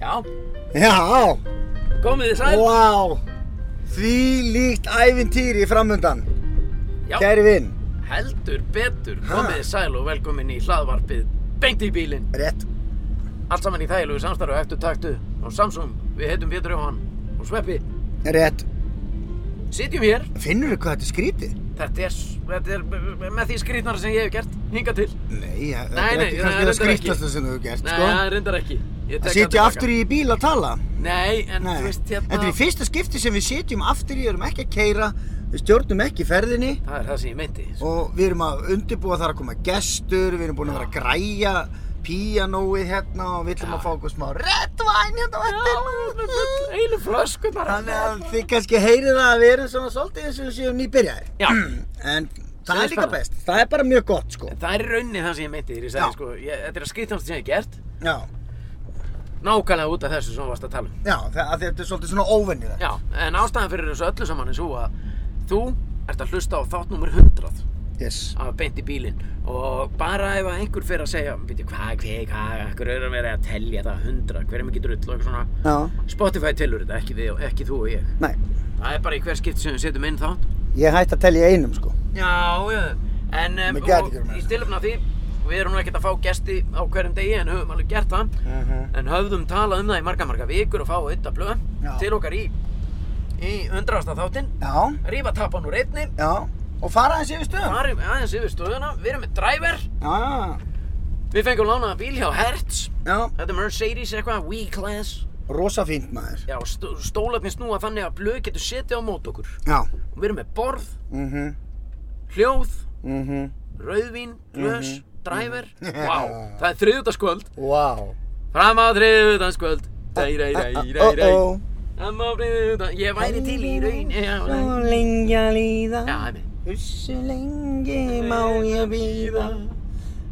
Já, Já, komið þið sæl. vá, því líkt ævintýri framundan, Já, kæri vinn, heldur betur. Ha? Komið þið sæl og velkomin í hlaðvarpið Bengt í bílinn. rétt, Allt saman í þægilegu samstarfu eftir taktu á Samsung. Við heitum Pétur Jóhann og Sveppi. rétt, Sitjum hér. finnur þú hvað þetta er skrítið? Þetta er, s- þetta er með því skrýtnar sem ég hef gert. Hinga til. Nei, þetta Nei, er nei, nei, ekki kannski það reyndar ekki. skrítasta sem þú hefur gert, Nei, sko. það reyndar ekki. Ég tek Að það sitja tilbaka. aftur í bíl að tala. Nei, en Nei, þú veist hérna... þetta er í fyrsta skipti sem við sitjum aftur í, erum ekki að keira, við stjórnum ekki ferðinni Það er það sem ég meinti. sko. og við erum að undirbúa þar að koma gestur, við erum búin að vera að græja píanóið hérna og við ætlum Já. að fá okkur smá redd væn hérna á eftir. Já, Heilu flöskunar. Þannig að þið kannski heyrið það að við erum svona svolítið eins og við séum nýbyrjaðir. Já. En Sem það er er líka spennandi. best. Það er bara mjög gott sko. En Það er í rauninni það sem ég meinti þegar ég Já. sagði sko, ég, þetta er að skrýtast sem ég hef gert, Já. nákvæmlega út af þessu sem þú varst að tala um. Já, það, af því að þetta er svolítið svona óvennið það. Já, en ástæðan fyrir þessu öllu saman er svo að þú ert að hlusta á þátt nummer 100 Yes. af beint í bílinn og bara ef að einhver fyrir að segja, veitir, hvað, hvað, hvað, hver er að vera að tellja það 100, hver er mikið drull og eitthvað svona. Já. Spotify telur þetta, ekki, við, ekki þú og ég. Nei, Það er bara í hver skipti sem við setjum inn þátt. ég hætti að telja í einum sko. Já, já, en um, Með gæti ekki verið og með í þessu. stilumna því, við erum nú ekkert að fá gesti á hverjum degi en höfum alveg gert það. Mhm. en höfðum talað um það í marga marga vikur og fá auðvitað blöð Já. til okkar í, í undraðasta þáttinn Já. rífa tapan úr einni Já. Og fara eins yfir stöðum. farum aðeins yfir stöðuna, við erum með driver Já. við fengum lánaða bíl hjá Hertz Já. þetta er Mercedes eitthvað, V-Class Rosa fínt maður. já, st stólarnir snúa þannig að blöð getur setið á mót okkur Já. og við erum með borð, Mhm. hljóð, Mhm. rauðvín, glös driver, wow, það er þriðutaskvöld Vá. fram á þriðutaskvöld Oh oh. ég væri til í raun já, Svo lengi að líða. já, einmitt. Hversu lengi má ég býða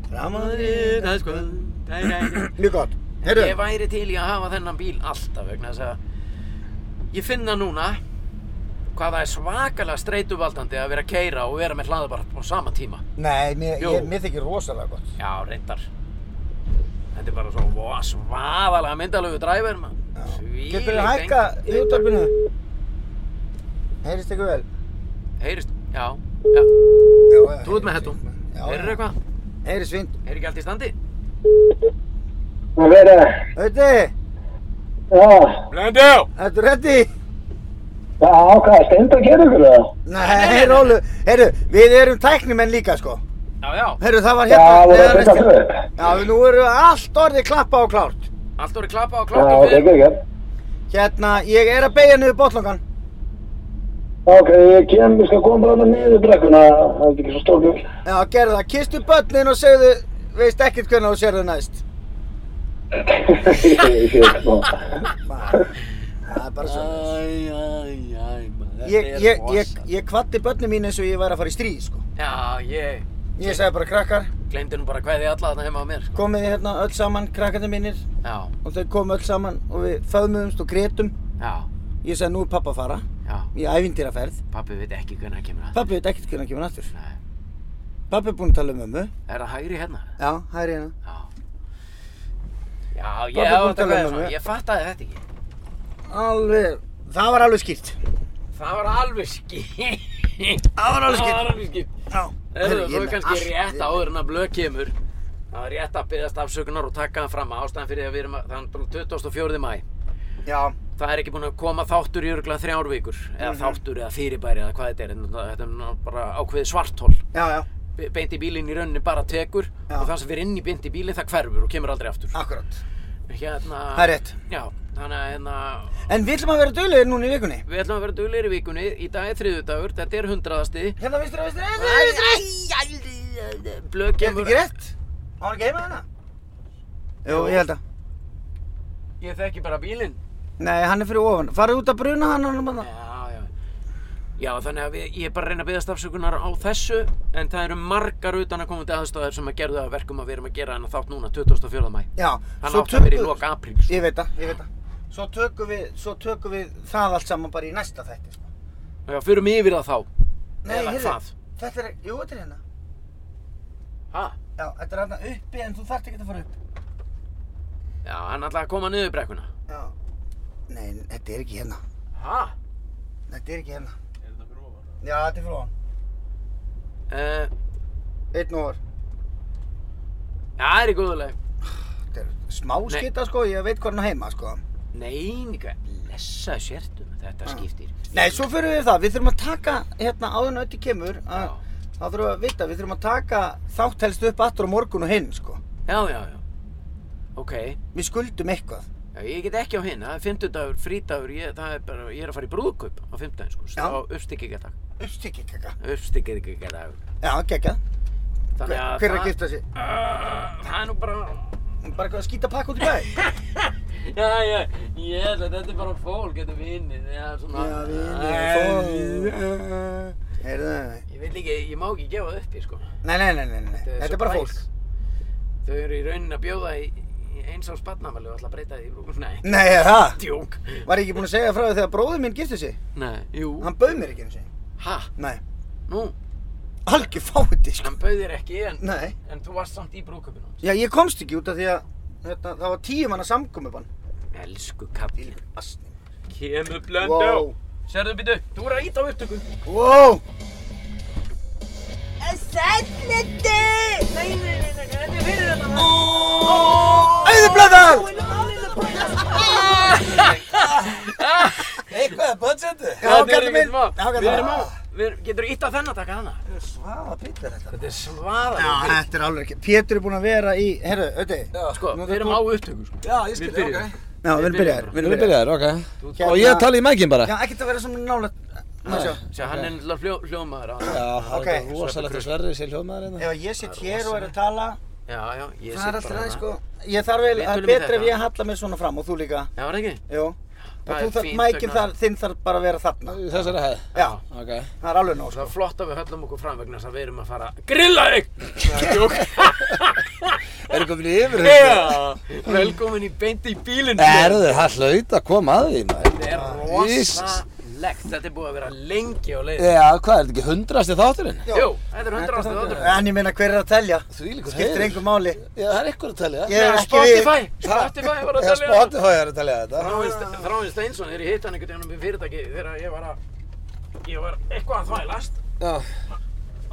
fram að riða Ég Mjög gott. Heyrðu, væri til í að hafa þennan bíl alltaf vegna þess að ég finna núna hvað það er svakalega streituvaldandi að vera að keira og vera með hlaðabarp á sama tíma. nei, mér, Jú. ég, mér þykir rosalega gott. Já, reyndar. Þetta er bara svo vó, svaðalega myndalögu dræver, mann. Svílík Getur þið hækka í útarpinu? Heyrist ykkur vel? Heyrist, já, já. Já, já, Þú ert með hettum. Já, Heyrir eitthvað? Heyrist fint. Heyrir ekki allt í standi? Það verið, Ötti, já, Blöndjó! ertu reddi? já, hvað, stendur að gera ykkur það? Nei, Rólu, heyrðu, við erum tæknimenn líka sko. Já, já, Heyrðu, það var Já, hérna. það verið þegar að byggja við- það upp. Já, nú eru allt orðið klappa og klárt. allt voru klappa og Já, klappa ok, ekki, ekki. Hérna, ég er að beigja niður botlangan. Ok, ég kem, ég skal koma bara þarna niður brekkuna, það er ekki svo stór bíl. Já, gerðu það. Kistu börnin og segðu, veist ekkert hvernig þú sér þau næst. Ég sé þetta nú. Bara- Það er bara svo. Æj, æj, æj, mann. Þetta Ég, er ég, ég, rosalegt. ég kvatti börnin mín eins og ég væri að fara í stríð, sko. Já, ég Ég sagði bara, krakkar, glemdi nú bara hvað ég alla þarna heima á mér sko. komið þið hérna öll saman, krakkarnir mínir. Já, Og þau komu öll saman og við föðmuðumst og grétum. já, Ég sagði, nú er pappa að fara já í ævindýraferð. Pappi veit ekki hvernig hann kemur að Pappi veit ekkert hvernig hann kemur aftur. Nei, Pappi er búinn að tala um mömmu. Er það hægri hérna? Já, það er hérna. Já Já, Pabbi ég á búinn að þetta tala hvað um er svona mig. Ég fattaði þetta ekki Alveg, það var alveg skýrt. Það var alveg skipt Það var alveg Það var skýrt. alveg skipt Já. Erðu, Herru, ég þú er er með kannski allt- rétt áður en að blöð kemur Það er rétt að byrjast afsökunar og taka hann fram að ástæðan fyrir að við erum að, þannig 24. mæ Já, Það er ekki búin að koma þáttur í örgulega þrjár vikur eða Mhm. þáttur eða fyrirbæri eða hvað þetta er en það- þetta er nú bara ákveðið svarthól já, já, Be- beint í bílinn í rauninni bara tekur Já. og það sem fyrir inn í beint í bílinn það hverfur og kemur aldrei aftur akkurat. hérna, Það er rétt. já, þannig að hérna, En við ætlum að vera dölir núna í vikunni. við ætlum að vera duglegir í vikunni í dag er þriðudagur, þetta er hundraðasti Hérna vinstur að vinstur, hérna vinstur að vinstur blöð Er þetta kemur ekki rétt? Má hann ekki heima þarna? Jú, ég held að ég þekki bara bílinn Nei, hann er fyrir ofan Farðu út að bruna hann hann hann já, já Já, þannig að við, ég er bara að reyna að byggja stafsökunar á þessu en það eru margar utan að komandi aðstæður sem að gerðu það að verkum að við erum að gera hennar þátt núna 24. mæ Já, Hann átti að vera í loka apríl sko. Ég veit það, ég veit það Svo tökum við, svo tökum við það allt saman bara í næsta þætti sko. Já, förum yfir það þá Nei, Eða heyrðu, hvað? þetta er, jú, þetta er hérna Ha? Já, þetta er hérna uppi en þú þarft ekki að fara upp Já, hann ætlaði að koma niður brekkuna Já. Nei, þetta er ekki hérna. Hæ? Þetta er ekki hérna. Er þetta fyrir ofan? Já, þetta er frá hann. Uh, Einn og var. já, það er í góðuleg. Þetta er smá skita sko, ég veit hvað hann á heima sko. Nei, hvað blessa sértu, þetta skiptir. Nei, svo fyrir við það, við þurfum að taka hérna áður en ötti kemur. Að, Já. þá þurfum við að vita, við þurfum að taka þátt helst upp aftur á morgun og hinn sko. Já, já, já. Ok, Við skuldum eitthvað. já, ég get ekki á hinn, það er fimmtudagur, frídagur, ég, það er bara, ég er að fara í brúðkaup á fimmtudaginn, sko, Já. á uppstykkingadag, Uppstykkikaka. uppstykkingadag. Já, geggjað. Hver, hver er að gifta sig? Ah, það, það er nú bara, Bara eitthvað að skýta pakk út í bæ? já, já, ég held að þetta er bara fólk, þetta er vinnir, já, svona. Já, Æ, vinir, fólk. Heyrðu, Ég vil ekki, ég má ekki gefa það uppi, sko. nei, nei, nei, nei, nei, nei. þetta er bara fólk. surprise. Þau eru í raunin að bjóða í, í eins á spannamalju og ætla að breyta því í brúðkaup, nei, Nei, er það? djók. Var ég ekki búinn að segja frá því þegar bróður minn gifti sig? Nei, jú, Hann bauð mér ekki eins og ha, Nei, nú, algjör fáti, sko. hann bauðir ekki, en... Nei. En þú varst samt í brúðkaupinu. Já, ég komst ekki út af því að hérna, það var tíum hann að samkomi bann. Elsku kallinn. Þvílíkur asni. Kemur Wow. Sérðu býtu, þú er að íta á upptöku. Wow. Sætleti! Nei, nei, nei, nei, þetta er fyrir þetta maður. Auður blöðar! Ah! Eitthvað, budgetu? Já, kallum minn. Já, Við kallum erum á. Við, getur þú ítt á þennan taka hana? Svaða pittar þetta. Þetta er svaðar. Já, þetta er alveg ekki. Pétur er búinn að vera í, herru, auðvitað. Sko, Nú, við erum á upptöku, sko. Já, ég skil, Við byrjum. ok. Já, við erum byrjaðir, við erum byrjaðir. byrjaðir, ok. Hérna- Og ég tala í mækin bara. Já, ekkert að vera svona nála, maður sjá. Sjá, hann er náttúrulega hljó, hljómaður á Já, það Ok. er þetta rosalegt að sverri sér hljóðmaður hérna. Ef ég sitt hér og er að tala, Já, já, ég það er sitt alltaf bara það, sko. hana. Ég þarf vel, Við það er tölum í betra ef þetta. ég halla mér svona fram og þú líka. Já, var það ekki? Jú. Það Og er þú þarf, fínt mækinn vegna- þar, þinn þarf bara að vera þarna. Í Þessari hæð. Já, Ok. það er alveg nóg, Það sko. er flott að við höllum okkur fram vegna þess að við erum að fara að grilla þig! Jók! Er komin yfir þessu? Já! Velkomin í beinti í bílinn! Erður, það hlaut að koma að því maður. Þetta er Jesus. rosalegt, þetta er búið að vera lengi á leiðinu. Já, hvað, er þetta ekki hundrasti þátturinn? Jú, þetta er hundra ástu þáttur. En ég meina, hver er að telja? Því líkur Skiptir engu máli. Já, það er ykkur að telja. Ég er ekki við. Spotify, Spotify var að um Já, telja það. Spotify er að telja þetta. Þráin Ste- Þráin Steinsson, þegar ég hitt hann einhvern veginn um fyrirtæki þegar ég var að ég var eitthvað að þvælast Já.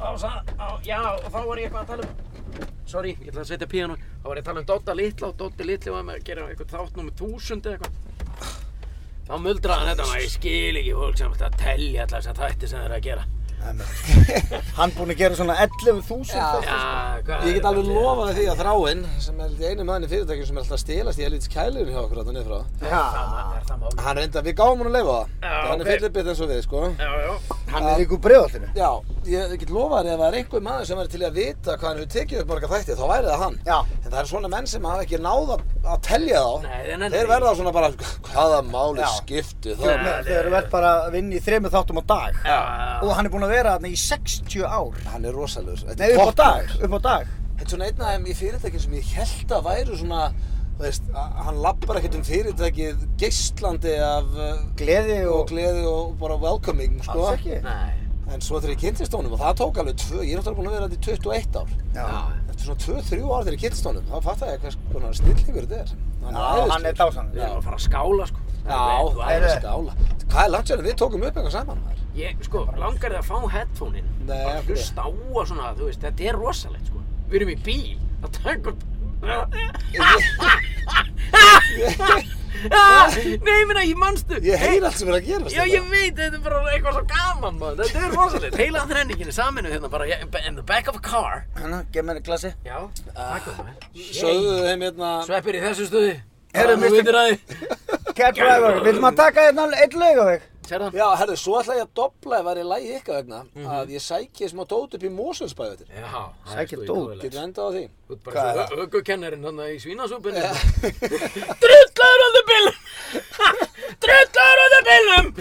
og þá sagði, á- já, og þá var ég eitthvað að tala um sorry, ég ætla að setja píano þá var ég að tala um Dotta Litla og Dotti Litli var með að gera eitthvað þátt nummer 1000 eða eitthvað þá muldraði hann þetta maður, ég skil ekki fólk sem ætla að telja alltaf þess að þætti sem þeir eru að gera Hann búinn að gera svona 11.000 Já. þátt. já, hvað Ég get er alveg þetta? lofað því að þráinn, sem er einu maður í fyrirtækjum sem er alltaf að stelast í helvítis kælirinn hjá okkur þarna niður frá. Það Já. ma- er það máli Hann reynda, við gáum hann að leifa það. Já, Hann ok. er fyllir eins og við, sko. já, já, Hann er líka úr bregðaltinu. Já, ég get lofað þér ef það er einhver maður sem er til í að vita hvað hann hefur tekið upp marga þætti, þá væri það hann. Já. En það er svona menn sem hafa ekki náð að að telja þá. Nei, þeir nenna Þeir því. verða svona bara, hvaða máli Já. skiptu Þú það? Nei. veist, Þegar þú ert bara að vinna í þremur þáttum á dag. já, Og hann er búinn að vera þarna í 60 ár. Hann er rosalegur. Þetta Nei, er upp á dag. toppmaður. Upp á dag. Þetta er svona einn af þeim í fyrirtækjum sem ég held að væru svona, þú veist, að- hann labbar ekkert um fyrirtækið geislandi af uh, Gleði og og... gleði og bara welcoming, sko. Alls ekki. nei, En svo þegar ég kynntist honum, og það tók alveg tvö, ég er náttúrulega búin að vera þetta í 21 ár. Já. já Eftir svona 2-3 ár þegar ég kynntist honum, þá fattaði ég hvers konar snillingur þetta er. Já, æðislegur. hann er dásamlegur. Við Já, erum að fara að skála sko. já, Þú það æðir er heyrðu. skála. Hvað er langt sér við tókum upp eitthvað saman? maður? Ég, sko, langar þið að fá headphone-in Nei, Bara af hverju? hlusta á að svona, þú veist, þetta er rosalegt, sko Við erum í bíl að taka upp Ah, Nei, ég meina, ég manstu Ég heyr allt sem er að gerast hérna. Já, ég veit, þetta er bara eitthvað svo gaman, maður Þetta er rosalegt Heila þrenningin er saminu hérna bara yeah, In the back of a car Hérna, Hanna, gef mér glasi. Já, takk um það Sögðu þeim hérna... Sveppir í þessu stuði Heyrðu, Þú mister- veitir að þið Cab driver, viljum að taka hérna eitt laug á þig? Sér það? Já, herru, svo ætla ég að dobla ef það er lægi ykkar vegna að ég sæki smá dót upp í Mosfellsbæði þetta. Já, það er Sækir sko í dót. góðu leik. Getur við endað á því? Þú ert Hvað bara er svo öggukennarinn hann í svínasúpunni Drullaður á þeim bílum Drullaður á þeim bílum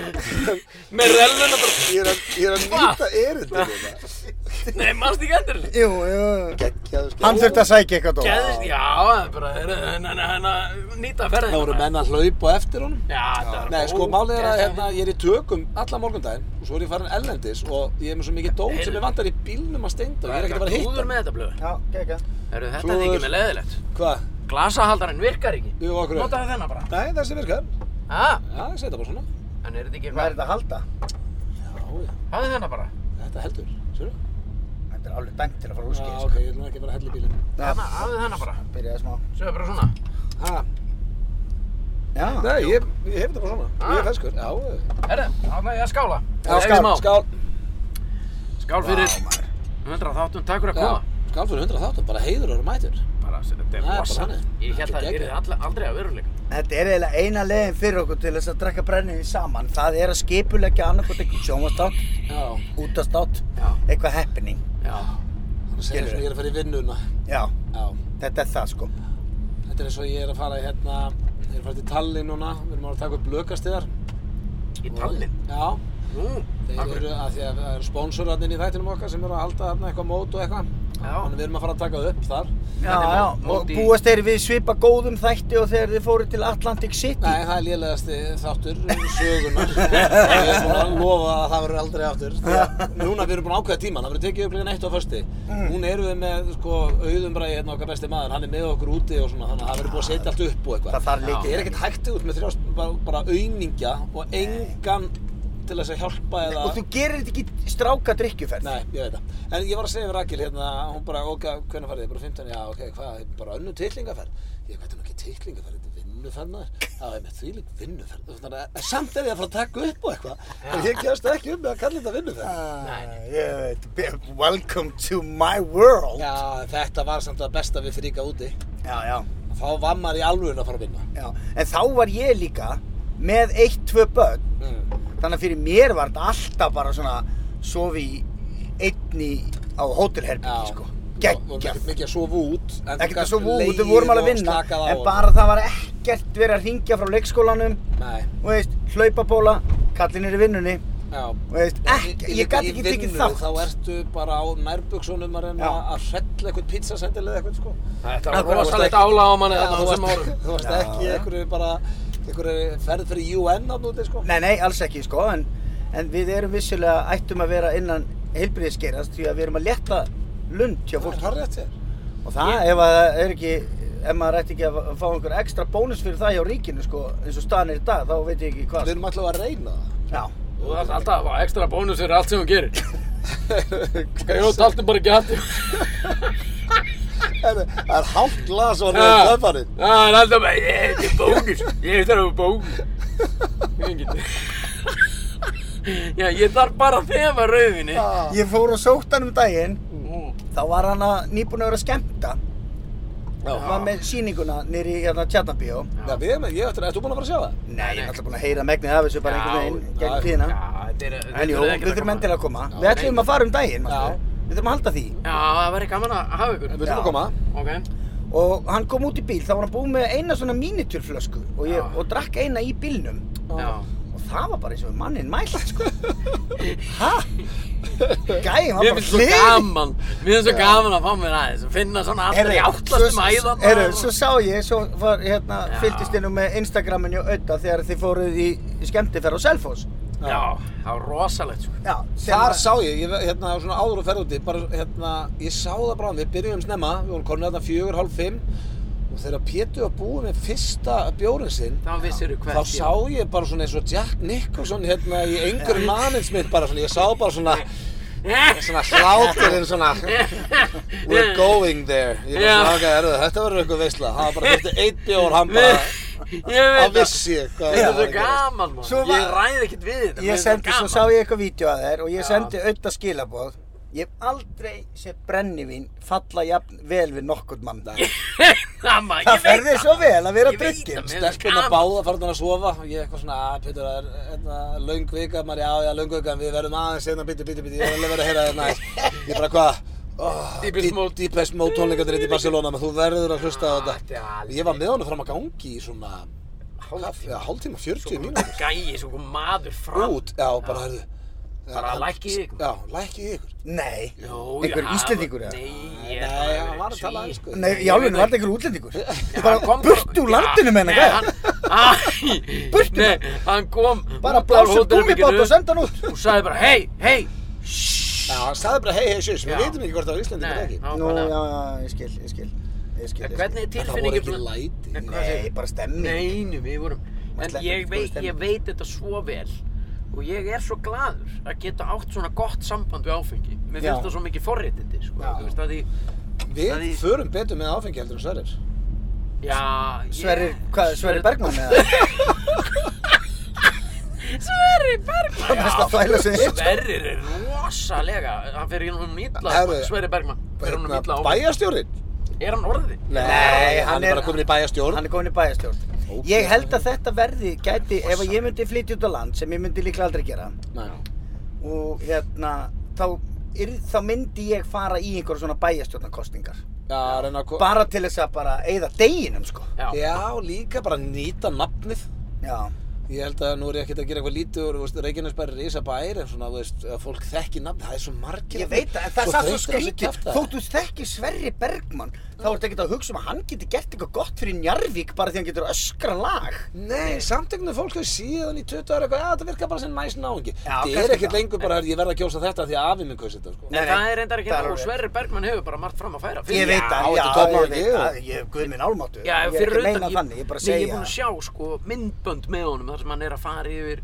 Með relluna bara Ég er að, ég er að nýta hérna. erindi þetta. Nei, mannst ekki endur Jú, jú. Gekkjaðu skil. Hann þurfti að sækja eitthvað dót. Gæðist, já, það er bara þeir- henn- henn- henn að nýta ferðin Það voru menn að hlaupa á eftir honum. Já, það er Nei, sko, málið er að hérna, ég er í tökum alla morgundaginn og svo er ég farin ellendis og ég er með svo mikið dót sem ég vantar í bílnum að steinda og ég er ekkert að fara að hitta. Húður hann. með þetta blöð Já, geggjað. Heyrðu, Þetta er ekki Klúður. með leðilegt Hvað? Glasahaldarinn virkar ekki. Jú, af hverju? Notaðu þennan bara. Nei, þessi virkar. Ha? Já, ég segi þetta bara svona. En er þetta ekki Hvað eitthvað? er þetta að halda? Já, já. Hafðu þennan bara. Þetta heldur. Sérðu? Þetta er alveg dæmt til að fara úr Já, skeið. ok, ég vil nú ekki sko. bara hella í bílinn. Þarna, hafðu þennan bara. Byrjaði smá. Sjöðu bara svona. Ha? Já. Nei, ég, ég hef þetta bara svona. Ah. Ég er feskur. Já, já. Herðu, þá ætla ég að skála. Já, Ég skál, smá. skál. Skál fyrir 100 þáttum, takk fyrir að Já, koma. skál fyrir 100 þáttum, bara heiður og mætur. Bara, þetta er Það er bara rosa. þannig. Ég held að Þetta er það yrði geggjað. alla- aldrei að veruleika. Þetta er eiginlega eina leiðin fyrir okkur til þess að drekka brennivín saman. Það er að skipuleggja annarkot eitthvað sjónvastátt, Já, útastátt, Já. eitthvað happening. Já. þannig að segja Skilurðu? svona ég er að fara í vinnuna. Já, Já, þetta er það sko. þetta er eins og ég er að fara í hérna, ég er að fara til Tallinn núna, við erum að fara að taka upp lökastiðar. Í tallinn. Já, Nú, þeir akkur. eru að því að það eru spónsorarnir í þættinum okkar sem eru að halda þarna eitthvað mót og eitthvað. Já. Þannig við erum að fara að taka upp þar. Já, Þetta er mót- já, og mót í- búast þeir við svipa góðum þætti og þegar þið fóru til Atlantic City. Nei, það er lélegasti þáttur sögunar. ég er búin að lofa að það verður aldrei aftur. Því að Núna við erum búin að ákveða tíman, það verður tekið upp klukkan eitt á fösti. Hún erum við með sko, auðumbræði hérna okkar besti maður, hann er með okkur úti og svona, þannig að það verður búin að setja allt upp og eitthvað. Það þarf líka. Ég er ekkert hægt út með þrjá bara, bara auðmingja og engan til þess að hjálpa eða... Og þú gerir þetta ekki stráka drikkjuferð. Nei, ég veit það. En ég var að segja við Rakel hérna, hún bara, ok, hvernig farið þið? Bara 15, já, ok, hvað, þetta er bara önnu titlingaferð? Ég veit hann ekki titlingaferð, þetta er vinnuferð maður. Það er með þvílík vinnuferð. Þannig að samt er ég að fara að taka upp og eitthvað. En ég kemst ekki um með að kalla þetta vinnuferð. Nei, Ah, ég veit, be- welcome to my world. Já, þetta var samt að besta við fríka úti. já, já. Þá var maður í alvöru að fara að vinna. já. En þá var ég líka með eitt, tvö börn Mm. Þannig að fyrir mér var þetta alltaf bara svona sofi í einni á hótelherbyggi sko. Vorum Geggjað. ekkert mikið að sofa út. en þú Ekkert að gast sofa út, legið við vorum alveg að og vinna, slakað á en og- bara það var ekkert verið að ringja frá leikskólanum, Nei, og veist, hlaupabóla, kallinn er í vinnunni, já. og veist, ekki, Í- í- ég gæti í ekki tekið vinnu, þátt. Þá ertu bara á nærbuksunum að reyna Já. að hrella eitthvað pizzasendil eða eitthvað sko. Þetta Akkur, var þú varst rosalegt ekki- álag á manni Já, þarna á þú þessum varst- árum. Þú varst Já. ekki í einhverju bara, einhverju ferð fyrir UN átt núti sko. Nei, nei, alls ekki, sko, en, en við erum vissulega ættum að vera innan heilbriðiskerans því að við erum að letta lund hjá Það er fólki. harrið þér. Og það, ef að það er ekki, ef maður ætti ekki að fá einhver ekstra bónus fyrir það hjá ríkinu, sko, eins og staðan er í dag, þá veit ég ekki Við hvað. sko. erum alltaf að reyna Já. Þú þarft alltaf að fá ekstra bónus fyrir allt sem þú gerir. það. Ég taldi bara ekki hætti. Herru, Það er hálft glas og hann er Já. í töfarið. Það er alltaf bara, ég þetta er bónus, ég þarf að bónus. Engin. Já, ég þarf bara þefa rauðinni. Ég fór og sótt hann um daginn, Mm. þá var hann að nýbúin að vera að skemmta. Já. Hann var með sýninguna nýri hérna Tjarnabíó. Nei, við erum, ég ætti að, ertu búin að fara að sjá það? Nei, ég er alltaf búin að heyra megnið af þessu bara Já, einhvern veginn já, gegn tíðina. Já, þetta er... þetta En jú, er ekkert við þurfum koma. endilega að koma. Við ætlum að fara um daginn, Já. manstu. Við þurfum að halda því. Já, það væri gaman að hafa ykkur. Við þurfum Já. að koma. Ok. Og hann kom út í bíl, þá var hann búinn með eina svona mínitúrflösku og, ég- Já. og drakk eina í bílnum. Já. Og það var bara eins og mannin mælt, sko. Hæ? Gæði, hann Mér bara finnst svo gaman, mér finnst svo gaman að fá mér aðeins og finna svona alltaf í átlastum æðan. Herru, svo sá ég, svo var hérna, Já. fylgist ég nú með Instagraminu auða þegar þið fóruð í í skemmtiferð á Selfoss. Já, það var rosalegt sko. Já, sem Þar að- sá ég, ég hérna svona áður og ferð úti, bara hérna, ég sá það bara, við byrjum snemma, við vorum komin þarna fjögur, hálf fimm og þegar Pétur var búið með fyrsta bjórinn sinn, Þá vissirðu hvert þá ég- sá ég bara svona eins og Jack Nicholson hérna í einhverju maninsmynd bara svona, ég sá bara svona, svona hláturinn svona, we're going there, ég Já. bara svona, ok, herðu, þetta verður eitthvað veisla, hann var bara fyrstu eitt bjór, hann bara, Ég hann veit það. vissi ég hvað Þetta er var svo að gerast. gaman Svo maður. var- Ég ræði ekkert við þetta. mér finnst Ég það sendi, svo gaman. sá ég eitthvað vídeo að þér og ég Já. sendi auða skilaboð. Ég hef aldrei séð brennivín falla jafn vel við nokkurn mann. Það maður, Það ég fer veit þér svo vel að vera Ég veit drikkin. það, mér- Stelpurna Gaman. báða farnar að sofa og ég eitthvað svona, að Pétur, það er hérna, löng vika, maður, já, já, löng vika, en við verðum aðeins hérna, bíti, bíti, bíti, ég er alveg verið að heyra þér næst. Ég bara, hvað? Oh, Deepest Mode. Ah, Deepest Mode tónleikandir í Barcelona, menn þú verður að hlusta á þetta. Þetta er Ég var með honum fram að gangi í svona, hálftíma, hálftíma, 40 mínútur. gæi, svo kom maður fram Út, já, bara, hörðu. Bara lækkið ykkur. Já, lækkið ykkur. Nei, Jó, einhver já, íslendingur eða? Nei, Nei, ég- hann var að tala Sí. einsku. Nei, í álunum var þetta einhver útlendingur. Já, hann Bara kom burt frá- úr Já, landinu með henni, nei, gæði. hann- Æ, Burt úr Nei, hann kom Bara út af blása hótelherberginu gummibát og senda hann út. Og sagði bara, hei, hei Já, hann sagði bara, hei, hei, sjus, við Já. veitum ekki hvort það var Íslandingur Nei, ekki. nákvæmlega. Nú, já, já, ég skil, ég skil. ég skil, En ég skil. hvernig er En það voru tilfinningin? ekki svona- læti. En hvað Nei, segir- bara stemming. Neinu, við vorum Maður En sleppir ég ekki góðu veit, stemningu. ég veit þetta svo vel Og ég er svo gladur að geta átt svona gott samband við áfengi Mér Já. finnst það svo mikið forréttindi, sko Já. Þú veist að því Það Við er- förum betur með áfengi heldur en Sverrir. Já, ég Sverrir, hvað, Sverrir Bergmann eða? Sverrir Bergman Það best að þvæla sig eins og- Sverrir er rosalega Hann fer í hún illa Herru, Sverrir Bergman Fer hún hérna, illa á Hérna, Bæjarstjórinn? Er hann orðið? Nei, hann hann er er- bara komin í bæjarstjórn. Hann er komin í bæjarstjórn. Ógeðslega. Ég held að þetta verði, gæti, ef að ég myndi flytja út á land, sem ég myndi líklega aldrei gera, Nei. og hérna, þá, er, þá myndi ég fara í einhverja svona bæjarstjórnarkostningar. Já, reyna að... ko- Bara til þess að bara eyða deginum, sko. Já, Já, líka bara nýta nafnið. Já. Ég held að nú er ég ekkert að gera eitthvað lítið úr, þú veist, Reykjanesbær er risa bær, en svona, þú veist, að fólk þekki nafn, það er svo margir. Ég veit það, en það er samt svo skrítið. Þótt Þóttu... þú þekkir Sverri Bergmann, þá ertu ekkert að hugsa um að hann geti gert eitthvað gott fyrir Njarvík bara því hann getur öskra lag. Nei, samtögnum fólk hefur síðan í 20 ára eitthvað, að þetta virkar bara sem næs náungi. Já, Þetta er kannski ekkert það. lengur bara, ég verð að kjósa þetta því að afi minn kaus þetta, sko. En Nei, nei, það er reyndar ekki það er hérna og alveg. Sverrir Bergman hefur bara margt fram að færa Ég veit Já, það, já, ég þetta er toppmál, veit jú. það, ég, guð minn álmáttu, Já, ég er fyrir ekki að utan, meina þannig, ég er bara Nei, ég er að segja. búinn að sjá sko myndbönd með honum þar sem hann er að fara yfir,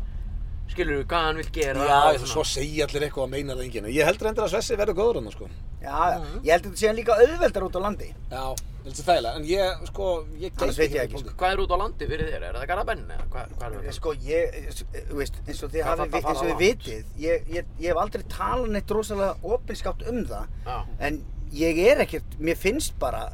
skilur við, hvað hann vil Já, gera já og svo segja allir eitthvað að meina það enginn. Ég heldur endur að Svessi verður góður hann, sko. Já, ég held að þetta sé hann líka auðveldar út á landi. Já, heldur þægilega, en ég, sko, ég sko. Annars gæti veit ég verið ekki, bóndi. Hvað er út á landi fyrir þér? Er það Garabæn eða hvað, hvað er það? Sko, ég, þú veist, eins og þið Það er hafið, þetta að eins og fara þið vitið, ég, ég, ég hef aldrei talað neitt rosalega opinskátt um það, Já. en ég er ekkert, mér finnst bara,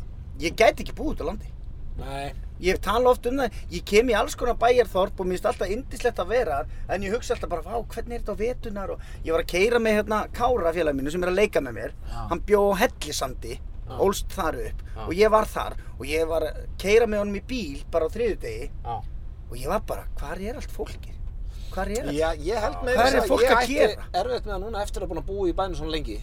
ég gæti ekki búið út á landi. Nei, Ég tala oft um það, ég kem í alls konar bæjarþorp og mér finnst alltaf indislegt að vera þar, en ég hugsa alltaf bara, vá, hvernig er þetta á vetunar og ég var að keyra með hérna Kára félag mínu sem er að leika með mér, Já. hann bjó á Hellisandi, Já. ólst þar upp Já. og ég var þar og ég var að keyra með honum í bíl bara á þriðjudegi Já. og ég var bara, hvar er allt fólkið? Hvar er allt? Já, ég held með Hvað þess er að fólk ég að ætti gera? erfitt með það núna eftir að búin að búa í bænum svona lengi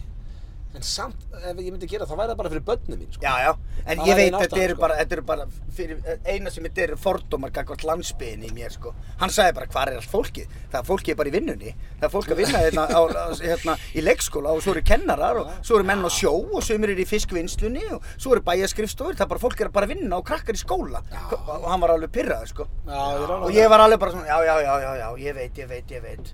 En samt, ef ég myndi gera það, þá væri það bara fyrir börnum mín, sko Já, já, en Það ég var veit ein að þetta ástæðan, eru sko. bara, þetta eru bara fyrir, eh, eina sem þetta eru fordómar gagvart landsbyðin í mér, sko. Hann sagði bara, hvar er allt fólkið? Það er fólkið bara í vinnunni. Það er fólk að vinna hérna, á, á, hérna í leikskóla og svo eru kennarar og svo eru menn á sjó og sömur eru í fiskvinnslunni og svo eru bæjarskrifstofur. Það er bara, fólk er bara að vinna og krakkar í skóla. Og hann var alveg pyrraður, sko. ég rána Og ég var alveg bara svona, já, já, já, já, já, ég veit, ég veit, ég veit.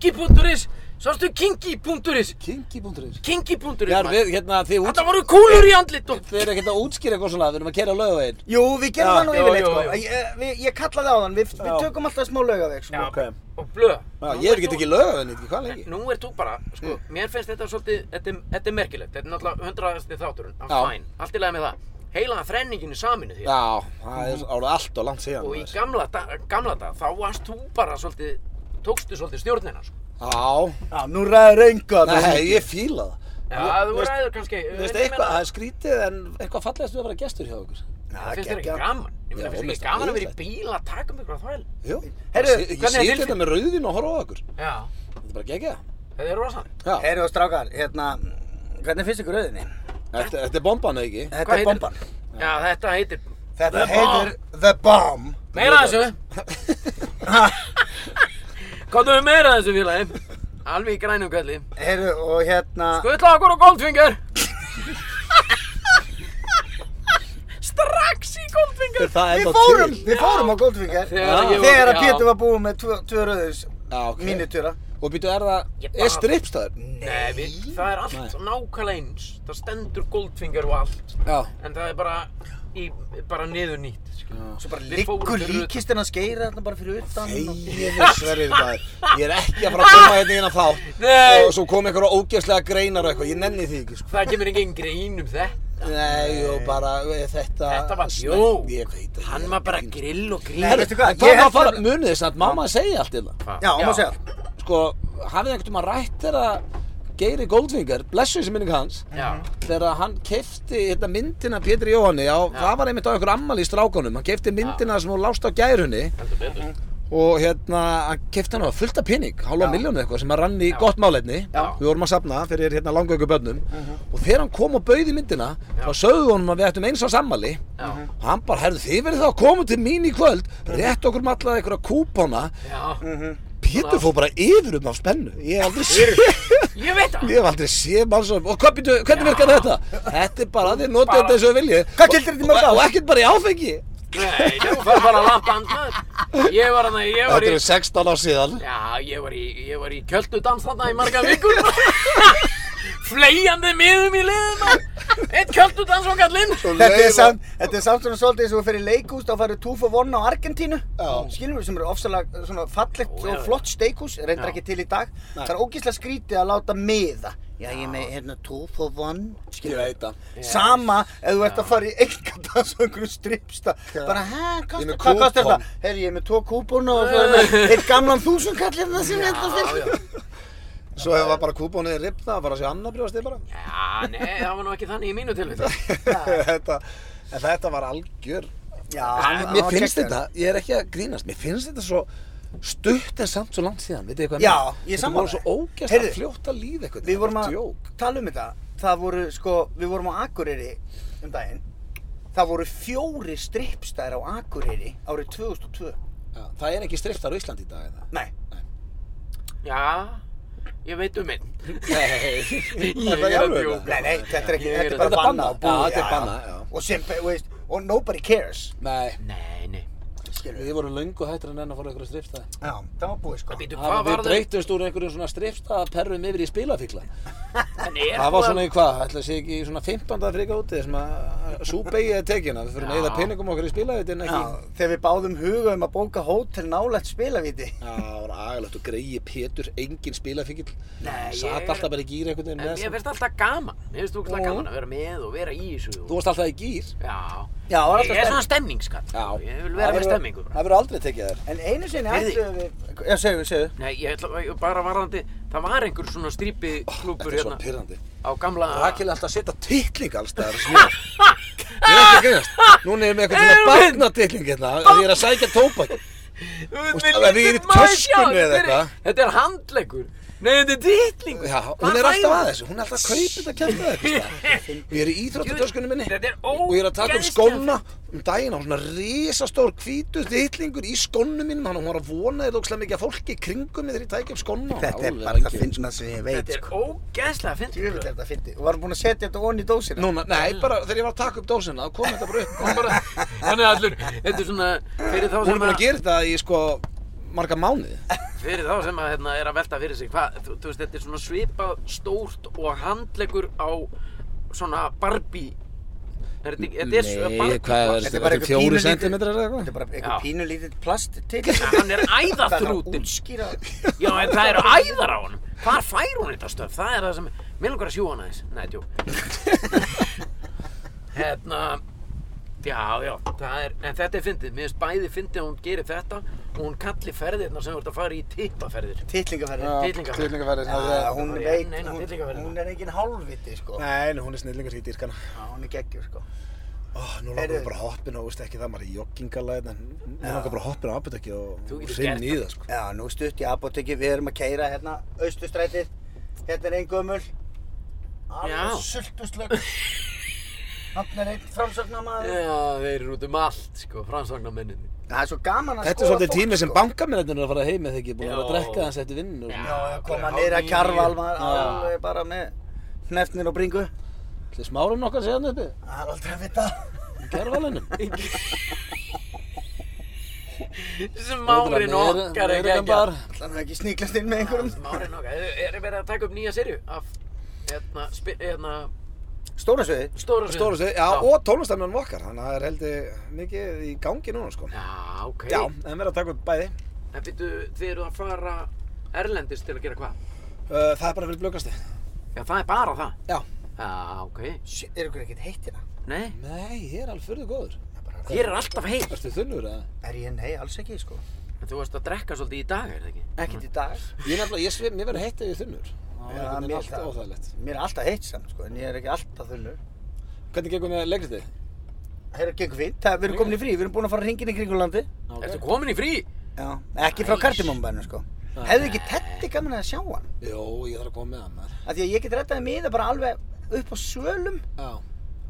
Kingi.is, sástu Kingi.is, Kingi.is Kingi.is, Já, maður. við, hérna, þið út þetta voru kúlur í andlit og Þið eru ekkert að útskýra eitthvað svona, við erum að kera á laugaveginn Jú, við gerum Já, það nú jú, yfirleitt, jú, sko. jú. Ég, við- ég kallaði á þann, við, við Já. tökum alltaf smá laugaveg, sko. Já, Ok. og blöð. Já, Nú ég ert hef ekkert þú- ekki laugaveginn, ekki hvað lengi Nú er þú bara, sko, Mm. mér finnst þetta svolítið, þetta, er- þetta er merkilegt, þetta er náttúrulega hundraðasti þátturinn, af Já. fæn, allt í lagi með það. Heilaða þrenningin er saminu því. Já, það er árað allt og langt síðan Og í maður. gamla, da, gamla dag, þá varst þú bara svolítið, tókstu svolítið stjórnina, sko. Já, Já, nú ræður engu að nei, ég fíla það Já, þú veist- ræður kannski. Þú veist, eitthvað, það er skrítið, en eitthvað fallegast við að vera gestur hjá okkur Já, Það finnst þér ekki geggjað. gaman. Ég meina, Já, finnst þér mér ekki finnst gaman það að vera í bíl að taka um ykkur að þvæl? Jú, Heyrðu, ég hvernig er sit tilfinn- hérna með rauðin og horfa á okkur Já. Þetta er bara gegja Það er rosan. Já, Heyrðu og strákar, hérna, hvernig finnst ykkur auðinni? þetta þetta er bomban, eða ekki? Þetta Hvað er heitir- bomban. Já, þetta heitir... Þetta The heitir The Bomb. Meira af þessu! Komdu við meira af þessu félagi. Alveg í grænum kalli. Heyrðu og hérna, Skutla okkur á Goldfinger! Strax í Goldfinger! Er það við ennþá fórum, til? við fórum á Goldfinger. Þegar ég var- Þegar að já. Pétur var búinn með tvö- tvö rauðis Já, ok. mínutýra. Og býtu, Ég er það, bara- er strippstæður? Nei, við, það er allt nákvæmlega eins. Það stendur Goldfinger og allt. Já. En það er bara, í, bara niður nýtt, skiljum. Svo bara Við fórum liggur fyrir utan. líkistinn að skeira þarna bara fyrir utan. og- Þegiðu sverrið maður, ég er ekki að fara að koma hérna inn á þá Nei. Og svo kom einhverja ógeðslega greinar og eitthvað, ég nenni því ekki sko Það kemur engin grein um þetta. Nei, og bara e, þetta Þetta var Sne- djók. Ég veit að Hann var bara grill og grill. Herru, veistu hvað, Hvað ég maður held fara, að... munið þess að mamma segi allt illa Já, má segja. Sko, hafið einhvern veginn rætt þegar að Geiri Goldfinger, blessu þessi minning hans Já, Þegar að hann kefti hérna, myndina Pétur Jóhanni á, það var einmitt á einhver ammali í strákanum Hann kefti myndina sem hún lást á gærunni heldur betur. og hérna, hann kefti hann á fullt af pening, hálfa miljónu eitthvað sem hann rann í gott málefni Já. við vorum að safna fyrir hérna langauku börnum og þegar hann kom og bauði myndina þá sögðu honum að við ættum eins á sammali Já. og hann bara, herðu þið verið þá að koma til mín í kvöld rétt okkur um alla einhverja kúpana Já, Mhm. Pétur fór bara yfir um af spennu ég hef aldrei séð Ég veit það. Ég hef aldrei séð mannsöfum og hvað býtu, hvernig virkar þetta? Þetta er bara, þið notið Bara- þetta eins og þið viljið Hvað gildir þetta í mörg Og- Og ár? ekkert bara í áfengi Nei, þú fyrir bara að lappa andnað. Ég var hann ég var Þetta í... eru 16 ár síðan Já, ég var í, ég var í kjöldudans þarna í marga vikur. Fleigjandi miðum í liðum. Eitt kjöldudans og kallinn. Þetta er samt, þetta er samt svona svolítið eins og við fyrir leikús, þá farið 2 for 1 á Argentínu, Já. skilum við sem eru ofsalega eh, svona fallegt Já, já. og flott steikús, reyndar Já. ekki til í dag, það er ógíslega skrítið að láta miða. Já, ég með, hérna, 2 for 1, Ég skilum við. veit það Sama ef þú ert að fara í einnkandans og einhverju strippsta, bara, hæ, Ég með hvað kostar kúpon. þetta? Herri, ég er með 2 kúbónu og það er með eitt gamlan þúsundkallið það sem þetta fyrir. Svo hefur maður bara kúbónið ripna að fara að sé annað brjóðstil bara Já, nei, það var nú ekki þannig í mínu tilvita. þetta, En þetta var algjör Já, hann- hann Mér var finnst geggjaður. þetta, ég er ekki að grínast Mér finnst þetta svo stutt en samt svo langt síðan Vitið þið hvað Já, meina? ég Þetta sammála voru þér. svo ógæst að Heyrðu, fljóta líf eitthvað Við vorum að Jók tala um þetta, það voru sko, við vorum á Akureyri um daginn Það voru fjóri strippstæðir á Akureyri árið 2002 Það er ekki striftar á Íslandi í dag eða? Nei, Já, ég veit um einn. Nei Ég það í er að alvöru? djóka. nei, nei, þetta er ekki, Ég þetta er er bara Þetta er banna bannað, já, þetta er bannað, já. Og sem, þú veist, og nobody cares, Nei Nei, nei. skilur við Við vorum löngu hættir en enn að fara á einhverja striftaði Já, það var búið sko Býtu, Hafa hvað við var það? breytumst úr einhverjum svona striftaperrum yfir í spilafíkla Þannig er Það var búið að- svona í hvað, ætla sé ekki í svona 15. frika úti sem að súbegið er tekina Við fyrir að eyða peningum okkar í spilafíkla en Já, ekki þegar við báðum huga um að bóka hótel nálægt spilavíti Já, það var agalegt og greiði Pétur, engin spilafíkil Nei, ég Satt er- alltaf bara í gýr einhvern veginn En með mér þessum finnst alltaf gaman, mér finnst úkvæmlega Jú. gaman að vera með og vera í þessu Þú og... varst alltaf í gýr Já, Já, það var alltaf ég er stemning. svona stemningskall, ég vil vera Það með verður- stemmingu bara. Það verður aldrei tekið þér En einu sinni Heyrði. ætluðum við, já, segðu, segðu Nei, ég ætla ég- bara varðandi, það var einhver svona strípi klúpur Þetta er svo hérna Ah. pyrrandi á gamla... Rakel er alltaf að setja titling allstaðar snjóð. Ég er ekki að grínast. Núna er með eitthvað svona Erum barnatitling hérna að ég er að sækja tóbak. Þú veist, það er í töskunni eða eitthvað. Þetta er handleggur, nei þetta er ditlingur. Já, hún er alltaf að þessu. Hún er alltaf að kaupa þetta kjæfta eitthvað. Og ég er í íþróttatöskunni minni. Þetta er Og ég er að taka um ógeðslega skóna um daginn á svona risastór hvítur titlingur í skónum mínum. Þannig að hún var að vona þér lókslega mikið að fólki í kringum mig þegar ég tækja upp skóna. Þetta er Alveg bara það vængjum. finnst maður sem ég veit Þetta sko er ógeðslega Ég fyndið. veit þetta fyndi, og varum búin að setja þetta onni í dósina Núna, nei, bara þegar ég var að taka upp dósina, þá kom þetta bara upp. Hún bara- Þannig að allur, þetta er svona, fyrir þá Hún er sem búin að gera þetta í sko marga mánuði. fyrir þá sem að hérna, er að velta fyrir sig hvað, þú, þú veist, þetta er svona svipað stórt og handleggur á svona Barbie er þetta ekki, þetta er svo Nei, Barbie hvað er plast. Þetta þetta? er bara Þetta er fjóri eitthvað sentimetrar eða Þetta eitthvað? er bara eitthvað Já. pínu lítið plast til Ja, hann er Það þarf að æðaþrútin útskýra já, en það eru æðar á honum hvar fær hún þetta stöf, það er það sem mér langar að sjú hana þess, nei, tjó hérna já, já, það er en þetta er fyndið, mér finnst bæði fyndið að hún gerir þetta og hún kalli ferðirna sem þú ert að fara í tittaferðir Titlingafærið Tittlingaferð. Tittlingaferðir. Já, hún bara í veit, enn eina hún, tittlingaferðina. hún er engin hálfviti sko Nei, nei, hún er snillingur í dýrkana. Já, hún er geggjur sko Ó, nú langar Heyrðu. við bara að hoppina og veist ekki það, maður er í joggingalæðin, en nú langar bara að hoppina á apotekki og Þú og getur hrinn gert í það, sko. Já, nú stutt í apotekki, við erum að keira hérna Austustrætið, hérna er einn gömul Já. Alveg sultuslögg Hann er einn framsögnamaður já, þeir eru út um allt, sko, framsvagnarmenninni Það er svo gaman að Þetta er skoða svolítið fólk, tími sem sko. bankamennir er að fara heim eða ekki, búin að vera að Já. drekka þess eftir vinnu og Já. svona. Já, já, koma Já, niður að í- kjarval maður Já. alveg bara með hnefnir og bringu Þetta er smárun okkar séðan uppi, Það er aldrei að vita í gervalinum. Smárin okkar er geggjað. Þannig að ekki sníklast inn með einhverjum Smárin okkar, er er verið að taka upp nýja sériu af hérna, spi- hérna, Stóra sviði stóra sviðinu? Stóru svið, já, og tónlistarmjörnum okkar, þannig að það er heldur mikið í gangi núna, sko. Já, ok. Já, en við erum að taka upp bæði. En býttu, þið eruð að fara erlendis til að gera hvað? Uh, Það er bara fyrir blökastu. Já, það er bara það. Já. Já, ok. Shit, Er ykkur ekkert heitt hérna? Nei, Nei, ég er alveg fyrir góður. þér er alltaf heitt. Ertu þunnur, eða? Er ég? Nei, alls ekki sko En þú varst að drekka svolítið í dag, er það ekki? Ekkert í dag Ég nefnilega, ég svið, mér verður heitt ef ég er þunnur. Það Já, er einhvern veginn mér alltaf það. óþægilegt. Mér er alltaf heitt samt sko, en ég er ekki alltaf þunnur Hvernig gengur með leikritið? Það er ekki fint, það, við erum komin í frí, við erum búin að fara hringin í kringulandi Ertu komin í frí? Já, ekki frá Æs. kardimumbænum sko Hefðu ekki tetti gaman að sjá hann? Jó, ég þarf að koma með hann þar. Af því að ég get rettaði miða bara alveg upp á svölum Já.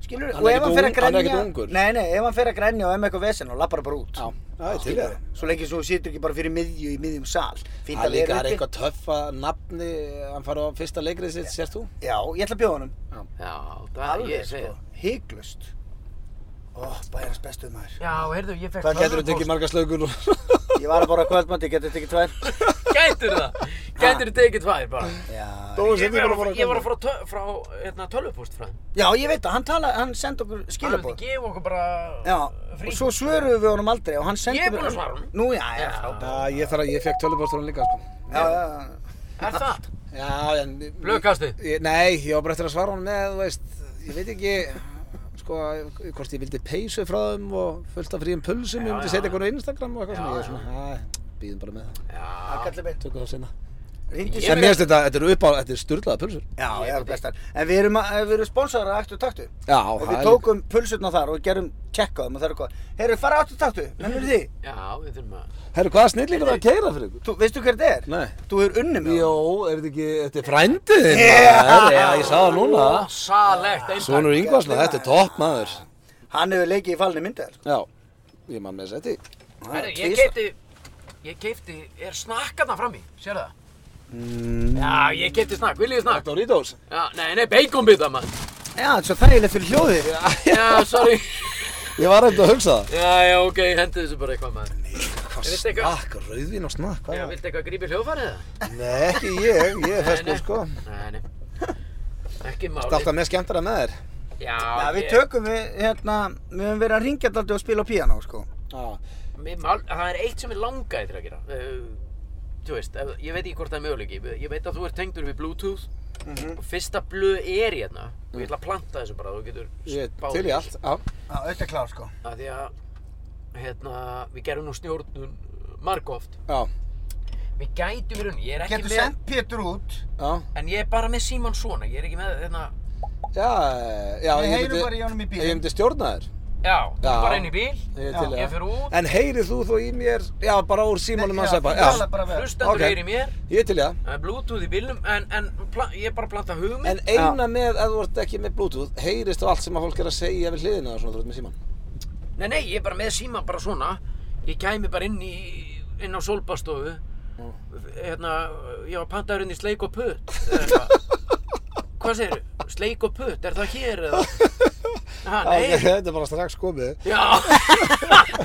skilur Hann er og ef hann fer ekkert ung- að hann er grenja ekkert ungur. nei, nei, ef hann fer að grenja og emma eitthvað vesen og lappar bara út Já, já, ég til í það. svo lengi svo þú situr ekki bara fyrir miðju í miðjum sal Fínt Það að vera líka er uppi. eitthvað töff að nafni, hann fara á fyrsta leikrið sitt, sérst þú? já, ég ætla að bjóða honum Já, það ég segi það. hygglust sko. ó, bæjarnas bestuð maður Já, heyrðu, ég fekk Hvað getur þú tekið marga slögur? ég var að borða kvöldmandi, getur þetta ekki tvær Gætur það? Gætur þú tekið tvær bara? já, Ég var að fara- ég var að fara tö- frá hérna, tölvupúst frá þeim. já, ég veit það, hann tala, hann sendi okkur Hann vildi skilabóð gefa okkur bara já, og frí. svo svöruðum við honum aldrei og hann sendi Ég er búinn að svara honum. nú, já, já, Já. frábært. Já, ég þarf að, ég fekk tölvuposturinn líka, sko. já, já, já. Er það? Já, en... Blöðkastið? Ég- Nei, ég var bara eftir að svara honum með, þú veist, ég veit ekki, sko, hvort ég vildi peysu frá þeim og fullt af fríum pulsum, Já, ég myndi já. setja eitthvað á Instagram og eitthvað svona, ég er Já, svona, að, býðum bara með það, Já. kallið minn tökum það sinna. Hringdu Ég En sem- mér finnst þetta, þetta er upp á, þetta er sturlaða pulsur. Já, ég er bestar. En við erum, að- við erum sponsorar að Aktu Taktu. Já, og það við er- tókum pulsurna þar og gerum tjekka á þeim og það er eitthvað. Heyrðu, fara á Aktu Taktu, mennur því. Já, við þurfum að... Herru, hvaða snillingur það að keira fyrir ykkur? Þú, veistu hver þetta er? Nei. Þú er unni með Jó, er þetta ekki, þetta er frændið þinn Yeah. maður, já, ég sá það núna. Rosalegt eintak. Svonur Ingvarsson, þetta er topp maður. honum. Hann hefur leikið í falni myndið. Sko. Já, ég man með setti. Herri, Já, ég tvisvar. kefti, ég kefti, er snakk þarna frammi, sérðu það? Já, ég kefti snakk, viljið þið snakk? Doritos. Já, nei, nei, baconbita mann. Já, þetta er svo þægilegt fyrir hljóðið. Já, sorry. Ég var eftir að hugsa það. Já, já, ok, hendi þessu bara eitthvað mann. Hvað Viltu eitthvað? snakk, rauðvín og snakk, hvað Já, er það? viltu eitthvað grípi hljófarið það? Nei, ekki ég, ég er Nei, feskur nei. sko. Nei, nei. Ekki máli. Þetta er alltaf með skemmtara með þér. Já, Já, við ég- tökum við, hérna, við höfum verið að ringja þetta aldrei og spila á píanó, sko. Já. Mér mál, það er eitt sem ég langaði til að gera uh, Þú veist, ef, ég veit ekki hvort það er möguleiki Ég veit að þú ert tengdur við Bluetooth Mhm. Og fyrsta blöð er hérna Og ég ætla að planta þessu bara Þú getur Mm. Ég spáð er til í allt, já. Já, auðvitað er klár, sko. Af Því að, hérna, við gerum nú snjórnun margóft Já, Við gætum við hún, ég er ekki Getur með sendt Pétur út. já. En ég er bara með síman svona, ég er ekki með, hérna Já, já, Við ég heyrum bara í honum í bílnum. Ég myndi stjórna þér. Já, þú Já. bara inn í bíl Ég er Já. til í Ég fer út. En heyrið þú þú í mér, já, bara úr símanum hans að bara, tala já. bara við. Hlustendur Ok. okay. er í mér Ég er til í það. Það er Bluetooth í bílnum En, en pla, ég er bara að planta hugmynd En eina með að þú ert ekki með Bluetooth, heyrist þú allt sem að fólk er að segja við hliðina og svona þú ert með síman. Nei, nei, ég er bara með síma bara svona Ég kæmi bara inn í inn á sólbaðstofu Hérna, ég var pantaður inn í sleik og putt eða eitthvað. Hvað segirðu? Sleik og putt, er það hér eða? Ha, Já, nei, ok, þetta er bara strax komið. já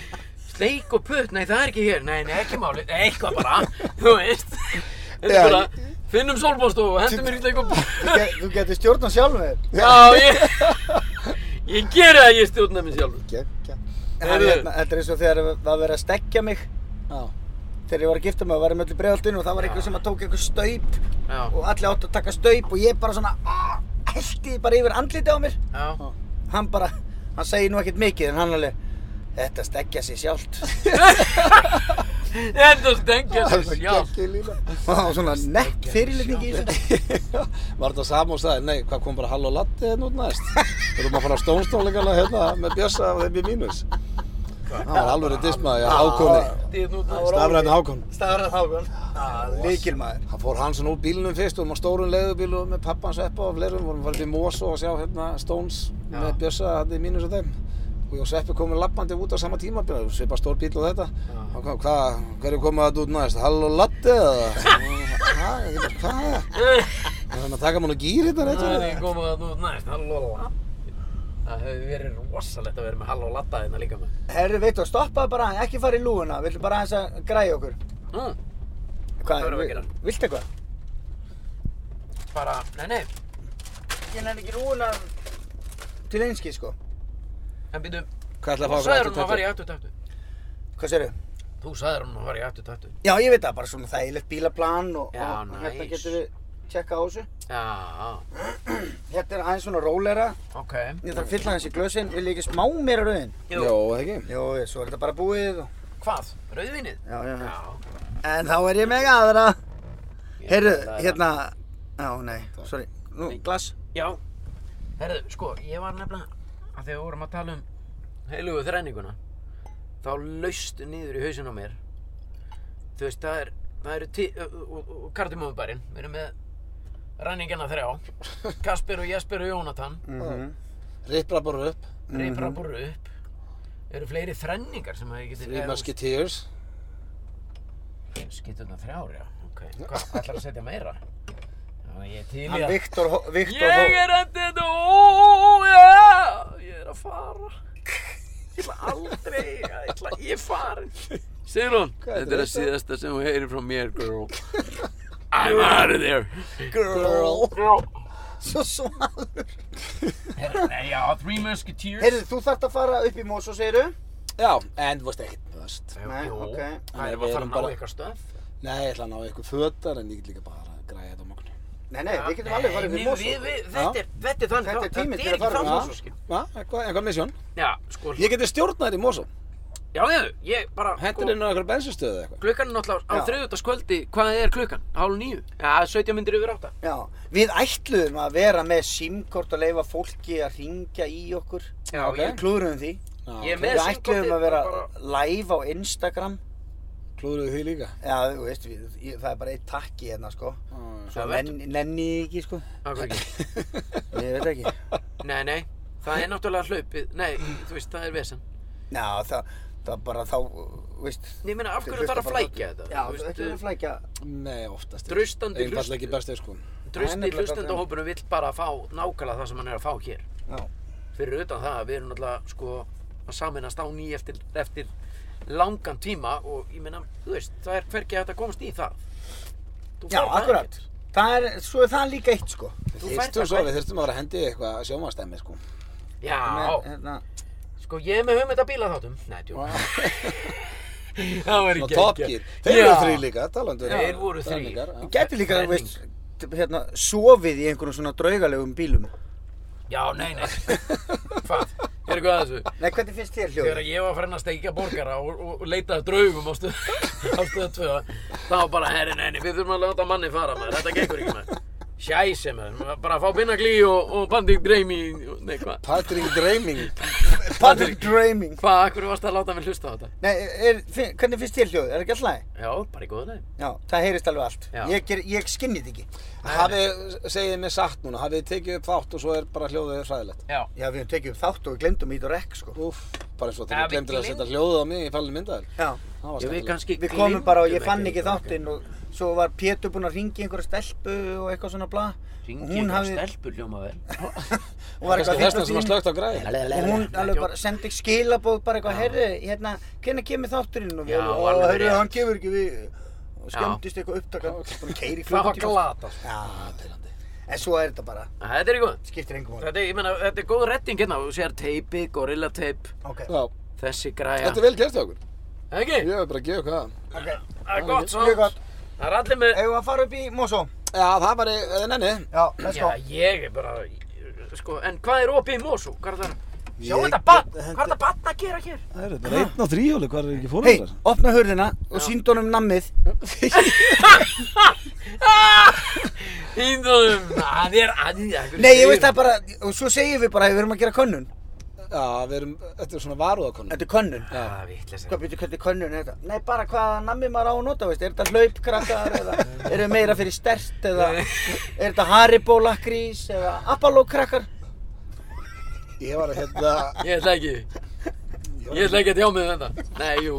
Sleik og putt, nei það er ekki hér Nei, nei, ekki máli, nei, eitthvað bara Þú veist Þetta Já, er bara, finnum sólbaðstofu og hendum mér í sleik og Þú putt get- Þú getur stjórnað sjálf með þér. Já, ég Ég geri það, ég stjórna mér sjálfur Gekk, En Heyrðu. hérna, Þetta er eins og þegar það verið að stekkja mig. já. þegar ég var að gifta mig, var ég með öllu bregaldinu og það var einhver sem að tók einhver staup Já, og allir áttu að taka staup og ég bara svona heldi bara yfir andliti á mér já hann bara, hann segir nú ekkert mikið en hann alveg, þetta stekja sér sjálft Þetta stengja Það er sig svo sjálf geggjuð lína. og það var svona nett fyrirlitningi í þessu Var þetta sama og sagði, nei, hvað kom bara Hall og Latti hérna út næst? Þú erum að fara á stónstónleikana hérna með Bjössa og þeim í mínus. Það var alveg dismaði, ákonni, stafræðin ákonni. Stafræð Hákon Líkil maður Það fór hann svona úr bílunum fyrst, við vorum á stórun leiðubíl og með pappa hans eppa og fleirum, vorum farið til Mosó að sjá hérna Stones með Bjössa hérna í mínus og þeim. Og ég og Sveppi komum lappandi út á sama tíma, svipa stór bíl og þetta. Og hvað, hva, hverju komið þetta út næst? Hall og Latti eða? Hvað, ég bara, hvað? Það er að taka mann og gýr hérna rétt Það fyrir er ég komið að þú næst, halló latta. Það hefði verið rosalegt að vera með halló latta hérna líka með. Herru, veitu, stoppaðu bara, aðeins, ekki fara í lúuna, við viljum bara aðeins að græja okkur Nú, Hvað, verðum við að gera? viltu eitthvað? bara, nei nei, Ég nefn ekki lúuna til einski, sko en býtum, Hvað þú ætlaði að fá sagðir hún að fara í aftur? aftur taktu. Hvað sérðu? Þú sagðir hún að fara í aftur taktu. Já, ég veit það, bara svona þægilegt bílaplan og, Já, og hérna nice. getum við tjekka á þessu. Já, já, Hérna er aðeins svona rólera, ok. ég þarf að fylla hans í glösin, vil ég ekki smá meira rauðin? Jú. Jó, það ekki. Jó, ég- svo er þetta bara búið og... Hvað, rauðvinnið? Já, já, já. Já. En þá er ég með aðra. ég Heyrðu, ætlaði að- hérna, já, nei, sorry, nú, glass. Já, herðu, sko, ég var nefnilega, að þegar við vorum að tala um heilugu þræninguna, þá laust niður í hausin á mér. Þú veist, það er, það eru tí, og, og, og kardimóðubærin, við erum með ræningina þrjá, Kasper og Jesper og Jónatan. Mhm. Ripra bara upp, reypar að búra upp eru fleiri þrenningar sem að ég geti Three Musketeers skýtum það þrjár, já ok, hvað, ætlar að setja meira? já, ég er til í Hann að Viktor, Hó- Viktor ég Hó- er endið þetta, ó, já ég er að fara ég ætla aldrei, ég ætla, ég er farin Sigrún, þetta er að síðasta sem hún heyrir frá mér, girl I'm out of there Girl girl Svo svalur Nei, já, Three Musketeers Heyrðu, þú þart að fara upp í mós og segiru? Já, en þú veist ekkert best Nei, Jú, ok. Það er bara Við að fara erum að ná bara- eitthvað stöð Nei, ég ætla að ná ykkur fötar en ég get líka bara að græja þetta á morgun Nei, nei, við getum alveg farið upp í Nei, mós við- við- Þetta er, þetta er þannig, Þetta er það tíminn til að er ekki fara frá í Já, Mosfellsskip. já, eitthvað, eitthvað misjón Já, sko, Ég geti stjórnað þér í Mosó já, já, ég bara, sko, Hendur inn á eitthvað bensinstöðu eða eitthvað klukkan er náttúrulega á Já. þriðutaskvöldi, hvað er klukkan? Hálf nýju? Já, 17 myndir yfir átta. Já, við ætluðum að vera með simkort og leifa fólki að ringja í okkur Já, Ok. ég, Klúðurum því Já, Ég er ok. með Við SIM-kortið, ætluðum að vera bara- live á Instagram Klúðruðu því líka Já, þú veist, við, ég, það er bara eitt takki hérna, sko Svo Það verður- nenni, nenni ég ekki, sko okkur ekki. Ég veit ekki Nei, nei, það er náttúrulega hlaupið, nei, þú veist, það er vesen. Já, það, það bara þá, þú veist Ég meina, af hverju Þau þarf að hlusta bara á flækja þetta? Já, þú ekki verið að flækja Nei, oftast ekki. Draustandi Einfaldlega hlustu. ekki best sko Það er Drusti nefnilega hlustendahópunum vill bara fá nákvæmlega það sem hann er að fá hér. Já, Fyrir utan það, að við erum náttúrulega, sko, að saminast á ný eftir, eftir langan tíma og ég meina, þú veist, það er hvergi hægt að komast í það. Þú Já færð það akkurat ekkert. Það er, svo er það líka eitt, sko Þú Við færð þyrstum það svo, hvergi. við þyrstum að vera að hendi í eitthvað sjómanstæmi sko Já, Með, hérna, sko ég er með hugmynd að bíla þáttum Nei, tjók Það var Ná, ekki Top Gear Þeir eru þrý líka, talandu Þeir voru þrír. Gæti líka, Það er þú veist, hérna, sofið í einhverjum svona draugalegum bílum Já, nei, nei Hvað? Er eitthvað að þessu? Nei, hvernig finnst þér hljóðið? Þegar ég var farin að steikja borgara og, og, og leita að draugum á stöð á stöð 2 þá var bara, herri, nei, nei, við þurfum að láta manni fara maður, þetta gengur ekki maður Sjæse maður, bara að fá pinnagli og, og bandi greimi, nei, hvað Patrick Dreaming Patrick Dreaming Hvað, akkur varst að láta mig hlusta á þetta? Nei, er, finn, hvernig finnst þér hljóðið? Er ekki alltaf læg? Já, bara í góðu leið Já, það heyrist alveg allt Já. Ég, ger, ég skinni þetta ekki Hafið, segið mér satt núna, hafið þið tekið upp þátt og svo er bara hljóðið hræðilegt Já, Já, við höfum tekið upp þátt og við glemdum í þetta rekk, sko Úff, bara eins og Ja, við þegar þú glemdir að gleym- setja hljóðið á mig í fallin myndaðil Já, Það ég var við skemmtilegt kannski við komum bara og ég gleymdum fann ekki eitthvað. þáttinn og svo var Pétur búinn að ringi einhverja stelpu og eitthvað svona bla Hringi og hún eitthvað hafði, stelpu hljóma vel hún var Kannski eitthvað fínt þessna og sem að fín slögt á græði og hún alveg bara sendi skilabóð bara eitthvað, herri, hérna, hvernig kemur þátturinn og við, Já, og alveg herri, rétt. hann kemur ekki við og skemmtist eitthvað upptakan og keiri Það var klukkutíma glata Já, pirrandi. en svo er þetta bara, Þetta er í góðu skiptir engum orð Þetta er, ég meina, þetta er góð retting hérna, þú sér teipi, gorilla teip, Ok, Já, þessi græja. þetta er vel gert hjá okkur er ekki? Ég hef bara að gefa hvað ok, Það er gott svo. mjög gott Það er allir með, Eigum við að fara upp í Mosó? Já, það var eh, eða nenni Já, let's já, go ég er bara, sko, en hvað er opið í Mosó? Hvað er það? Sjá Ég- þetta bann, hvað er það bann að gera hér? Það eru bara einn á þríhjóli, hvað er ekki Hei, opna hurðina og sínd honum nammið Índunum, hann er annað. Nei, ég veist það bara, og svo segjum við bara að við erum að gera könnun Já, við erum, þetta er svona varúðakonu Þetta er könnun Það er vitlega Hvað býtu, hvernig könnun er þetta? Nei, bara hvaða nammið maður á að nota, veist Er þetta hlaupkrakkar eða eru við meira fyrir stert eða Nei. Er þetta Haribo lakrís eða Apollo krakkar? Ég var að hérna Ég ætla ekki, ég ætla ekki að tjá mig um þetta. Nei, jú.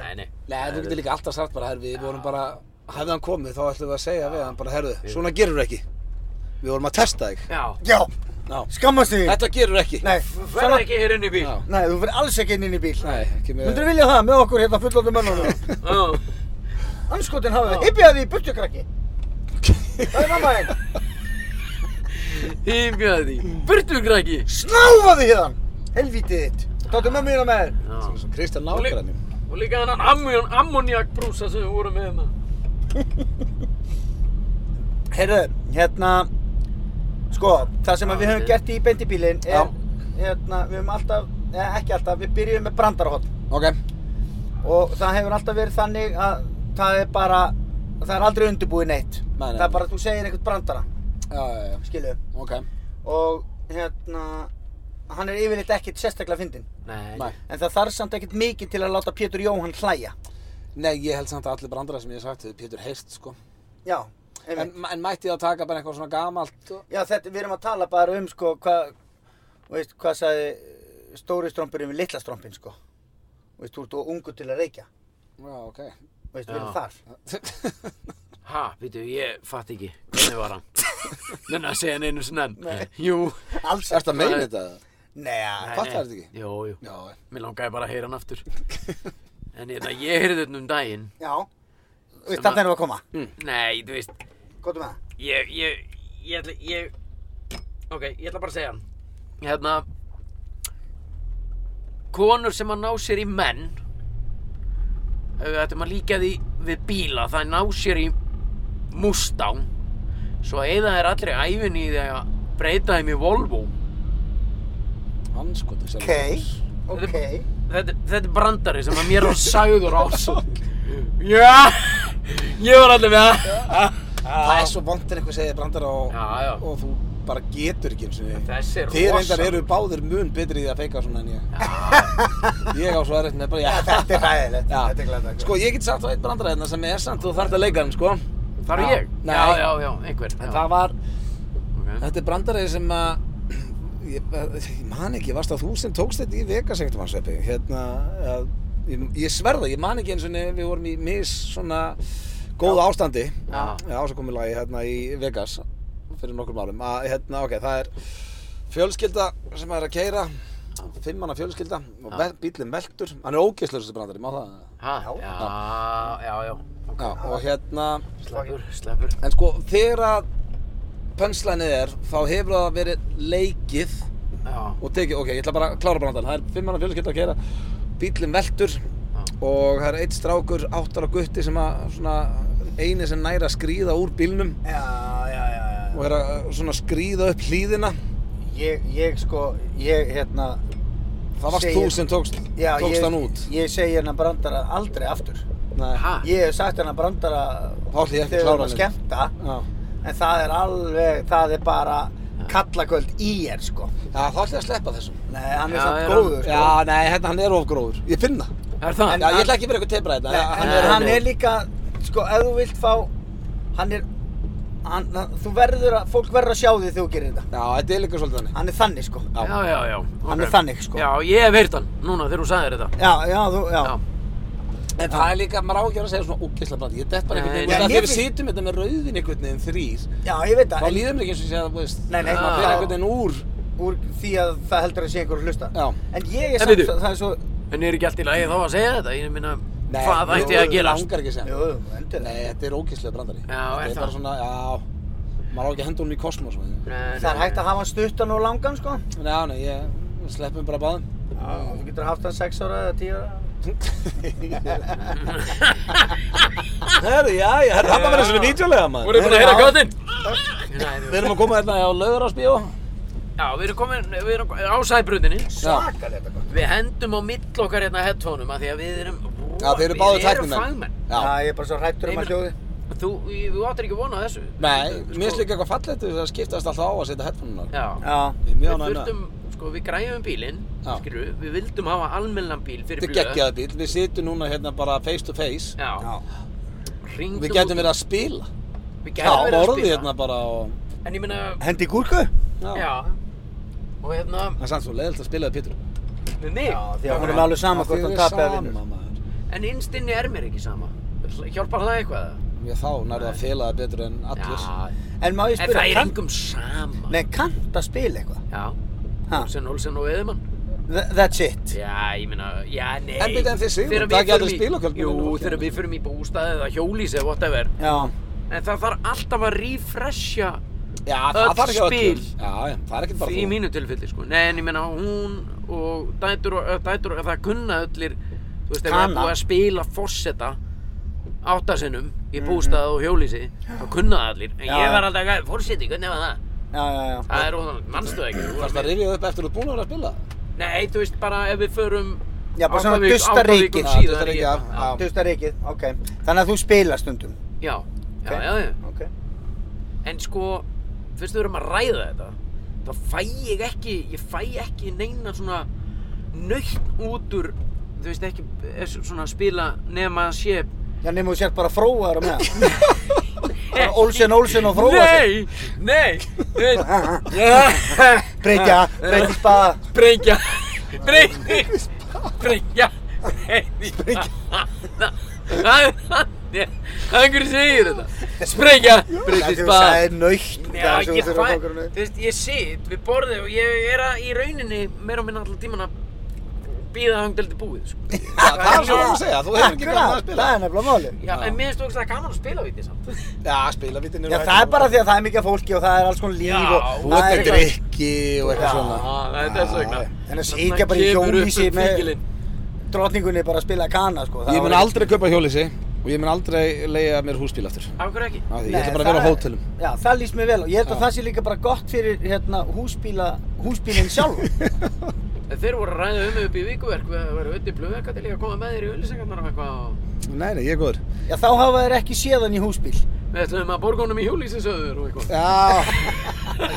Nei, nei. Nei, þú getur líka alltaf sagt bara, herru, við vorum bara, hefði hann komið þá ætlum við að segja við hann bara, herru, svona gerur ekki. Við vorum að testa þig. Já, Já, Já. skammast þig Þetta gerur ekki. Nei, verð svona, ekki hér inn í bíl. Já. nei, þú fyrir alls ekki inn inn í bíl Nei, ekki með... Myndur vilja það með okkur hérna fullóttum mönnum? Já. Anskotin hafið, hypjaði í burtu krakki Það er mamma einn Hýmjaði, burtu krakki. Snáfaði hérna! Helvítið þitt! Tóttu mömmu hérna með þér! Já. Svo Kristján nákvæmlega minn. Og líka þennan ammon, ammoniakbrúsa sem við vorum með hérna. Heyrðu, hérna... Sko, það sem að við höfum Já. gert í beintibílinn er... Já. Hérna, við höfum alltaf... Eða ekki alltaf, við byrjum með brandarhótt. Ok. Og það hefur alltaf verið þannig að það er bara... Það er aldrei undirbúið neitt. Nei, nei, það nei. er bara að þú segir einhvern brandara, Já, já, já. skilu. Ok. Og hérna... Hann er yfirleitt ekkert sérstaklega fyndinn. Nei. Nei. En það þarf samt ekkert mikið til að láta Pétur Jóhann hlæja. Nei, ég held samt að allir brandara sem ég hef sagt, þau Pétur heist, sko. Já. En, en mætti það taka bara eitthvað svona gamalt og... Já, þetta, við erum að tala bara um, sko, hvað, þú veist, hvað sagði eh, stóri strómpurinn við litla strómpinn, sko. Þú veist, þú ert og ungu til að reykja. Já, ok. Þú Já. veist, við erum þar. Ha, býtu, ég fatt ekki. Hvernig var hann? Nenna að segja hann einu sinna enn. Jú. Alls Ertu að meina þetta? Nei, já. Fattar þetta ekki? Jú, jú. Já, Mér langaði bara að heyra hann aftur. En ég, ég heyrði þetta um daginn. Já. Þú veist, Sem að- þarna erum við að koma. Nei, þú veist, Kvotum með það. ég, ég, ég ætla, ég, ok, ég ætla bara að segja hann. Hérna, konur sem að ná sér í menn, ef við ættum að líka því við bíla, það ná sér í Mustang, svo eða er allri æfinni í því að breyta þeim í Volvo. hann sko, það Ok, ok. Þetta, þetta er brandari sem að mér var sagður á svo. Já, ég var allir með það. Það er svo vond en eitthvað segja brandar og, Já, já. og þú bara getur ekki eins og niður. Þessi er Þið rosa. reyndar eru báðir mun betri í því að feika svona en ég. Ég á svo erfitt með bara, já, Þetta er hæðilegt. Já. Þetta er glæðið. Sko, ég get sagt á eitt brandara hérna sem er samt, þú þarft að leika hann, sko. Þar er Já. ég? Nei. Já, já, já, einhver. En já. það var, Ok. þetta er brandari sem að, ég, ég man ekki, varst það þú sem tókst þetta í Vegas einhvern veginn, Sveppi? Hérna, að, ég, ég sverða, ég man ekki eins og niður, við vorum í mis svona góðu ástandi. Já. Já, svo komið lagi hérna í Vegas fyrir nokkrum árum. Að, hérna, ok, það er fjölskylda sem er að keira, fimm manna fjölskylda og ve bílinn veldur. Hann er ógeðslega þessi brandari, má það? Ha? Já, já, já. Já, og hérna, Sleppur, sleppur. En sko, þegar að pönslænið er, þá hefur það verið leikið Já, og tekið, ok, ég ætla bara að klára brandan, það er fimm manna fjölskylda að kera, bílinn veltur og það er eitt strákur, áttara gutti sem að svona eini sem næri að skríða úr bílnum Já, já, já, já. og hérna- er að svona skríða upp hlýðina. Ég, ég, sko, ég, hérna, Það varst Segir- þú sem tókst, já, tókst ég, hann út. ég segi hennar brandara aldrei aftur. Nei, ha? Ég hef sagt hennar brandara Þá ætla ég ekki að þegar klára Ah. við erum að hann. skemmta, Já, en það er alveg, það er bara kallakvöld í er, sko. Já, þá ætla ég að sleppa þessum. Nei, hann Já, er samt er hann- góður, sko. Já, nei, hérna, hann er ofgróður. Ég finn það. Er það? Já, ég ætla ekki að vera eitthvað tebra þetta. Nei, hann hann, er er, hann er ofgróður. líka, sko, ef þú vilt fá, hann er, hann, hann, þú verður að, fólk verður að sjá því þegar þú gerir þetta. Já, þetta er líka svolítið þannig. Hann er þannig, sko. Já. já, já, já. Hann ok. er þannig, sko. Já, ég hef heyrt hann núna þegar þú sagðir þetta. Já, já, þú, já. Já. En það er líka, maður á ekki að vera að segja svona ógeðslega brandi, ég dett bara einhvern veginn, Nei, þú veist að mér þegar við finnst- sitjum þetta með rauðin einhvern veginn þrýr, Já, ég veit þá það, en líður mér ekki eins og sé að, þú veist, Nei, nei, maður já. fyrir einhvern veginn úr, úr því að það heldur að sé einhver að hlusta. já. En ég er En samt, bíddu. það er svo, En er ekki allt í lagi þá að segja þetta? Ég minna, Nei, hvað ætti ég að jú, gera? Langar ekki að segja. jú, endur Nei, þetta er ógeðslega brandari. er þetta það? er bara svona, já, maður á ekki að henda honum í kosmos. maður. Það er hægt að hafa hann stuttan og langan, sko. Já, nei, ég við sleppum bara báðum. Já. Þú getur haft hann 6 ára eða 10 ára. Herru, já, já, herru, þetta verður svona vítjulega, maður. Voruð þið búin að heyra göttinn? Við erum að koma hérna á Laugurásbíó. Já, við erum komin, við erum á sæbrutinni. Svakalegt, sko. Við hendum á mill okkar hérna headphoneum af því að við erum... Já, þeir eru báðir Við tæknimenn. erum fagmenn. Já. Já, ég er bara svo hrættur um Nei, að hljóði. Þú, þú áttir ekki vona þessu. Nei, Sko, mér finnst líka eitthvað fallegt við að skiptast alltaf á að setja headphone á. Já. Já. Ég er mjög Við ánægður með það. þurftum, sko, við græfum bílinn, Já. skilur við, við vildum hafa almennan bíl fyrir Þetta er geggjaða bíl, við sitjum núna hérna bara face to face Já, Já. hringdum Við út- gætum verið að spila Við Já, gætum verið að orðið spila. hérna bara og En ég meina, Hendi í gúrku? Já, já. Og hérna, Það er samt svo leiðilt að spila við Pétur með mig. Já, því að hún er með alveg sama hvort hann tapið að vinna. maður En innstinni er mér ekki sama. Hl- Hjálpar það eitthvað? eða? Já, þá nærðu að fela það betur en allir Já. En má En ég það spyrja, er kann, engum sama. nei, kannt að spila eitthvað? Já. Ha? Olsen, Olsen og Eðumann. Th- That's it. Já, ég meina, já, nei. En bíddu, en þið Sigrún, Þegar það við er ekki allir förum í- spilakvöld með Jú, neinum fólki, þegar eða? við förum í bústaði eða hjólís eða whatever. Já. En það þarf alltaf að refresha Já, það Öll þarf ekki öllum spil. Já, já, það er ekkert bara í þú mínu tilfelli, sko. Nei, en ég meina, hún og dætur og, ö, dætur og það kunna öllir, þú veist, ef það er Kana. búið að spila forseta áttasinnum í bústað og hjólísi, þá kunna það allir. En Mhm. Já. ég var alltaf að, forseti, hvernig var það? Já, já, já. Það er óþann, mannstu það ekki? þú varst Það að- rifjaðu upp eftir þú búin að vera að spila Nei, þú veist, bara ef við förum Já, bara átta svona vik- dusta átta vikum reikir. Já, um síðar dusta í þetta. reikir, já. Já. Tusta reikið, ok. Þannig að þú spila stundum. Já, já, Ok. já, já. Ok. En sko, fyrst við erum að ræða þetta, þá fæ ég ekki, ég fæ ekki neina svona nöytt út úr, þú veist ekki, er svona að spila nema að sé, Já, nema þú sért bara fróaður á meðan. bara Nei. Olsen, Olsen og fróa sig. Nei, nei, nei. Breytja, breytja spaða. Brengja, brengja, brengja, brengja. Það er þannig, það er einhverju segir þetta. Sprengja, Það brengja er spaða. nöytt. Já, það sem ég þú þurfir að fæ, fá okkur þú nöytt. veist, ég sit við borðið og ég er að, í rauninni meira og minna alltaf tíman að býða hangdeldi búið, sko. Það er svo að segja, þú hefur Akkurat, ekki gaman það að spila. er nefnilega máli. Já, en mér finnst ógæslega gaman að spila við því samt. Já, spila vitinn Já, það er bara því að það er mikið af fólki og það er alls konar Já, líf og þú það ert er með drikki og eitthvað svona. Já, það er þess vegna. En Þarna að sitja bara í kemur upp hjólhýsi um með- fíkilinn. Drotningunni bara að spila kana, sko. það Ég mun var- aldrei kaupa hjólísi og ég mun aldrei leiða mér húsbíl aftur. Af hverju ekki? Af því Nei, Ég ætla bara að vera á það- hótelum. Já, það lýst mér vel og ég held að Já. það sé líka bara gott fyrir hérna, húsbíla, húsbílinn sjálf. Þeir voru að ræða um mig upp í vikuverk, við varum öll í blöðveka til ég að koma með þér í öllisengarnar og eitthvað og Nei, nei, ég er góður. Já, þá hafa þær ekki séðan í húsbíl. við ætlum að borga honum í hjólísinsöður og eitthvað. Já,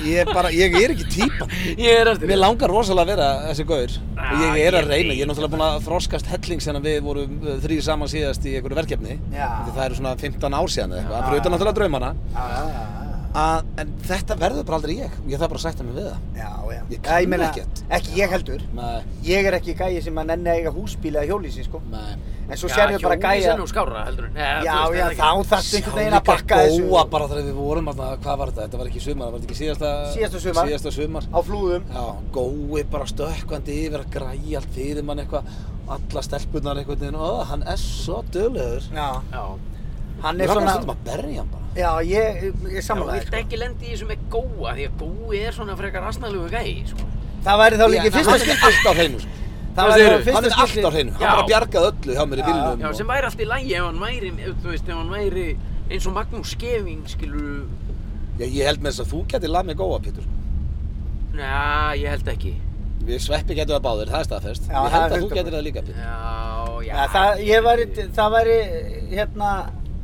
ég er bara, ég er ekki típa. Ég er eftir Mér langar rosalega að vera þessi gaur Ah, og ég Já, er að ég reyna, veit ég er náttúrulega búinn að þroskast helling sem við vorum þrýr saman síðast í einhverju verkefni Já. Því það eru svona 15 ár síðan eða eitthvað, bruta náttúrulega draumana Ah, Já, já, já. að, en þetta verður bara aldrei ég, ég þarf bara að sætta mig við það Já, já. Já, Ég kann meina, ekkert. Ekki ég heldur. Nei, Ég er ekki gæi sem að nenni að eiga húsbíla eða hjólísi, sko. nei En svo sérðu bara gæja... Hjólísin og skárra heldur en. Já, já, þá þarfst einhvern veginn að bakka þessu. góa bara þegar við vorum að hvað var þetta, þetta var ekki sumar, það var þetta ekki síðasta Síðasta sumar. síðasta sumar. Á flúðum. Já, gói bara stökkvandi yfir að græja allt fyrir mann eitthvað alla stelpunar einhvern veginn, ó, hann er svo dölugur Já. Já. Hann Mér er langar svona... stundum að berja hann bara Já, ég, ég Þú samanlega, vilt sko. ekki lendi í þessu með góa því að gói er svona frekar asnalegu gæi, sko. Það væri þá líka í Já, fyrsta hann er skipti. allt á hreinu sko. Það Hvað væri segirðu? þá í hann fyrsta er allt skipti. á hreinu, Já. hann bara bjargaði öllu hjá mér í Já, bílnum Já, og- sem væri allt í lægi ef hann væri, ef þú veist, ef hann væri eins og Magnús Skeving, skilur, Já, ég held með þess að þú geti lað mig góa, Pétur já, ég held ekki. við sveppi getum það báðir, það er staðfest Já, ég það held er að þú hundra getur það líka, Pétur Já, já. Já, það, ég væri, það væri, hérna,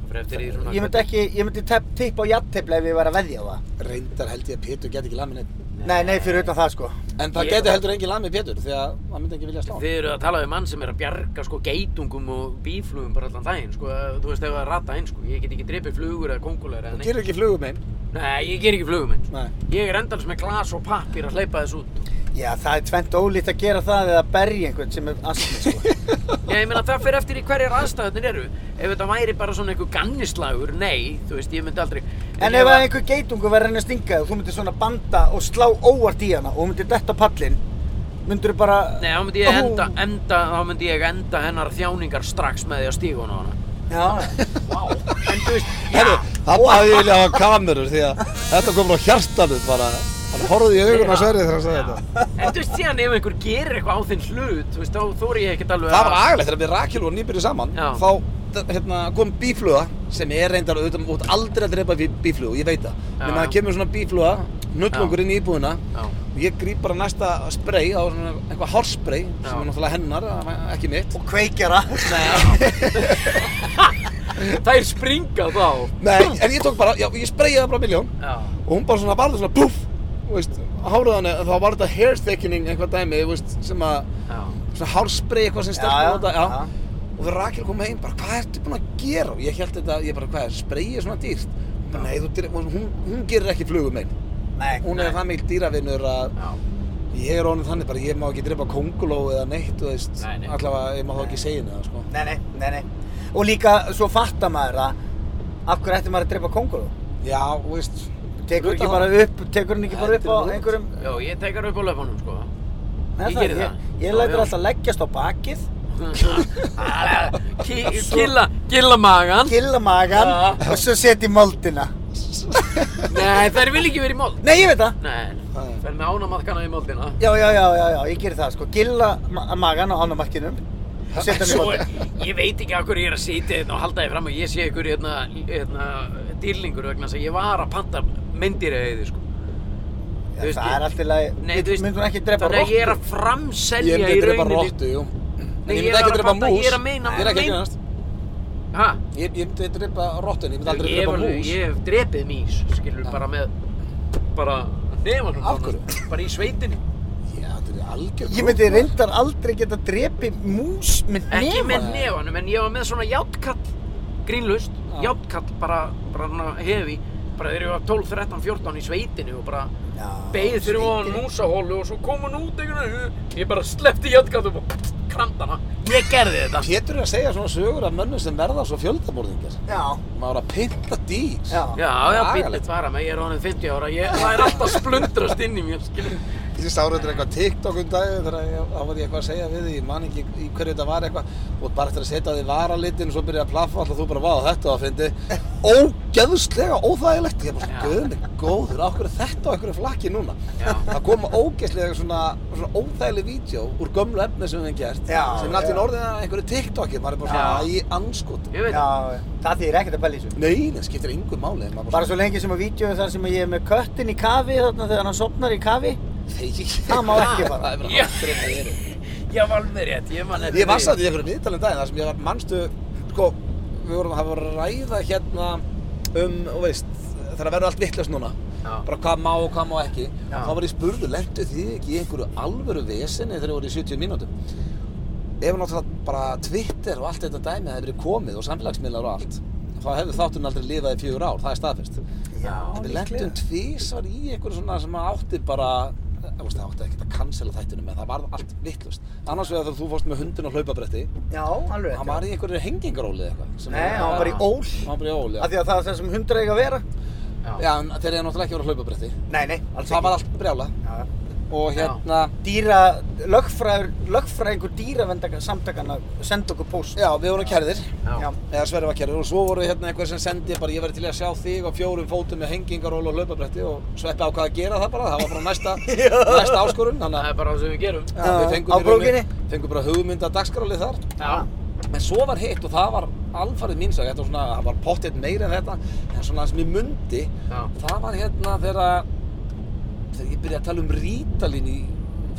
Fyrir eftir í svona... ég myndi ekki, ég myndi tepp- tippa á jattefla ef ég væri að veðja á það. reyndar held ég að Pétur geti ekki lað mig neitt Nei, nei, fyrir utan það, sko. en það Ég- geti heldur engin lað mig Pétur því að hann myndi ekki vilja slá hann. Þið eru að tala um mann sem er að bjarga sko geitungum og bíflugum bara allan daginn sko, þú veist ef það er rata einn sko, ég get ekki drepið flugur eða kongulegur eða þú neitt. gerir ekki flugum einn Nei, ég ger ekki flugum eins. Nei. Ég er endalins með glas og pappir að hleypa þess út. Já, það er tvent ólíkt að gera það eða berja einhvern sem er asni, sko. Já, ég meina það fyrir eftir í hverjar aðstæðunir eru. Ef þetta væri bara svona einhver gannislagur, nei, þú veist, ég myndi aldrei... En ef að einhver geitungu verður henni að stinga þig og þú myndir svona banda og slá óvart í hana og hún myndir detta á pallinn, myndir þú bara... Nei, þá myndi ég enda, enda, þá myndi ég enda hennar þjáningar strax með því að stíga hún á hana. Já, Vá, en þú veist, já, Herru, hann hafði vilja hafa kamerur því að þetta kom frá hjartanum bara hann horfði í augun á Sverri þegar hann sagði þetta en þú veist, síðan ef einhver gerir eitthvað á þinn hlut, þú veist, þá þóri ég ekkert alveg það var agalegt þegar við Rakel og nýbyrju saman Já. þá d- hérna, kom bífluga sem er reyndar auðvitað þú ert aldrei að drepa bí- bíflugu, ég veit það Já, en það já. kemur svona bífluga, nullungur inn í íbúðina Já. og ég gríp bara næsta spray á svona eitthvað hárspray sem Já. er náttúrulega hennar, það- ekki mitt og kveikjara. Þær springa þá. Nei, en ég tók bara, já, ég sprayaði bara miljón Já. og hún bara svona varði svona puff þú veist, hárið hann, þá var þetta hair thickening eitthvað dæmi, þú veist, sem að Já. svona hárspray eitthvað sem Já, stelpur já, nota, já. já. Og þegar Rakel kom heim, bara hvað ertu búin að gera? Og ég held þetta, ég bara hvað er, spray er svona dýrt? Hún bara, Nei, þú, dyr- hún, hún, hún gerir ekki flugum einn. Nei, Hún er það mikil dýravinnur að Já. ég er honum þannig bara, ég má ekki drepa konguló eða neitt, þú veist, Nei, nei. allavega ég má þá ekki segja henni það, sko. nei, nei, nei, nei. Og líka svo fattar maður að af hverju ætti maður að drepa konguló? Já, þú veist, Tekur hluta ekki þá. bara upp, tekur hann ekki bara upp á Þetta er einhverjum... Já, ég tekar upp á löpunum, sko. Nei, Ég það- geri það. Ég, Já, ég lætur já. alltaf leggjast á bakið, Ki killa, killa magan. killa magan Já. og svo setja í moldina. Nei, þær vil ekki verið í mold. Nei, ég veit það. Nei, Nei. fer með ánamaðkana í moldina. Já, já, já, já, já, ég geri það, sko. Gilla ma magan á annamarkinum og setja hann í Svo, moldina. ég veit ekki af hverju ég er að sitja hérna og halda þið fram og ég sé ykkur hérna, hérna dýrlingur vegna þess að ég var að panta myndir eða þið sko. Já, Þú veist, það ég- er alltaf í lagi, Við- myndum ekki drepa þannig að ég er rottur? að ég framselja í myndi drepa rauninni. róttu, jú. Nei, En ég ég var myndi ekki að drepa fatta- mús. ég er að meina- Ég er ekki að meina- grínast. Ha? Ég, ég myndi drepa róttun, ég myndi aldrei Ég hef drepa alveg, mús. ég hef drepið mís, skilur bara með, bara nefanum. Af hverju? Bara í sveitinni. Já, þetta er algjör Ég myndi reyndar aldrei geta drepið mús með Ekki nema. með nefanum, en ég var með svona játkall, grínlust. Já. játtkall bara, bara svona hefi bara þeir eru að 12, 13, 14 í sveitinu og bara Já, beigð fyrir ofan sveitin. músahólu og svo kom hún út einhvern veginn ég bara sleppti játtkallum og krandana ég gerði þetta Pétur er að segja svona sögur af mönnum sem verða svo fjöldamorðingar. Já, Maður að pynta dýr. já. Já, já, Lagalegt. bíllið tvara mig, ég er honum 50 ára, ég, það er alltaf splundrast inn í mér, skiljum. Ég sá reyndar eitthvað TikTok um daginn þegar ég- þá var ég eitthvað að segja við því, ég man ekki í hverju þetta var eitthvað og bara eftir að setja á því varalitin og svo byrja að plaffa alltaf þú bara vá þetta að fyndi ógeðslega óþægilegt ég bara Já. guðni góður á hverju er þetta á hverju flakki núna Já. það koma ógeðslega svona, svona óþægileg vídeo úr gömlu efni sem við hefum gert Já, sem náttúrulega já. orðið að einhverju TikToki maður er bara Já. svona í anskot Ég veit Já, það. það þýðir ekkert að pæla í þessu. Nei, það skiptir engu máli maður Bara svo lengi sem að vídeo þar sem ég er með köttin í kafi þarna þegar hann sopnar í kafi. þegi Það má ekki bara. Það er bara Já. aldrei að gera. Ég var alveg rétt, ég man eftir Ég var satt í einhverju viðtalum daginn þar sem ég var mannstu, sko, við vorum að hafa verið að ræða hérna um, og veist, þegar verður allt vittlust núna, Já. bara hvað má og hvað má ekki. Já. Þá var ég spurðu, lendu þið ekki í einhverju alvöru vesinni þegar þið voru í 70 mínútum? Ef náttúrulega bara Twitter og allt þetta dæmi hefði verið komið og samfélagsmiðlar og allt, þá hefði þátturinn aldrei lifað í fjögur ár, það er staðfest. Já, En við líklega. lendum tvísar í einhverju svona sem að átti bara eh, þú veist, það átti ekkert að cancela þættunum en það varð allt vittlust annars vegar þegar þú fórst með hundin á hlaupabretti Já, alveg. hann var í einhverju hengingaróli eða eitthvað sem Nei, hann var í ól. hann var bara í ól, já Af því að það er það sem hundra eiga að vera. já, en þeir eru náttúrulega ekki að vera á hlaupabretti Nei, nei, alls það var ekki. allt brjála Já, já. og hérna Dýra, lögfræður, lögfræðingur dýravendaka samtakana senda okkur póst. já, við vorum kærðir Já. eða Sverri var kærður og svo voru hérna einhver sem sendi bara ég verði til í að sjá þig á fjórum fótum með hengingaról og hlaupabretti og sveppi ákvað að gera það bara það var bara næsta, næsta áskorun þannig Það að er bara það sem við gerum. já, Já, við á fengum, í rauninni- bókinni. fengum bara hugmynda dagskrálið þar Já. En svo var hitt og það var alfarið mín sag, þetta var svona, það var pottitt meira en þetta, en svona það sem ég mundi, Já. það var hérna þegar, að- þegar ég byrjaði að tala um rítalín í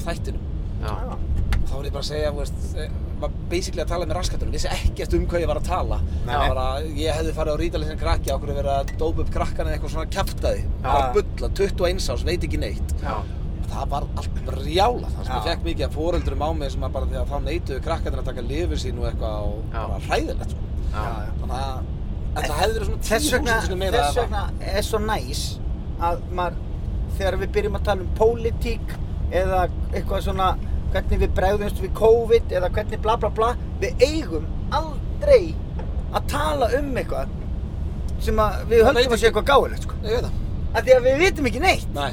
þættinum. Já. Þá var ég bara að segja, þú veist, eh, var basically að tala með raskatunum, vissi ekkert um hvað ég var að tala. Nei, Það nei. var að ég hefði farið á rítalín sem krakki, okkur að vera að dópa upp krakkana eða eitthvað svona kjaftaði. Já. Bara bulla, 21 árs, veit ekki neitt. Já. Það var allt brjála þar sem ég Já. fekk mikið af foreldrum á mig sem að bara þegar þá neituðu krakkarnir að taka lifur sín og eitthvað og Já. bara hræðilegt sko. Já. Já, já. Þannig að en það hefði verið svona Þess 10.000 vegna, sinnum meira þess vegna er svo næs að maður, þegar við byrjum að tala um pólitík eða eitthvað svona hvernig við bregðumst við COVID eða hvernig bla bla bla við eigum aldrei að tala um eitthvað sem að við höldum að sé eitthvað gáðilegt sko. Ég veit það. af því að við vitum ekki neitt Nei.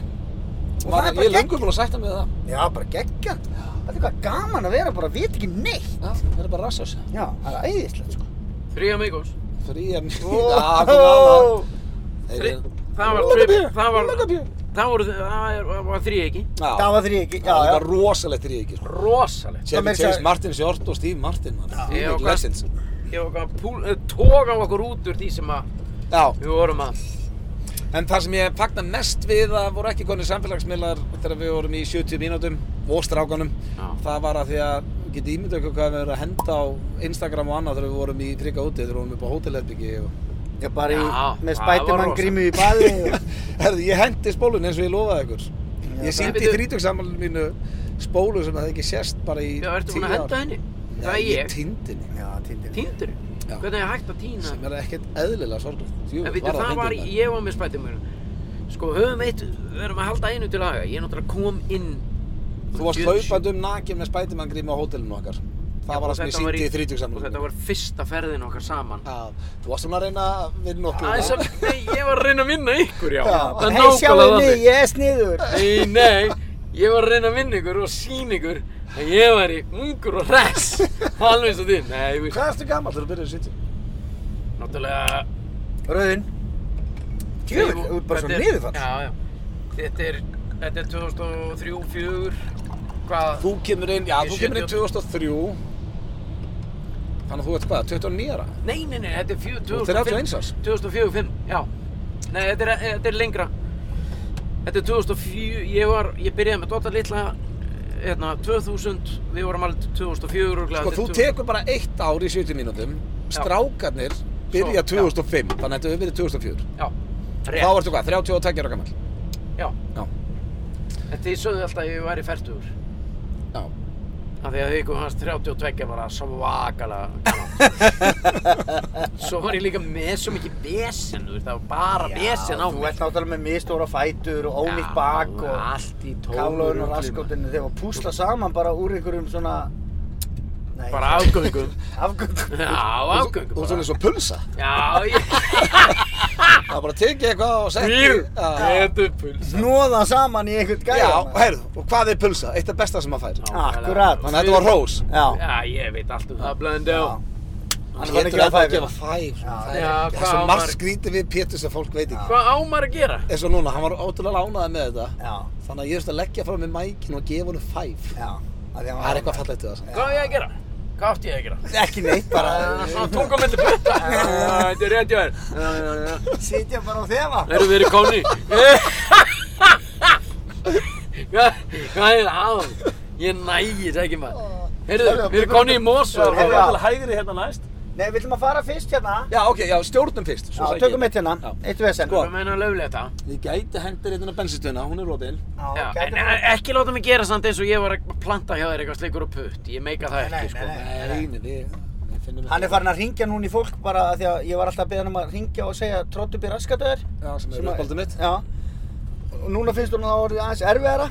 Og Og það er bara ég er gegn- lengur búinn að sætta mig við það. já, bara geggjant það er eitthvað gaman að vera bara að vita ekki neitt Já, það er bara rassjós. já, það er æðislegt sko. Þrý amigos. Fríja mín. Ó. Þri, Þeir- það var Loka trip, bíó, það var, loka bíó. það voru, það er- var þrý ekki. Já. það var þrý ekki já, Það já. var rosalegt þrýja ekki. sko. Rosalegt. Það Chevy meira Chase, segja- Martin Short og Steve Martin. man. Þvílík Ég og hvað- Legends. Ég var að púl, eh, toga á okkur út úr því sem að Já. við vorum að, En það sem ég fagna mest við að voru ekki konið samfélagsmiðlar þegar við vorum í 70 mínútum og strákanum Já. það var að því að geti ímyndu ykkur hvað við erum að henda á Instagram og annað þegar við vorum í frika úti þegar við vorum upp á hótelherbyggi og... já, bara í, Já, með það var spætumann rosa. grímu í baði og... Herði, ég hendi spólun eins og ég lofaði ykkur Ég sýndi í Bíddu. þrítugsammalinu mínu spólu sem það ekki sést bara í já, ertu búin að henda henni? Það er Nei, ég ég. týndi henni já, týndir Týndur. Já. Hvernig er hægt að týna? sem er ekkert eðlilega sorglegt Jú, En veitu, það var, ég var með spætumörun. Sko, höfum eitt, við erum að halda einu til haga. Ég náttúrulega kom inn. Þú varst Jöss. hlaupandi um nakin með spætumann grími á hótelinu okkar Það var það sem Og ég þetta sýndi í Og þrítugsammalinu þetta var fyrsta ferðin okkar saman. Já, þú varst svona að reyna að vinna okkur Aðeins að, nei, ég var að reyna að vinna ykkur, já. Já. Það er Hei, sjáu nákvæmlega mig, þannig. ég er sniður. Nei, nei, ég var að reyna að vinna ykkur og sína ykkur að ég væri ungur og hress. Alveg eins og þið. Nei, ég veist. Hvað ertu gammal þegar þú byrjar að sitja? Náttúrulega... Rauðin. Tjöfull, þú ert bara svo þetta er- niður fann. Já, já. Þetta er, þetta er 2003, 2004, hvað? Þú kemur inn, já, Ég þú kemur inn 2003 Þannig að þú ert hvað, 29 ára? Nei, nei, nei, þetta er fjö- Þú ert 31 árs. 2004, 5, já. Nei, þetta er, þetta er lengra. Þetta er 2004, ég var, ég byrjaði með Dóta Lilla, hérna, 2000, við vorum alveg 2004 og Sko, þú tekur bara eitt ár í 70 mínútum Strákarnir Svo, byrja já. 2005 Þannig að þetta hefur verið 2004 Já, Þá rétt, ertu hvað, 32 ára gammal? já. Já, Þetta ég sögðu alltaf að ég væri færtugur. já Af því að ykkur hans 32 var svakalega gaman. Svo var ég líka með svo mikið vesen, þú veist, það var bara vesen á Þú mig ert náttúrulega með mistóra fætur og ónýtt bak og allt í tómur kálaugun og ruglinu. raskotinu þegar að púsla saman bara úr einhverjum svona Nei, Bara afgöngum afgöngum Já, afgöngum Og bara. svona eins og pulsa. Já, ég Það var bara að tekið eitthvað og setti. Býr Já. Getur pulsa Nóða saman í einhvern gæja Já, maður. heyrðu, og hvað er pulsa? Eitt af besta sem maður fær. Akkurat. Þannig að þetta var rós. Já, Já, ég veit allt um það Blöndó Já. hann var Pétur ekki er að ennþá fæða að gefa fæf. Já. Það er- Já, það er hvað svo á margt maður- skrítið við Pétur sem fólk veit ekki. Hvað á maður að gera? Eins og núna, hann var ótrúlega lánaði með þetta. Já, Þannig að ég þurfti að leggja frá mig mækin og gefa honum fæf. já af því að hann Það er var- eitthvað fallegt við það. samt. Hvað á ég að gera? Hvað átti ég að gera? Ekki neitt, bara Það er svona tunga mellir butta Þetta er rétt hjá þér sitja bara á þefa Erum við verið konni? Hvað hvað er að? Ég nægir ekki maður Heyrðu, við erum konni í Mosu Já, Það já. er til hægri hérna næst Nei, við ætlum að fara fyrst hérna Já, ok, já, stjórnum fyrst. Já, svo sæki tökum ég. eitt hérna, Já. eitt vesen Sko. Hvað meina löflega þetta? Ég gæti hendur hérna bensinstöðuna, hún er opinn. Já, Já, en gæti en ekki láta mig gera samt eins og ég var að planta hjá þér eitthvað slikur og putt. Ég meika það Nei, ekki, sko. nei, Nei, nei, við, við finnum Hann er farin að ringja núna í fólk bara af því að ég var alltaf að beða hann um að ringja og segja tróttu býr raskatöður Já, sem er uppáldum mitt. Já Og núna finnst hún að það orðið aðeins erfiðara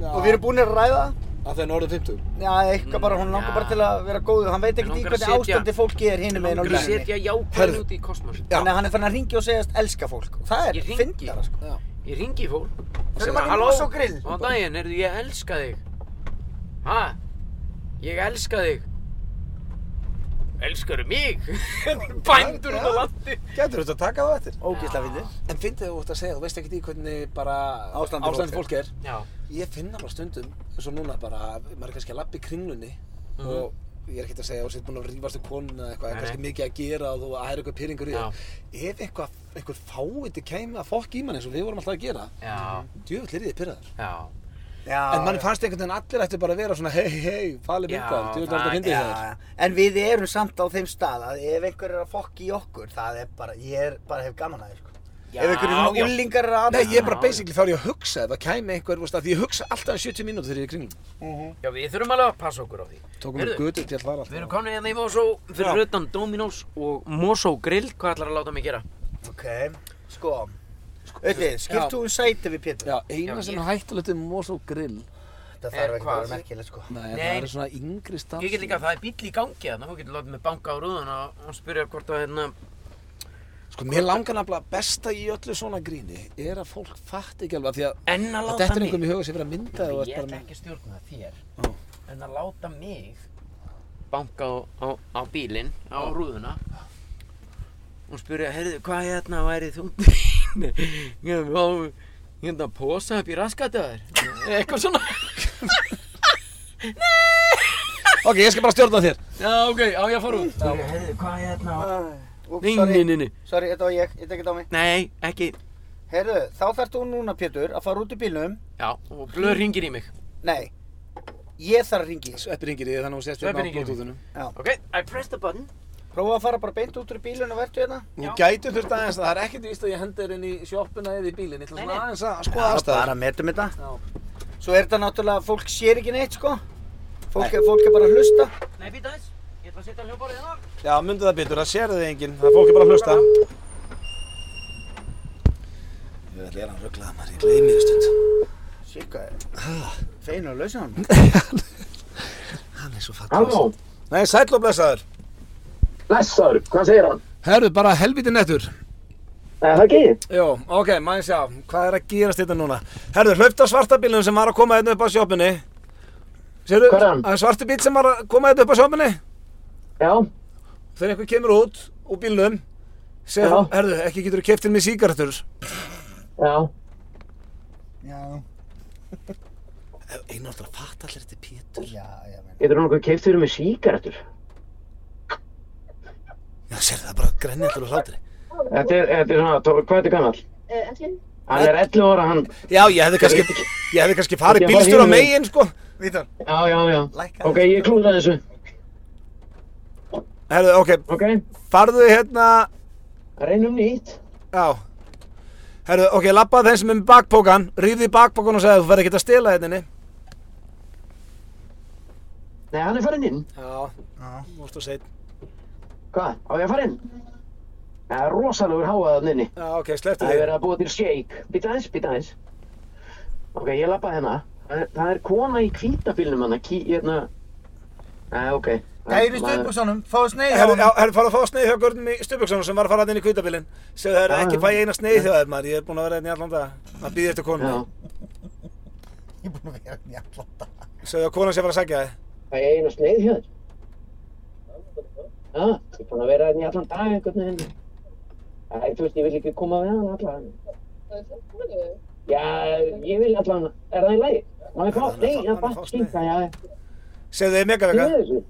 Já. og við erum búin að ræða það. Af því að norðum 50. Já, eitthvað bara, hún Já. langar bara til að vera góðu, hann veit Mig langar ekkert í að hvernig setja- ástandi fólki er hinum meginn á Ég vil línunni setja jákvæð Herðu. út í kosmos. Já. Þannig að hann er farin að ringja og segjast elska fólk og það er Ég hringi. fyndara sko Já. Ég ringi í fólk. og Förum segi, hann í "Halló, Mos og grill." Góðan daginn, heyrðu, ég elska þig. Ha? Ég elska þig. Elskar mig? Bændur út á Já. landi. Gætur þetta að taka það eftir? Ógislega fyndið En fyndið þú út að segja, þú veist ekkert í hvernig bara Ástandið ástandið fólk fólk er. Já. Ég finna bara stundum, eins og núna bara, maður er kannski að lappa í kringlunni og ég er ekkert að segja, og sér búin að rífast um konuna eða eitthvað, Nei, er kannski mikið að gera og þú að það er eitthvað pyrringur Já. í þér. Ef eitthvað, einhver fáviti kæmi að fokk í mann eins og við vorum alltaf að gera, Já, djöfull er þið pyrraður. já. Já, En mann já. fannst einhvern veginn allir ættu bara að vera svona hei, hei, Já, falið vinkan, djöfull er þetta það- að fyndi Já, þér. já. En við erum samt á þeim stað að ef einhver er að fokki í okkur, það er bara, ég er bara hef gaman að þér sko. Já, ef einhver er svona já. úlingar að Nei, ég er bara Já, basically þá er ég að hugsa ef það kæmi einhver, veist, að ég hugsa alltaf um 70 mínútur þegar ég er í kringlum. Já, við þurfum alveg að passa okkur á því. Tókum við Heyrðu, götu til að fara Við erum alltaf. komin hérna í Mosó fyrir utan Dominos og Mosó Grill. Hvað ætlar að láta mig gera? Ok, sko, auðvitað, skiptu um sæti við Pétur. Já, eina Já, sem ég- er hættulegt um mós og grill. Það Er þarf ekki að hvað? vera merkilegt sko. Nei, Nei. það eru svona yngri stans. Ég get líka það er bíll í gangi þannig að þú getur látið mig banka á rúðuna og spyrja hvort að hérna Sko, mér langar nefnilega besta í öllu svona gríni er að fólk fatt ekki alveg af því að enn að að láta þetta er mig einhverjum í huga sem verið að mynda og Ég ert bara ætla með. ekki að stjórna þér Já. en að láta mig banka á, á, á bílinn á rúðuna og spyrja, heyrðu, hvað hérna væri þú? hérna, posa upp í raskatöður eitthvað svona Ok, ég skal bara stjórna þér. Já, ok, á ég að fara út Sorry, heyrðu, hvað er hérna? Úps, Nei, sorry, nei, nei, nei. sorry, þetta var ég, þetta er ekki á mig. Nei, ekki Heyrðu, þá þarf þú núna Pétur að fara út í bílnum. Já, og blöð ringir í mig Nei, ég þarf að ringi. Sveppi ringir ég þannig að hún sést Sveppi hérna á hringir í mig. blótúðunum. Ok, I press the button Prófa að fara bara beint út úr bílunum og verðu hérna. Þú gæti þurft aðeins, það er ekkert víst að ég hendi þér inn í sjoppuna eða í bílinn, ég ætla svona aðeins að skoða aðstæður. bara metum þetta. Já. Svo er þetta náttúrulega, fólk sér ekki neitt sko. Fólk, er, fólk er bara að hlusta. Nei, býta þess, ég ætla að setja hljóðbárið hérna Já, myndu það betur, það sér þið enginn, það er fólk er bara að hlusta. Ég ætla að gera hann rugglaða maður, ég gleymi þér stund. Sikka, feinu að lausa hann. Hann er svo fattur. Halló, Nei, sæll og blessaður. blessaður, hvað segir hann? Herru, bara helviti nettur. Nei, það ekki? Jó, ok, maður sjá, hvað er að gerast þetta núna? Herru, hlaupta svarta bílum sem var að koma hérna upp á sjoppunni. Sérðu, Hvar er hann? það er svarta bíl sem var að koma hérna upp á sjoppunni. Já, Þegar einhver kemur út úr bílnum, segir, Já. hann, herru, ekki getur þú keftin með síkartur. já. Já, Eináttur að fatta allir þetta Pétur. já, já, meina. Getur hann okkur keipt fyrir mig síkaretur? Já, sér það bara grenni allir á hlátri. Þetta er, þetta er svona, Tóri, hvað er þetta gammal? Hann er 11 ára, hann... Já, ég hefði kannski, ég hefði kannski farið Ég var bílstjóra hinum megin. megin, sko. Vítor, Já, já, já. Lækka Ok, ég klúða þessu. Herðu, ok, Ok, farðu hérna, reynum nýtt. já. Herðu, ok, labbaðu þeim sem er með bakpókan, rífðu í bakpókan og segðu þú verður ekkert að stela hérna inni. Nei, hann er farinn inn. Já, Já. mústu að segja. Hvað, á ég að fara inn? Það er rosalegur háað hann inni. Já, ok, slepptu Það er því. verið að búa til shake. Býta aðeins, býta aðeins. Ok, ég lappa hérna. Það er- Það er kona í kvítabílnum hann, ký, hérna... Nei, ok. Kæri stuðbúksunum, fáðu sneið hjá Herru, já, honum. herru, fara að fá sneið hjá Gordon í Stubjökssonum sem var að fara hann inn í kvítabillin. Segðu það er Já, ekki já. fæ eina sneið hjá þér maður, ég er búinn að vera hérna í allan dag. Að býði eftir konu. Já, Ég er búinn að vera hérna í allan dag. Segðu að konan sé að fara að sækja þig. það er einu sneið hjá þér. Já, ég er búin að vera hérna í allan dag einhvern veginn. Æ, þú veist, ég vil ekki koma við hann allan. Já, ég vil allan, er það í lagi? Má ég fá? Hann er fá- Nei, já, hann er bara fá sneið. skinka, já, Segðu þið ég megavega. er þessu.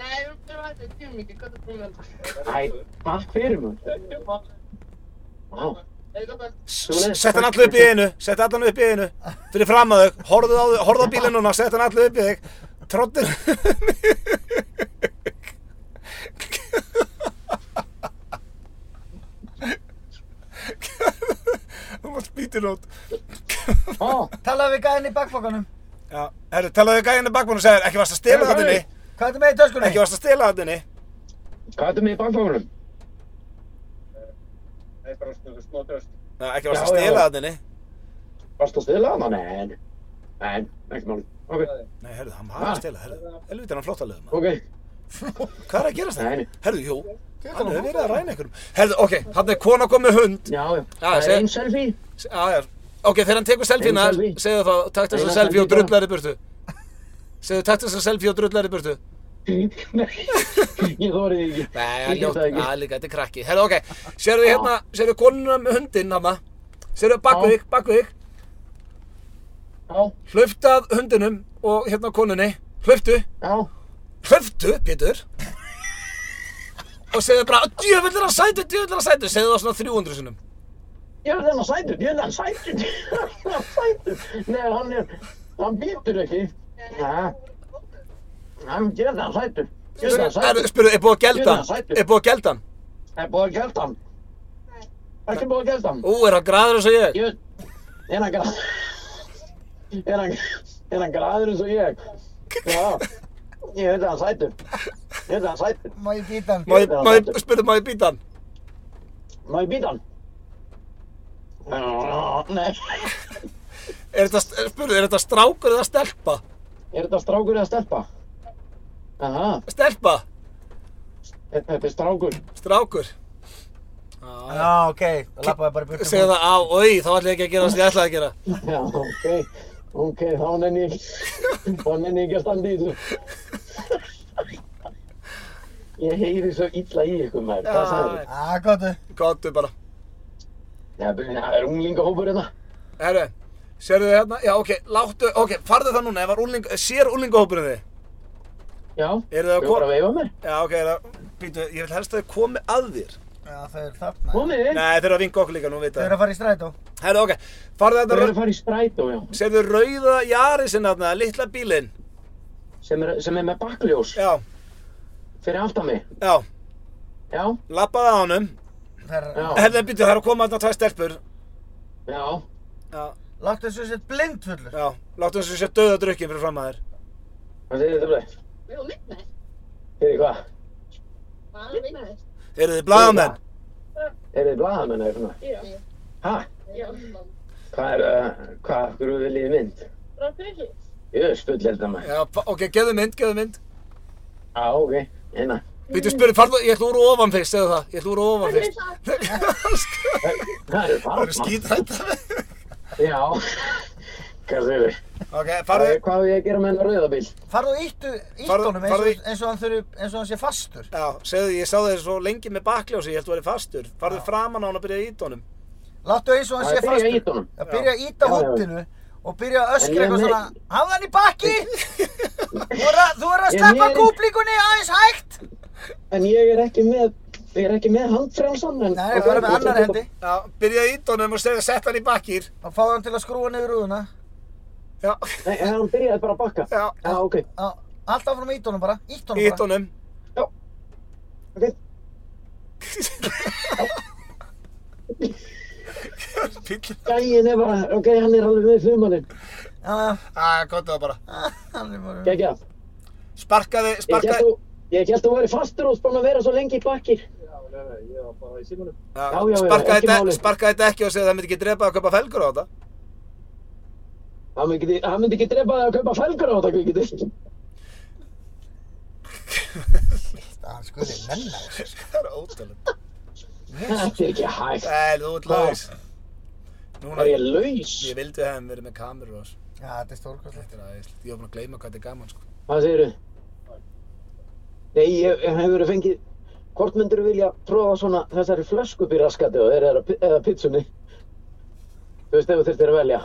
Nei, við fyrir að þetta tíma ekki, hvað er búin að Æ, takk fyrir mér. þetta? Vá, Eða bara, Svoleiðis. Sett hann allir upp í einu, sett allan upp í einu Fyrir fram að þau, horfðu á, þau- horfðu á bílinn núna, sett hann allir upp í þig Tróttir Þú mátt spýtir út ó, Talaðu við gæðin í bakfokkanum. Já, herru, talaðu við gæðinu bakmann og segir Ekki varst að stela það inni, Hvað ertu með í töskunni? ekki varst að stela það inni hvað er þetta með í bankfórum? Já, ekki varst að Já, já. stela það inni Varst að stila hana? Nei, nei, ekki máli. Ok, Nei, herru, hann var að stela, herru Helviti er hann flóttalegu maður ok, Hvað er að gerast það? Nei. Herru, jú, hann hefur verið að ræna ykkur Herru, ok, hann er kona kom með hund já, já. Já, Það er seg- einn selfie. Já, já. Ok, þegar hann tekur selfie-na, Einu selfie. segðu þá, takt þess Eina að selfie og selfie bara. drullar í burtu. Segðu, takt þess að selfie og drullar í burtu. Nei, ég þórið ekki. Nei, Ég hann get ljótt, það ekki. að líka, þetta er krakki. Herra, ok, sérðu hérna, sérðu konuna með hundinn hana, sérðu bak við Já. þig, bak við þig, Já, hlauftað hundinum og hérna konunni, hlauftu, já, hlauftu, Pétur, og segðu bara, djöfull er hann sætur, djöfull er hann sætur, segðu það svona 300 sinnum. ég er þennan sætur, ég er þennan sætur, ég er þennan sætur. Nei, hann er, hann býtur ekki. Nei, hann ég er þennan sætur, ég er þennan Herru, sætur. spurðu, er búið að gelda Djöfull er hann hann, sætur. er búið að gelda hann? Það er búið að gelda hann. Ekki búið að gelda hann. Ú, er hann graður eins og ég? Ég veit, er hann grað... Er hann, er hann graður eins og ég? Já, ég veit að hann sætur. Ég veit að hann sætur. Má ég býta hann? Má ég, Djöfull má er hann ég, spurðu, má ég býta hann? Má ég býta hann? Nei, Er þetta, spurðu, er þetta strákur eða stelpa? er þetta strákur eða stelpa? Aha, Stelpa, þetta þetta er strákur. strákur. Já, ok. Lappaði bara í burtu. Segðu það á, oi, þá ætla ég ekki að gera það sem ég ætlaði að gera. Já, ok, ok, þá nenni ég, þá nenni ég ekki að standa í þessu. Ég heyri svo illa í ykkur maður, hvað sagði þið? Já, gottu. Kottu bara. Það er unglingahópur hérna. Herru, sérðu þið hérna? Já, ok, láttu, ok, farðu það núna, ef var úling, sér úlingahópurinn þið. Já, Eru þið að Þú bara koma? að veifa mér. Já, ok, er það, býtu, ég vil helst að þið komi að þér. Já, þau eru þarna. Komið inn. Nei, þeir eru að vinka okkur líka, nú Þau vita eru það. að fara í strætó. Herru, ok, farðu hérna, Þau þetta, eru að rau- fara í strætó, já. sérðu rauða jarið sinna þarna, litla bílinn. Sem er, sem er með bakkljós Já, fyrir aftan mig. já, Já, lappaði á honum. Þau eru... já, Herru, býtu, það eru að koma þarna tvær stelpur. já. Já, Láttu þessu sér blindfullur. já, láttu eins og sé döða drukkin fyrir fram að þér. Hvað segir þetta bleið? við erum midnætt. Fyrir hvað? Hvað er midnætt? Eru þið blaðamenn? Er þið blaðamenn eða svona? Já. Ha? Já. Hvað er, uh, hvað, af hverju viljið þið mynd? Frá fyrir. Ég er spull heldur maður. Já, fa- ok, geðu mynd, geðu mynd. Já, ok, hérna. Býtu spurði, farðu, ég ætla úr og ofan fyrst, segðu það. Ég ætla úr og ofan fyrst. Það eru farmann. skítrættar. Já. Hvað segir þið? Ok, Hvað farðu. hvað á ég að gera með hennar rauðabíl? Farðu og íttu, íttu Farðu- honum eins farðu og, í- eins og hann þurfi, eins og hann sé fastur. Já, segðu, ég sá þér svo lengi með bakljósi, ég held þú væri fastur. Farðu framan á hann og byrja í ídónum. Láttu eins og hann Það sé er byrja að íta fastur. honum. Það byrja að íta Já, já. hóttinu og byrja að En öskra ég eitthvað mei- svona Hafðu hann í bakki! Þú er að, þú er að Ég sleppa mei- kúplingunni aðeins hægt! En ég er ekki með, ég er ekki með handfrjálsan. en- Nei, bara með annar hendi Já, byrja í ídónum og segðu, sett hann í bakkýr. og fáðu hann til að skrúa niður rúðuna. Já, Nei, en hann byrjaði bara að bakka. já, Já, ok. Já, Allt áfram í ítunum bara, ítunum í bara. ídónum. Ok. Píllinn. Gæin er bara, ok, hann er alveg með þumaninn. Ah. Já, já, Ah, Á, gott það bara. hann er bara... Gækja. Sparkaði, Ég sparkaði. held að- Ég held að þú væri fastur og spána að vera svo lengi í bakki. Já, Já, já, já, sparkaði ekki þetta, máli. sparkaði þetta ekki og segði að það myndi ekki drepa að kaupa felgur á þetta. Hann myndi ekki- hann myndi ekki drepa það að kaupa felgur á þetta, kvikið. Hann skuli menna þessu. sko. Það er ótrúlega. Þetta er ekki hægt. Nei, þú ert laus. Núna, Er ég ég laus? vildi að hefum verið með kameru og þessu. Já, þetta er stórkostlegt. Þetta er aðeins. Ég var búinn að gleyma hvað þetta er gaman, sko. Hvað segirðu? Nei, ég, ég hefur verið fengið... Hvort myndur vilja prófa svona þessari flösku upp í raskati og eða, eða pizzunni? Þú veist, ef þú þurftir að velja.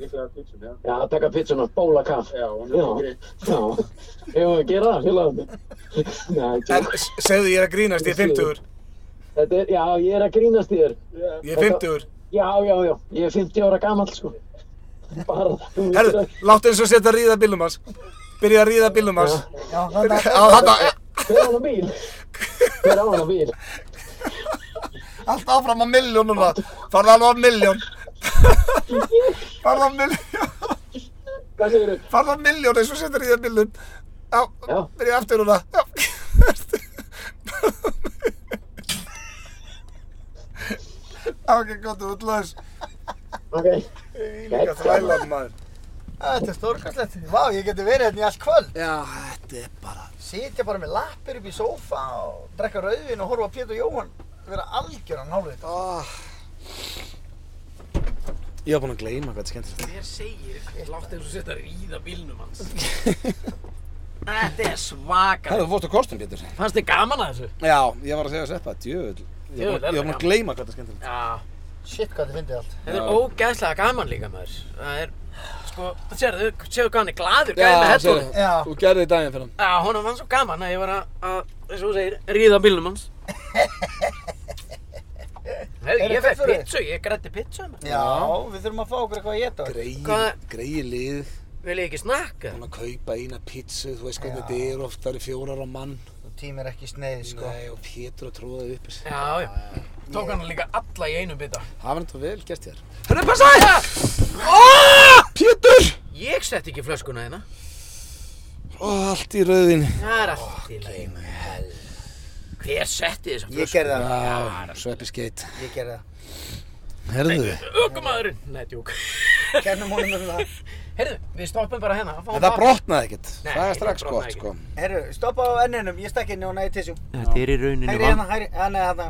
Líklega pítsun, já. Já, taka pizzuna, bóla kaff. Já, hún Já, er greið. já. Ég var að gera það, félagarni. Nei, En tjók. s- segðu ég er að grínast, ég er 50-ur. þetta er, já, ég er að grínast í þér. Ég er 50-ur. Já, já, já, ég er 50 ára gamall, sko. Bara það. þú vitir Herðu, það. láttu eins og setja að ríða bílum hans. Byrja að ríða bílum hans. Já, þannig að Á, þarna- Hver á hana bíl? Hver á hana bíl? allt áfram á millu. Núna, farðu alveg á milljón. Farðu á milljón. Hvað segirðu? Farðu á milljón eins og setja að ríða bílum. Já, Já. byrja aftur núna. Já. Já, ok, gott, þú ert laus. Ok. Líka þrælan maður. Þetta er stórkostlegt. Vá, ég geti verið hérna í allt kvöld. Já, þetta er bara... Sitja bara með lappir upp í sófa og drekka rauðvin og horfa á Pétur Jóhann vera algjöran hálfveit. Ah. Oh. Ég var búinn að gleyma hvað þetta er skemmtilegt. Hver segir, látt eins og setja að ríða bílnum hans. Þetta er svakar. Herðu, þú fórst á kostum, Pétur. Fannst þið gaman að þessu? Já, ég var að segja að sveppa, djöfull. Djöfull, Ég var er það búinn- ég var búinn að gaman. gleyma hvað þetta er skemmtilegt. Já. Shit, hvað þið fyndið allt. Þetta Já. er ógæðslega gaman líka maður. Það er, sko, það sérðu, sérðu hvað hann er gladur, Já, gæði með hellur. sérðu. Já. Þú gerði í daginn fyrir hann. Já, honum var svo gaman að ég var að, að eins og þú segir, ríða bílnum hans. Hefði, Heyrðu, ég fekk hvað fyrir? pizzu, ég grætti pizzu maður. Já, við þurfum að fá okkur eitthvað að geta. Hvað- Greið, greið lið. Vil ég ekki snakka? Búinn að kaupa eina pítsu, þú veist Já. hvernig þetta er oft, það eru fjórar á mann. Þú tímir ekki sneið, sko. Nei, og Pétur að tróða þau upp í sig. Já, já. Tók hann líka alla í einum bita. Það var þetta vel gert þér. Ah! Hörru, passa það! Pétur! Ég sett ekki flöskuna hérna. Ó, allt í rauðin. Það er allt í lagi. maður. Hver setti þessa flösku? Ég gerði það. Já, sveppi skeitt. Ég gerði það. Herðu. Ökumæðurinn. Nei, djúk. Kennum honum um það. Heyrðu, við stoppum bara hérna. fáum En það bakka. brotnaði ekkert. Nei, það er það strax brotnaði gott, ekkert. sko. Herru, stoppa á enninum. Ég stakk inn og næði tissu. Þetta er í rauninni Hægri hérna, hægri. Já, nei, þarna.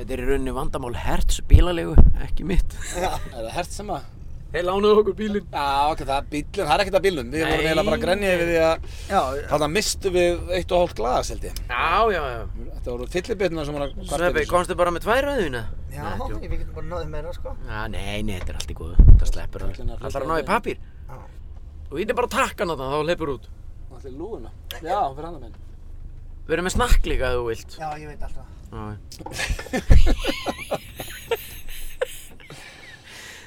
Þetta er í rauninni vandamál herts bílalegu, ekki mitt. Er það hert sem að? Þeir lánaðu okkur bílinn. Já, ok, það er bílun, það er ekkert að bílun. Við vorum Nei. eiginlega bara að grenja yfir því að Já, þarna mistum við eitt og hálft glas, held ég. Já, já, já. Þetta voru fyllibitna sem voru að kvarta Sveppi, yfir þessu. komstu bara með tvær rauðina? já, Nei, við djók. getum bara náðið meira, sko. Já, nei, nei, þetta er allt í góðu. Það sleppur það. Kallinn að Það þarf hlusta að ná í á pappír. Já. Og ítti bara takkan á það, þá hleypur út. Allir lúðuna. Já, fyrir andan minn. Við erum með snakk líka, ef þú vilt. Já, ég veit alltaf. Já, já.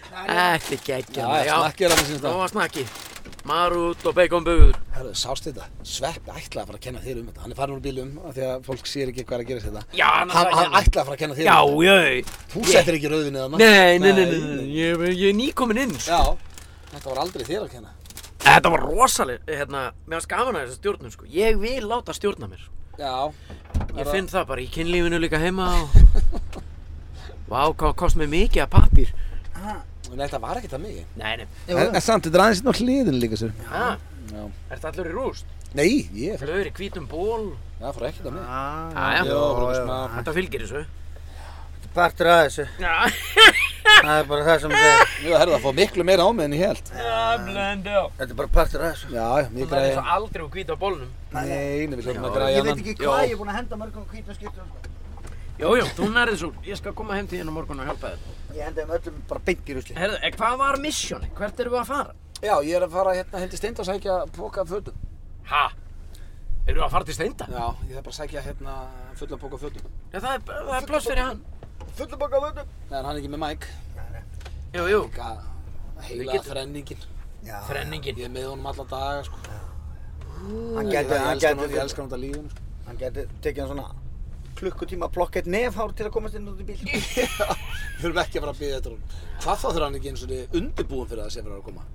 Þetta er Já, geggja. snakkið er að mér sínst Það það. var snakki. Marút og um beikonbuður. Herru, sást þetta? Sveppi ætlaði að fara að kenna þér um þetta. Hann er farin úr bílum af því að fólk sér ekki hvað er að gera þetta. Já, hann ætlaði Hann, að hann kenna. ætlaði að fara að kenna þér Já, um þetta. já, Þú ég- settir ekki rauðinni þarna. Nei, nei, nei, nei, nei, ég, ég er nýkomin inn. sko. Já, þetta var aldrei þér að kenna. Þetta var rosaleg, hérna, mér varst gaman að þessu stjórnum, sko. Ég vil láta stjórna mér. Já, Ég Er finn það bara í kynlífinu líka heima og... Vá, hvað kost mér mikið af pappír. en þetta var ekkert að mig. Nei, nei. En samt, þetta er aðeins inn á hliðinu líka sér. Ha? Já. Ertu allur í rúst? Nei, ég er Flöður í hvítum ból? Það fór ekkert að mig. Ah, Jæja. Já, bara svona. Þetta fylgir þessu. Partur að þessu. Já, Það er bara það sem það er. Jú, herru, það fór miklu meira á mig en ég held. blöndi á. Þetta er bara partur að þessu. Já, já, Þú mikið verður græði. svo aldrei úr hvítu á bólnum. Nei, nei, við hljóðum að Ég græja veit hann. ekki hérna, Já. hvað ég er búinn að henda mörgum hvítum skiptum, sko. Jó, jó, þú nærið svo. Ég skal koma heim til þín á morgun og hjálpa þér. Ég henda þeim öllum bara beint í rusli. Herðu, eh, hvað var missjóni? Hvert erum við að fara? Já, ég er að fara hérna heim til Steind og sækja póka af fötum. Ha? Erum við að fara til steinda? Já, ég þarf bara að sækja hérna fullan póka af fötum. Já, það er, það er pláss fyrir hann. Fullu bóka af öllum. Nei, en hann er ekki með mæk. Jú, jú. Líka Við heila getum- þrenningin. Já, Þrenningin. Ég er með honum alla daga, sko. hann Ég gæti, hann elska hann, ég gæti, elska hann út af lífinu, sko. hann gæti tekið hann svona klukkutíma að plokka eitt nefhár til að komast inn út í bíl. Þurfum ekki að fara að byggja þetta honum. Hvað þá þurfa hann ekki eins og undirbúin fyrir það sem verður að koma?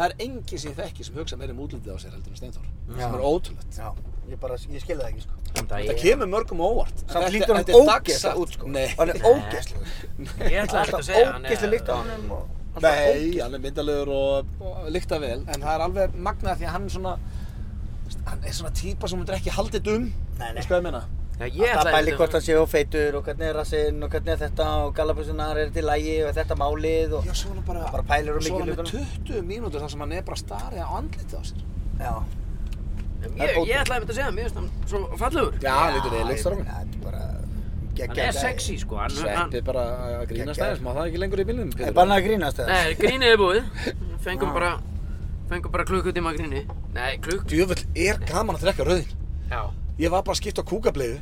það er engin sem ég þekki sem hugsa meira um útlitið á sér heldur en Steinþór Já. sem er ótrúlegt Já, ég bara, ég skilði það ekki sko þetta kemur mörgum á óvart Samt Þetta- lítur hann þetta er ógeðslega dagsatt. út sko Nei. Hann er ógeðslega Ég ætla Alltaf að segja hann eh, ógeðslega líkt á honum og Nei, hann er myndalegur og, og lykta vel en það er alveg magnað því að hann er svona hann er svona típa sem hundur ekki haldið um Nei, nei. Veistu hvað ég meina? Já, ég Alltaf ætla Sko, bæli hvort hann sé og feitur og hvernig er rassinn og hvernig er þetta og galabussunar er þetta í lægi og er þetta málið og Já, svo er hann bara, Bara pælir um svo er hann mikið með 20 mínútur þar sem hann er bara starið á andlitið á sér Já, Ég, ég ætla að segja, mér finnst hann svo fallegur Já, hann ég lítur vel út meina, Þetta er bara Hann geggjað er gæi. sexy sko hann, hann, Sveppi bara að grínast Geggjað. aðeins, má það ekki lengur í bílnum Er Pétur? bannað að grínast eða? Nei, grínið er búið Fengum bara Fengum bara klukkutíma gríni Nei, klukk Djöfull er gaman að drekka rauðin Já Ég var bara að skipta á kúkableiðu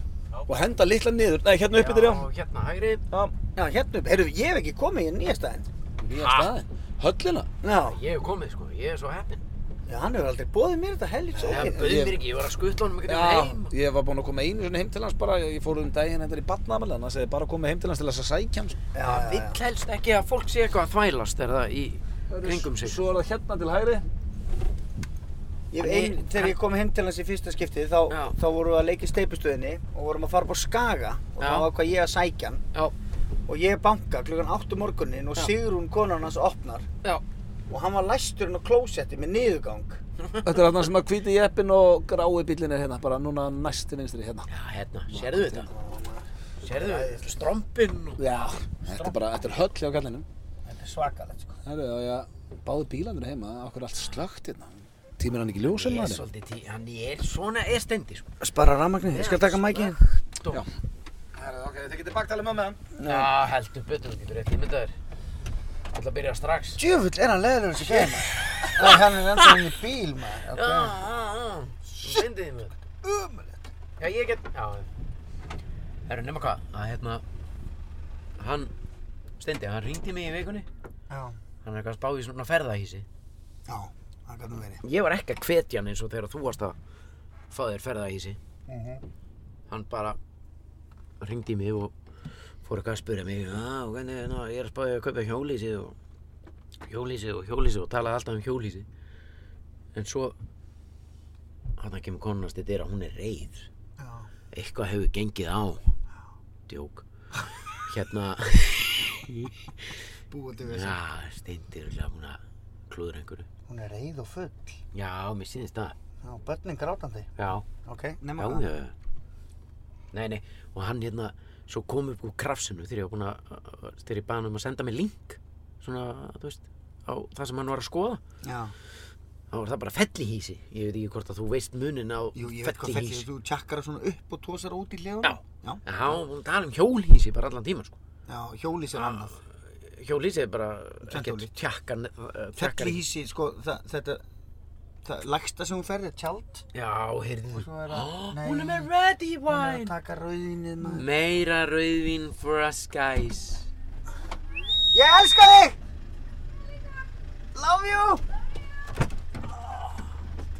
og henda litla niður, nei hérna uppi þér já Já, hérna hægri Já, já, hérna, heyrðu, ég hef ekki komið í nýja staðinn Nýja Ha? staðin, höllina Já, Ég hef komið sko, ég er svo heppinn já, hann hefur aldrei bóðið mér þetta helvits Það ógeð bauð ég- mér ekki, ég var að skuttla honum einhvern Já, veginn heim ég var búinn að koma einu svona heim til hans bara, ég fór um daginn hendur í badnamæli, hann sagði bara komið heim til hans til þess að sækja sko. hans. Já, já, já Vill helst ekki að fólk sé eitthvað að þvælast er það í kringum sig Svo er það hérna til hægri. Ég, ein, þegar ég kom heim til hans í fyrsta skiptið þá, Já. þá vorum við að leika í steipustöðinni og vorum að fara upp á Skaga og Já. þá ákvað ég að sækja hann Já, og ég banka klukkan 8 morgunin og Já. Sigrún konan hans opnar já og hann var læsturinn á klósetti með niðurgang Þetta er þarna sem að hvíti jeppin og grái bílinn er hérna, bara núna næst til vinstri hérna. Já, hérna, sérðu þetta? Sérðu þetta? Strompinn og... Já, þetta er bara, þetta er höll hjá kallinum. Þetta er svakalegt sko Herru, já, já, báði bílandur heima, okkur er allt slögt hérna. Tímir hann ekki Ég ljósum er maður? svolítið tí, hann er svona er stendi sko Spara rafmagnið, ég skal taka mækið Já, Herru, ok, þið getið baktalið með með hann. já heldur betur, þú getur rétt ímyndaður Ætla að byrja strax Djöfull, er hann leður þessi gæði maður? Nei, hann er ennþá inn í bíl, maður. Já, já, já, sendið þið mig Umrætt Já, ég get, já Það eru nema hvað, að hérna Hann, stendi, hann ringdi mig í vikunni Já. Hann er eitthvað að spá í svona ferðahísi Já, það gæti nú verið. Ég var ekki að hvetja hann eins og þegar þú varst að fá þér ferðahísi Mhm. Hann bara ringdi mig og fór eitthvað að spyrja mig Já, hvernig, ná, ég er að spá í að kaupa hjólísi og hjólísi og hjólísi og talaði alltaf um hjólísi En svo hann kemur konast þetta er að hún er reið Já. Eitthvað hefur gengið á Djók Hérna Búið til þessi. Já, steindir er búin að klúður einhverju Hún er reið og full. Já, mér sýnist það Já, börnin grátandi. Já Ok, nema Já, það. já, já. Nei, nei, og hann hérna, svo kom upp úr krafsinu þegar ég var búinn að, þegar ég baði hann um að senda mig link, svona, þú veist, á það sem hann var að skoða. Já. Þá var það bara fellihísi. Ég veit ekki hvort að þú veist munin á Jú, ég veit hvað fellið, þú tjakkar svona upp og tósar út í leður. Já. Já. Já, hún var að tala um hjólhísi bara allan tíman, sko. Já, hjólís er annað. Hjólhísi er bara, Tvennt ekkert eh, ólíkt. tjakkan, tjakkan. Fellihísi, sko, það, þetta, það lægsta sem hún ferði, tjald. Já, heyrðu. Svo er það, nei, Hún er með ready hún er að wine. taka rauðinnið maður. Meira rauðvin for us guys. Ég elska þig! Love you!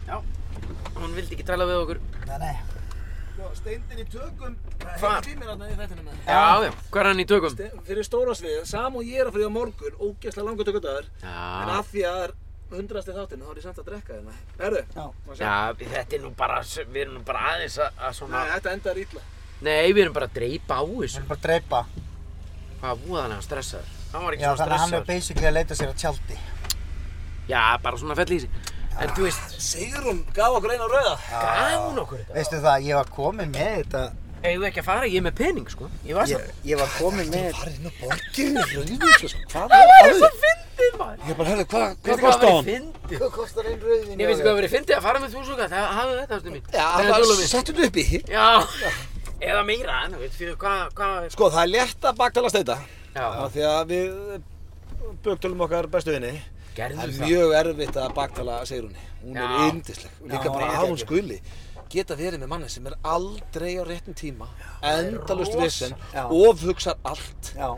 Já, hún vildi ekki tala við okkur. Nei, nei. sko, Steindin í tökum, Hvar? hefur tímir hann í þættinu með. Já, já, hvað er hann í tökum? Ste- Fyrir stóra sviðið, sam og ég er að fara í á morgun, ógeðslega langur tökudagur, en Já, af því að það er hundrasti þáttinn, þá er ég samt að drekka hérna. þérna. Herru, má sjá. já, þetta er nú bara, við erum nú bara aðeins að, að svona... Nei, þetta endar illa. Nei, við erum bara að dreipa á þessu. Hún er bara að dreipa. Hvað voðalega stressaður. Hann var ekki Já, svona þannig að hann er stressaður. basically að leita sér að tjaldi. Já, bara svona fell í sig. En þú veist, Sigrun gaf okkur eina rauða. gaf hún okkur þetta? Veistu það, ég var komin með þetta. Eigum við ekki að fara? Ég er með pening, sko. Ég var svo... Ég, ég var komin með Farið inn á borginni, hérna rauðvísu, hvað er það? Svo fyndið, maður! Ég bara, herðu, hvað, Veistu hvað kosti væri hann? fyndið? Hvað kostar einn rauðin? Ég veistu hvað verið fyndið að fara með þúsuga. Það hafðu þetta, ástu mín. Já, Þetta er bara tölum við. settu þetta upp í. Já, eða meira, en þú veist, fyrir hvað, hvað... Sko, það er létt að baktala steita, Já, af því að við bögtölum okkar bestu vinni. Það gerðu er það. mjög erfitt að baktala Sigrunni. Hún er Já. yndisleg. Og Líka bara að hún skuli geta verið með manni sem er aldrei á réttum tíma, endalust vissinn, Já. ofhugsar allt. Já,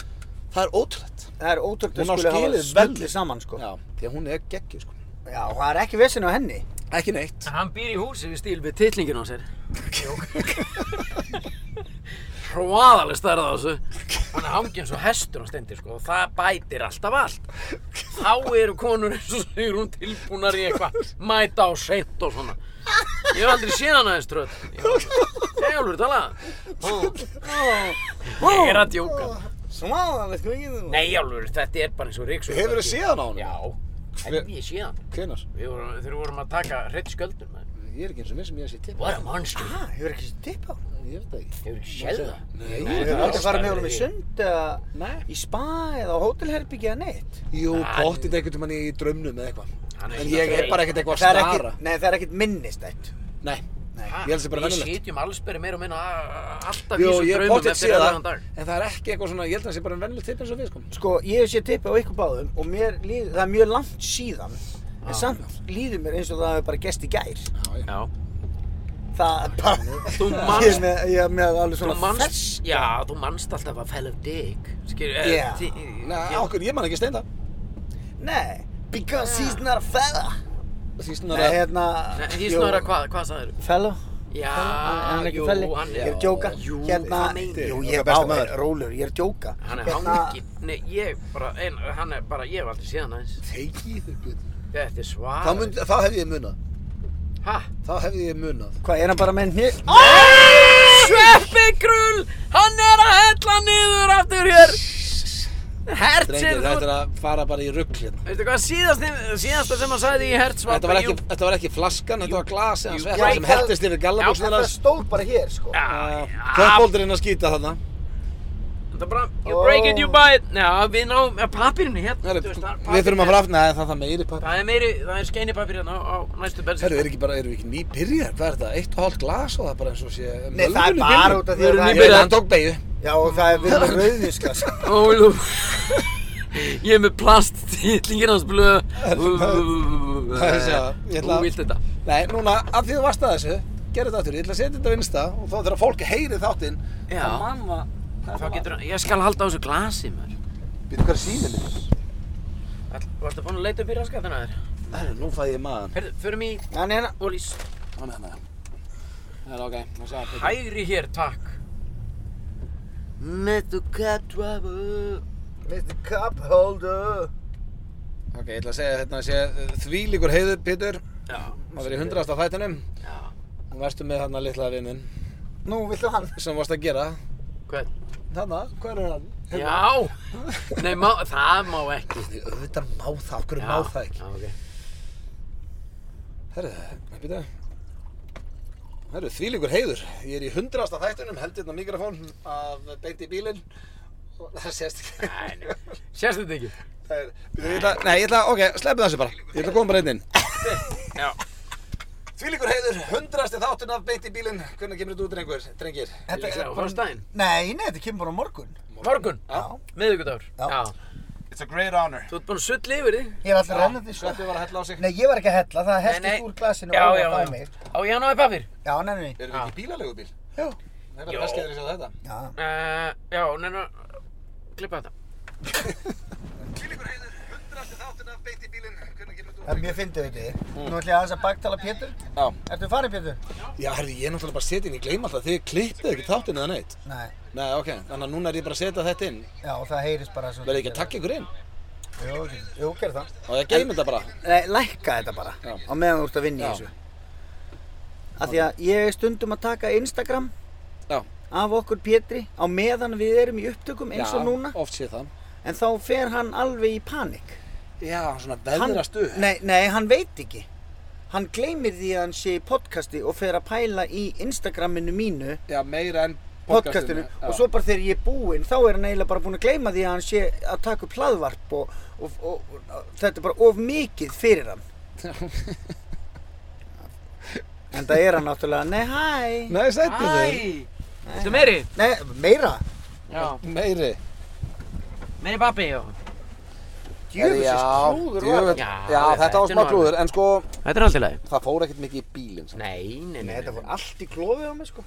Það er ótrúlegt. það er ótrúkt að Hún á skuli hafa skilið vel. smetlið saman sko Já, Já, því að hún er geggjuð, sko. Ah. og það er ekki vesinn á henni Ekki neitt. Hann býr í húsi við stíl við titlingin á sér. hróaðaleg stærð á þessu hann er hangið eins og hestur á stendi sko, og það bætir alltaf allt þá eru konur eins og segir hún tilbúnar í eitthvað mæta á seint og svona ég hef aldrei séð hana eins tröð ég hef alveg talað ég er að djóka Smáðan, veit hvað ekki þú? nei alveg þetta er bara eins og ríks Hefurðu séð hana á honum? já en ég séð hann Hvenar? Við vorum, þegar við vorum að taka hreitt skjöldum maður. Ég er ekki eins og mér sem ég að sé til. What a monster Það hefur ekki sér tipp á hún. Ég veit það ekki. Hefur ekki séð það? Nei. Þú hefur aldrei farið með honum í sund eða Nei. í spa eða á hótelherbyggja eða neitt. Jú, pottið ekkert um hann í draumnum eða eitthvað. Hann er En ég er bara ekkert eitthvað Það að er stara. ekkit, nei það er ekkit minnistætt. Nei. Ha, Ég held þessi bara Við vennilegt. sitjum allsberi meira og minna a- a- alltaf í Jú, þessum ég er draumum pottið eftir séð það. erðan dag. En það er ekki eitthvað svona, ég held að það sé bara en vennilegt tipp eins og við, sko. Sko ég hef sér tipp á ykkur báðum og mér líður, það er mjög langt síðan. En samt líður mér eins og það hefur bara gest í gær. Já, já. Já. Það er bara... Þú Ég er manst, með, ég er með alveg þú svona manst, fersk- já, þú manst alltaf að fell of dick. Skilur, Já. Nei, okkur, ég man ekki steinda. Nei, because he's not a fella. Því Nei, svona, hérna... Því jú, snöra hvað, hvað sagður? Fellow? Já, Hann- hann er ekki jú, felli. hann Ég er er, að djóka. Jú, hérna, það meinar. Jú, Þetta ég er er besti bara, maður. rólur, ég er að djóka. hann er hangi, nei, ég bara, ein, hann er bara, ég hef aldrei séð hann aðeins. Teikið þau betur. Þetta er svar. Þá myndi- Þá hefði ég munað. Hæ? Þá hefði ég munað. Hvað, er hann bara með hér? Sveppi Krull, hann er að hella niður aftur hér. Drengir, Hertsir, þetta er að fara bara í rugg hérna. Veistu hvað síðast, síðasta sem hann sagði í Hertz var Þetta var ekki, þetta var ekki flaskan, þetta var glasið hans jú, vekk jú, sem hertist yfir já, gallabúsnir Það hans. stóð bara hér, sko. Já, já, Köpbóldurinn að skýta þarna. þetta er bara, you break it, you buy it Já, við náum, ja, pappirinu hérna Herru, þú veist, það er Við þurfum að pappírinn- fara aftur, neða það er það meiri pappi. Það er meiri, það er skeinipappir hérna á, á næstu bensin Herru, er ekki bara, erum við ekki nýbyrjar? Hvað er þetta? Eitt og hálft glas og það er bara eins og sé... Nei, það er bara út af því að það Ég veit, hann tók beigju. Já, og það er verið með rauðinsklas. Ó, jú Ég er með plast, tillingir hans blöð Þú Það er þess að- ég ætla að- vilt þetta Nei, núna, af því þú varst að þessu, gerðu þetta aftur. Ég ætla að setja þetta á Insta og þá þarf að fólk heyri þáttinn. Já. að manna- Þá getur hann, ég skal halda á þessu glasi maður Býtu, hvað er síminn minn? All- Varstu búin að leita upp í raskatina þér? Herru, nú fæ ég maðan. Herðu, förum í Hann er hérna. Ólís Hann hérna. er það. Herru, ok, nú sagði Pétur. Hægri hér, takk Metu kattrafu Mr. Cup Holder. Ok, ég ætla að segja hérna að sé þvílíkur heiður, Pétur. Já, Það verið hundraðast af þættinum. já Nú verstu með þarna litla vinninn Nú, villu hann? sem varst að gera. Hvern? Þarna, hvað er hann? Hérna. Já, nei, má, það má ekki. Því auðvitað má það, okkur Já, má það ekki. Já, okay. Herru, hvað býta? Herru, þvílíkur heiður. Ég er í hundraðasta þættunum, held hérna mikrofón af beint í bílinn. Og það sést ekki. Nei, nei, Sérst þetta ekki? Það er, býta, ég ætla, nei, ég ætla, ok, sleppu þessu bara. Ég ætla að koma bara einn inn. Já. Þvílíkur heiður, hundraðasti þáttun af beint í bílinn. Hvernig kemur þetta út, drengur, drengir? Þetta er á fyrstæðin. Nei, nei, þetta kemur bara á morgun. Morgun, Já. miðvikudagur. Já. It's a great honor. Þú ert búinn að sull yfir því. Ég er alltaf rennandi, sko. Sveppi var að hella á sig. Nei, ég var ekki að hella, það Nei, nei. helltist úr glasinu Já, og já, það á já. mig. Á ég að náði pappir? Já, nei, nei, nei. Erum við ekki í bílalegubíl? Já. Það er Jó. bara best getur ég séð þetta. Já. Uh, já, neina, klippa þetta. Þvílíkur heiður, hundraðasti þáttun af beint í bílinn. Hvernig kemur þetta Það er mjög fyndið þetta. Nú ætlum ég aðeins að baktala Pétur. Mm. Já. Ertu farið Pétur? Já, herri, ég er náttúrulega bara að setja inn, ég gleyma alltaf, þið klippið ekki þáttinn eða neitt. Nei. Nei, ok, þannig að núna er ég bara að setja þetta inn. Já, það heyrist bara svo. Verðið ekki að takka ykkur inn? Jú, jú, jú, gerð það. Og ég geymi þetta bara. Nei, lækka þetta bara. Já. Á meðan þú ert að vinna í Já. þessu. Af því að ég er stundum að taka Instagram Já. af okkur Pétri á meðan við erum í upptökum eins og Já, núna. Oft sé það. En þá fer hann alveg í panik. Já, svona veðrast upp. Nei, nei, hann veit ekki. Hann gleymir því að hann sé í podcasti og fer að pæla í Instagraminu mínu, Já, meira en podcastinu, Já. og svo bara þegar ég er búinn, þá er hann eiginlega bara búinn að gleyma því að hann sé að taka upp hlaðvarp og, og, og, og þetta er bara of mikið fyrir hann. en það er hann náttúrulega, nei, hæ. Nei, setja þau. Æ, þetta meiri? Nei, meira. Já, Meiri. meiri pappi, já. Djöfisins klúður var djöfull- þetta. Já, Já, þetta þetta var er smá nú klúður, en sko, Þetta er alltaf leið. það fór ekkert mikið í bílinn. sko. Nei, nei, Nei, nei. þetta fór allt í klófið á mig, sko.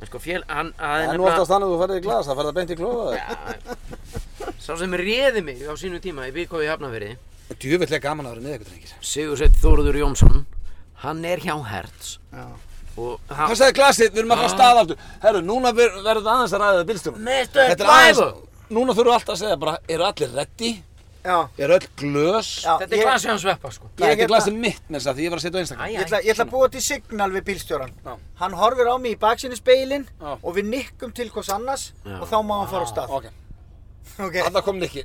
En sko fél, hann, að Það er nú oftast þannig að þú ferðir í glas, það ferðar beint í klófa þig. Sá sem réði mig á sínu tíma í Bíkói Hafnafyrði, Djöfitt er gaman að vera með ykkur drengir. Sigursveit Þóruður Jónsson, hann er hjá Hertz. Já. Og Hann sagði glasið, við Ah. erum að fara að staða aftur. Herru, núna ver- verður það aðeins að ræða við bílstjórum. Mr. Þetta er aðeins, núna þurfum við alltaf að segja bara, eru allir ready? Já, Eru öll glös? já. Þetta er ég- glasið hans veppa, sko. Nei, ég þetta er hérna- glasið mitt með þess að því ég var að setja á Instagram. Æ, Ég ætla, ég ætla að búa til signal við bílstjóran. Já. Hann horfir á mig í baksinnespeilin Já. og við nikkum til hvers annars Já. og þá má hann fara á stað. Ok, Ok. þarna kom Nikki.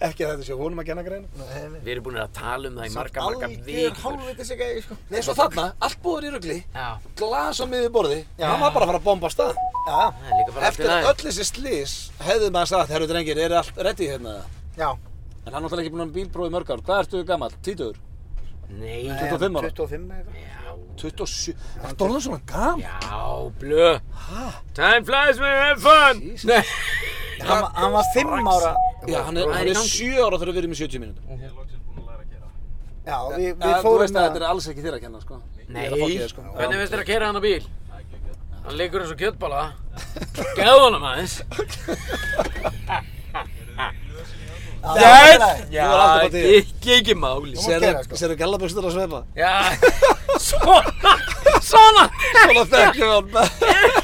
Ekki að þetta sé honum að genna greina. Við erum búin að tala um það í marga, marga Algjör vikur. hálfviti sig eigi, sko. Nei, svo þarna, allt búður í rugli, Já, glas á miður borði, Já. hann var bara að fara að bomba á stað. Já, það er líka bara allt í Eftir lagi. öll þessi slís hefði maður sagt, herru drengir, eru allt ready hérna? já. En hann er náttúrulega ekki búinn að bílprófi mörg ár. Hvað ertu gamall? 20? Nei, 25 ára? 25 eða eitthvað. já, 27? Ertu orðin svona gamall? já, blö. Time flies when you have fun. Nei. Hann, var- hann var 5 ára. Já, hann er, Það er hann í er gangi. 7 ára þegar við erum í 70 mínútur. Já, við, við Ja, þú fórum veist að þetta er alls ekki þér að kenna, sko. Nei. Ég er að fokka í þér, sko. Hvernig finnst þér að kera hann á bíl? Hann liggur eins og kjöttbala. Gæðu honum aðeins. Yes! Já, var aldrei bara til. ekki, ekki máli. Þú mátt gera, Serðu sko. sko. gallabökstur að svefa? Já, svona, svona, Svona þekkjum við hann.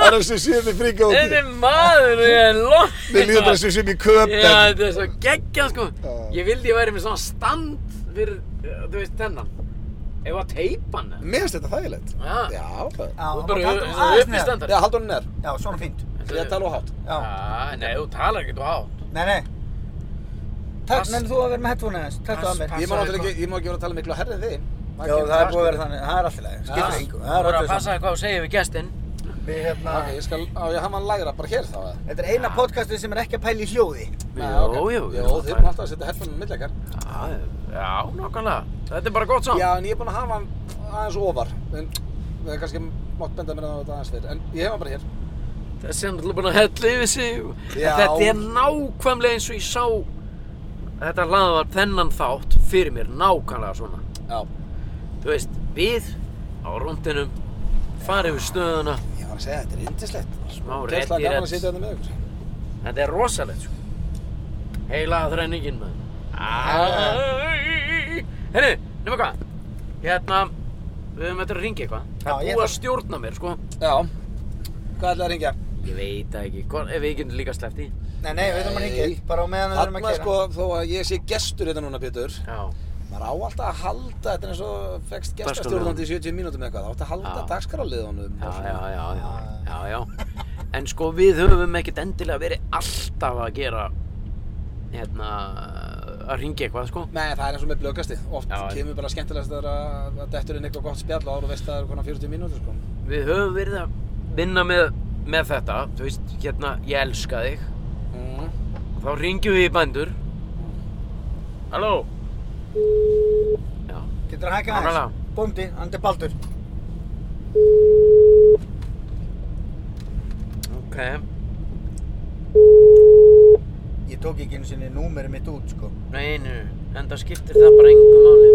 Það er eins og séum í fríka út. þetta er maður, ég er lótt. Mér líður bara eins og séum í köpen. Já, þetta er svo geggjað sko. Ég vildi ég væri með svona stand fyrir, uh, þú veist, þennan. Ef að teipa hann. eða? Mér finnst þetta þægilegt. Já, Já, það. Já, þú hann bara var uh, aðeins upp í neðar. standar. Já, haldur hann er. Já, svona fínt. Ég tala á hátt. Já. Já, Ah, nei, þú talar ekkert á hátt. Nei, nei. Takk, nenn þú að vera með headphone aðeins. Takk Pass, að mér. pass. Ég má náttúrulega ekki, ég má ekki vera að tala miklu að herrið þig. Já, það er búið að vera þannig. Það er alltaf leið. Skiptir Já. engu. Þú Það er verður að alltaf passa þig hvað þú segir við gestinn. saman. Við hérna... Ok, ég skal, á, ég hafa hann lægra bara hér þá eða? Þetta er eina podcastið sem er ekki að pæla í hljóði. Nei, Jú, ok. jú, Jú, Ah, jú, þeir það eru er- alltaf að setja herfanum mill ekkert. Já, já, nákvæmlega. Þetta er bara gott saman. Já, en ég er búinn að hafa hann aðeins ofar. En við hefum kannski mátt benda mér á þetta aðeins fyrr. En ég hef hann bara hér. Þessi er náttúrulega búin að hella yfir sig. Já. Þetta er nákvæmlega eins og ég sá þetta hlaðvar þennan þátt fyrir mér nákvæmlega svona. Já. Þú veist, við á rúndinum farið við stöðuna. Ég var að segja, þetta er yndislegt. Smá Gæsla reddi gaman að redd. setja þetta með ykkur. Þetta er rosalegt sko. Heilaða þræningin með. Ah. Herru, nema hvað? Hérna, við höfum eftir að ringa eitthvað. Það Já, er ég búið að þarf- stjórna mér sko. Já. Hvað ætlaði að ringja? Ég veit það ekki, Hvor, ef við getum líka sleppt í. Nei, nei, við þurfum að hengja. Nei. Bara á meðan við þurfum að Þarna gera. sko, þó að ég sé gestur hérna núna, Pétur. Já. Maður á alltaf að halda, þetta er eins og fegst gestastjórnandi í 70 mínútum eða eitthvað. Það átt að halda Já. dagskraliðunum. Já, já, já, já, já, já. En sko við höfum ekkert endilega verið alltaf að gera, hérna, að ringja eitthvað sko. Nei, það er eins og með blöggasti. Oft Já, en- kemur bara skemmtilegast þegar að að dettur inn eitthvað gott spjall á ára og veist að það eru konar 40 mínútur, sko. Við höfum verið að vinna með, með þetta, þú veist, hérna, ég elska þig. Mm. Þá ringjum við í bændur. Halló? Já, Getur það hækkað aðeins? Nákvæmlega. Bóndi, hann er Baldur. ok. Ég tók ekki einu sinni númerið mitt út, sko. Nei, nú, en það skiptir það bara engum máli.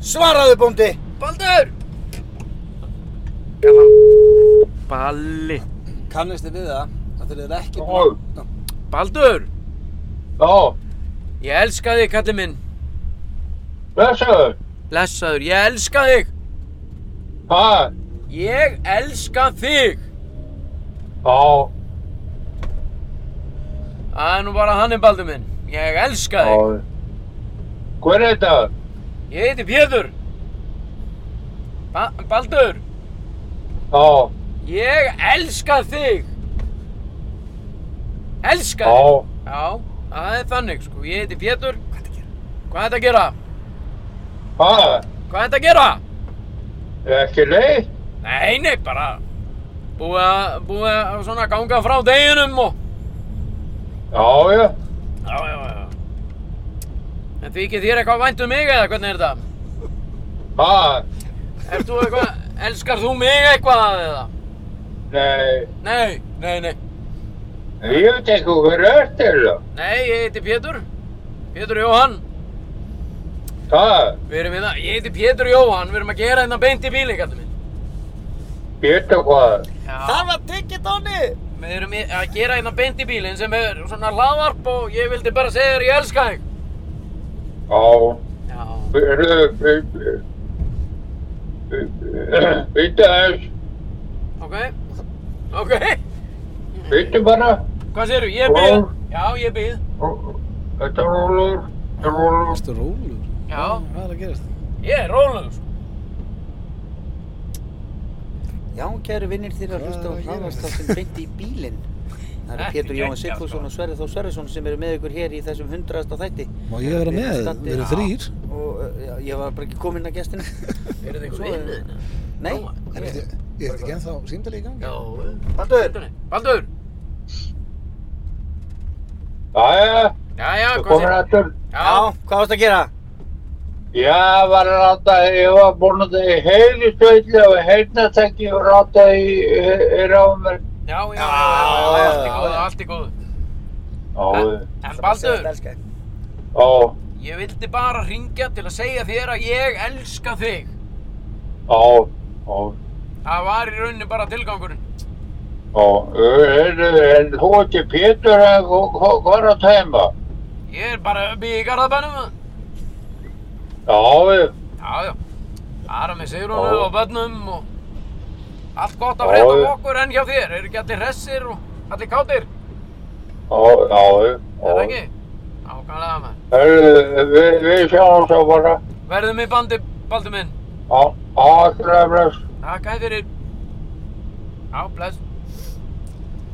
Svaraðu, bóndi! Baldur! Kallan. Balli. Kannist þið við það? Það þeir eru ekki... Ó. Já. Baldur! Já, Ég elska þig, kalli minn. blessaður. Blessaður, ég elska þig. Hvað? Ég elska þig. Já, Það er nú bara hann er Baldur minn. Ég elska já. þig. Hver er þetta? Ég heiti Pétur. Ba Baldur, Já, ég elska þig. Elska já. þig. Já, það er þannig sko. Ég heiti Pétur. Hvað er þetta að gera? Hvað? Hvað er þetta að gera? Ekki leið? Nei, nei, bara búið að, búið að svona ganga frá deginum og... Já, já. Já, já, já. En því ekki þér eitthvað vænt um mig eða hvernig er þetta? Hvað? Ert þú eitthvað, elskar þú mig eitthvað eða? Nei, Nei, nei, nei. ég veit ekki hver er þetta. Nei, ég heiti Pétur. Pétur Jóhann. Hvað? Við erum hérna, ég heiti Pétur Jóhann, við erum að gera hérna beint í bíli, kallið minn. Geta hvað? Já. Það var Diggitóni! Við erum í- að gera hérna beint í bílinn sem er svona hlaðvarp og ég vildi bara segja þér ég elska þig. Já. Já. Heyrðu, Býta þess, Ok. Ok. býta bara. Hvað séru? Ég býð. Já, ég býð. Þetta er Ólafur. Þetta er Ólafur. Erstu rólegur? Já. Hvað er að gerast? Ég er rólegur. sko. Já, kæru vinnir þér að Hvað hlusta á er að gerast? hlaðvarstáttin beint í bílinn. Það eru Ekki Pétur Jóhann geggjað, Sigfússon sko. og Sverri Þór Sverrisson sem eru með ykkur hér í þessum hundraðasta þætti. Má ég vera með? Við erum þrýr. Og uh, já, ég var bara ekki kominn að gestinu. Er þetta einhver Svo er- vinnið? Nei, Er þetta er þetta ekki ennþá símdali í gangi? Já. Baldur, Baldur. Baldur. Jæja, Já, já, þú hvað komir séru? aftur. já, Já. hvað varst að gera? Ég var að ráta, ég var búinn að það í heilu stöðli og heyrnatekki og ráta í, í ráðum. Já, já, já, já, já, allt í góðu, allt í góðu. Já, En Segðu Baldur, þetta, elska þig. já, ég vildi bara ringja til að segja þér að ég elska þig. já, já, Það var í rauninni bara tilgangurinn. já. Heyrðu, en þú ekki Pétur, en hva- hva- hvað er að tæma? Ég er bara býð í garðabænum. maður. Já, við- Já, já. Bara með Sigrúnu Já. og börnum og allt gott að Já, frétta af já. okkur enn hjá þér. Eru ekki allir hressir og allir kátir? já, já, við- Er það já. ekki? Ákvæmlega maður. Heyrðu, við- við sjáum svo bara. Verðum í bandi, Baldur minn. Já, allra bless. Takk hæði fyrir. Já, bless.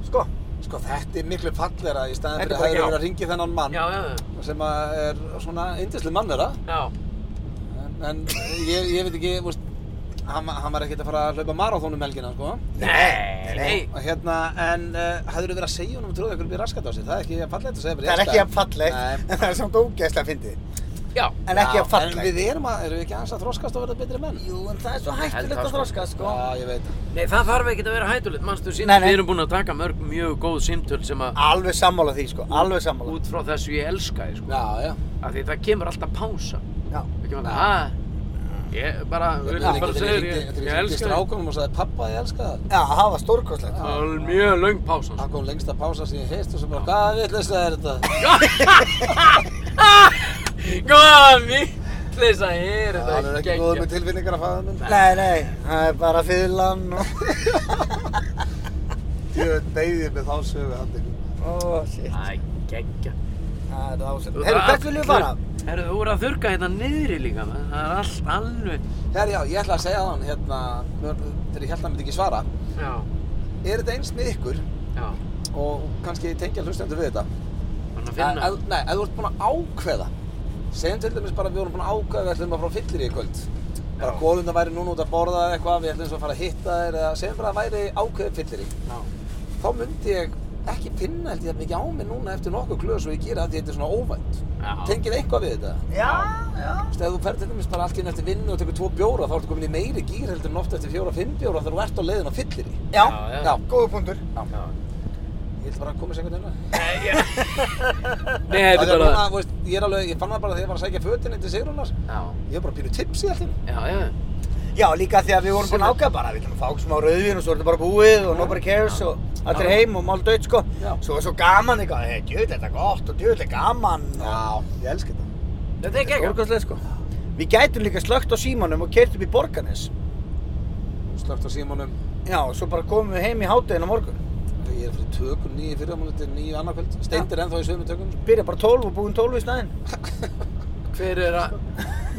Sko, Sko þetta er miklu fallera í staðan Þetta er fyrir að bara- hefur verið að ringi þennan mann Já, já, já. sem að er svona yndislu mannera Já, en, en ég, ég veit ekki, veist, hann, hann var ekkert að fara að hlaupa marathónum helgina sko nei, nei. nei. og hérna, en uh, hefur verið að segja honum að tróða ykkur að bli raskat á sig, það er ekki fallegt að segja bara Það er í ekki staðinn. að fallegt, Nei. en það er samt ógeðslega fyndið. Já, En ekki Já, að fallegt. En við erum að, erum við ekki aðeins að þroskast og verða betri menn? Jú, en það er svo Held hættulegt það, að sko. þroska, sko. Já, ég veit. nei það þarf ekkert að vera hættulegt, mannstu Nei, síðan, nei. við erum búin að taka mörg mjög góð símtöl sem að Alveg sammála því, sko. Alveg sammála. út frá þessu ég elska þig, sko. Já, já. Af því það kemur alltaf pása. Já. Það kemur alltaf, hæ, ég bara, við erum bara að segja þér, ég- ég Ég elska þig. strákunum og sagði, pappa, ég elska það. Já, það var stórkostlegt. Það var mjög löng pása, sko. Það kom lengst að pása sem ég heist og svo bara, hvað vitleysa er þetta? Góðan vitleysa er þetta Það er ekki góður með tilfinningar að faða minn. Nei, nei, það er bara fyðlan og... Ég deyði með þá sögu handið. Ó, shit. Æ, geggja. Það er ásett. Herru, hvert viljum við fara? Herru, þú voru að þurka hérna niðri líka, maður. það er allt alveg. Herri, já, ég ætla að segja það hann, hérna, mér- þegar ég held að hann myndi ekki svara. Já, Er þetta eins með ykkur já, og kannski tengja hlustendur við þetta? hann að Að- finna. að- Nei, ef þú ert búinn að ákveða segjum til dæmis bara að við vorum búin að ákveða að við ætlum að fara á fyllir í kvöld bara Já. góðum það væri núna út að borða eða eitthvað við ætlum svo að fara að hitta þér eða segjum bara að væri ákveðið fyllir í Já. þá myndi ég ekki pinna held ég það mikið á mig núna eftir nokkuð glöð svo ég gera því þetta er svona óvænt Já. tengið eitthvað við þetta Já, já. Þú veist, ef þú ferð til dæmis bara allt í einu eftir vinnu og tekur tvo bjóra þá ertu komin í meiri gýr heldur en oft eftir fjóra, fimm bjóra þegar þú ert á leiðin á fyllir í Já, já, já. góðu punktur. ég ætla bara að koma sér einhvern veginn Nei, já. Nei, þetta Það er er núna, bara... þú veist, ég er alveg, ég fann það bara þegar ég var að sækja fötin til Sigrunar, Já, ég var bara pínu tips í allt í einu. já, já. Já, líka því að við vorum búin að ákveða bara, við ætlum að fá okkur smá rauðvin og svo er þetta bara búið og nobody cares og allir heim og mál dött, sko. Já. Svo er svo gaman eitthvað, hei, djöðlega þetta er gott og djöðlega gaman. Já, ég elska þetta. Þetta er geggjað. Stórkostlegt, sko. Við gætum líka slögt á símanum og keirt upp í Borgarnes. Slögt á símanum, Já, og svo bara komum við heim í hátegin á morgun. ég er fyrir tökum nýju fyrramáliti, nýju annarkvöld. Steindir ennþá í sömu tökum. sko. Byrja bara 12 og búin 12 í snæðin. Hver er að...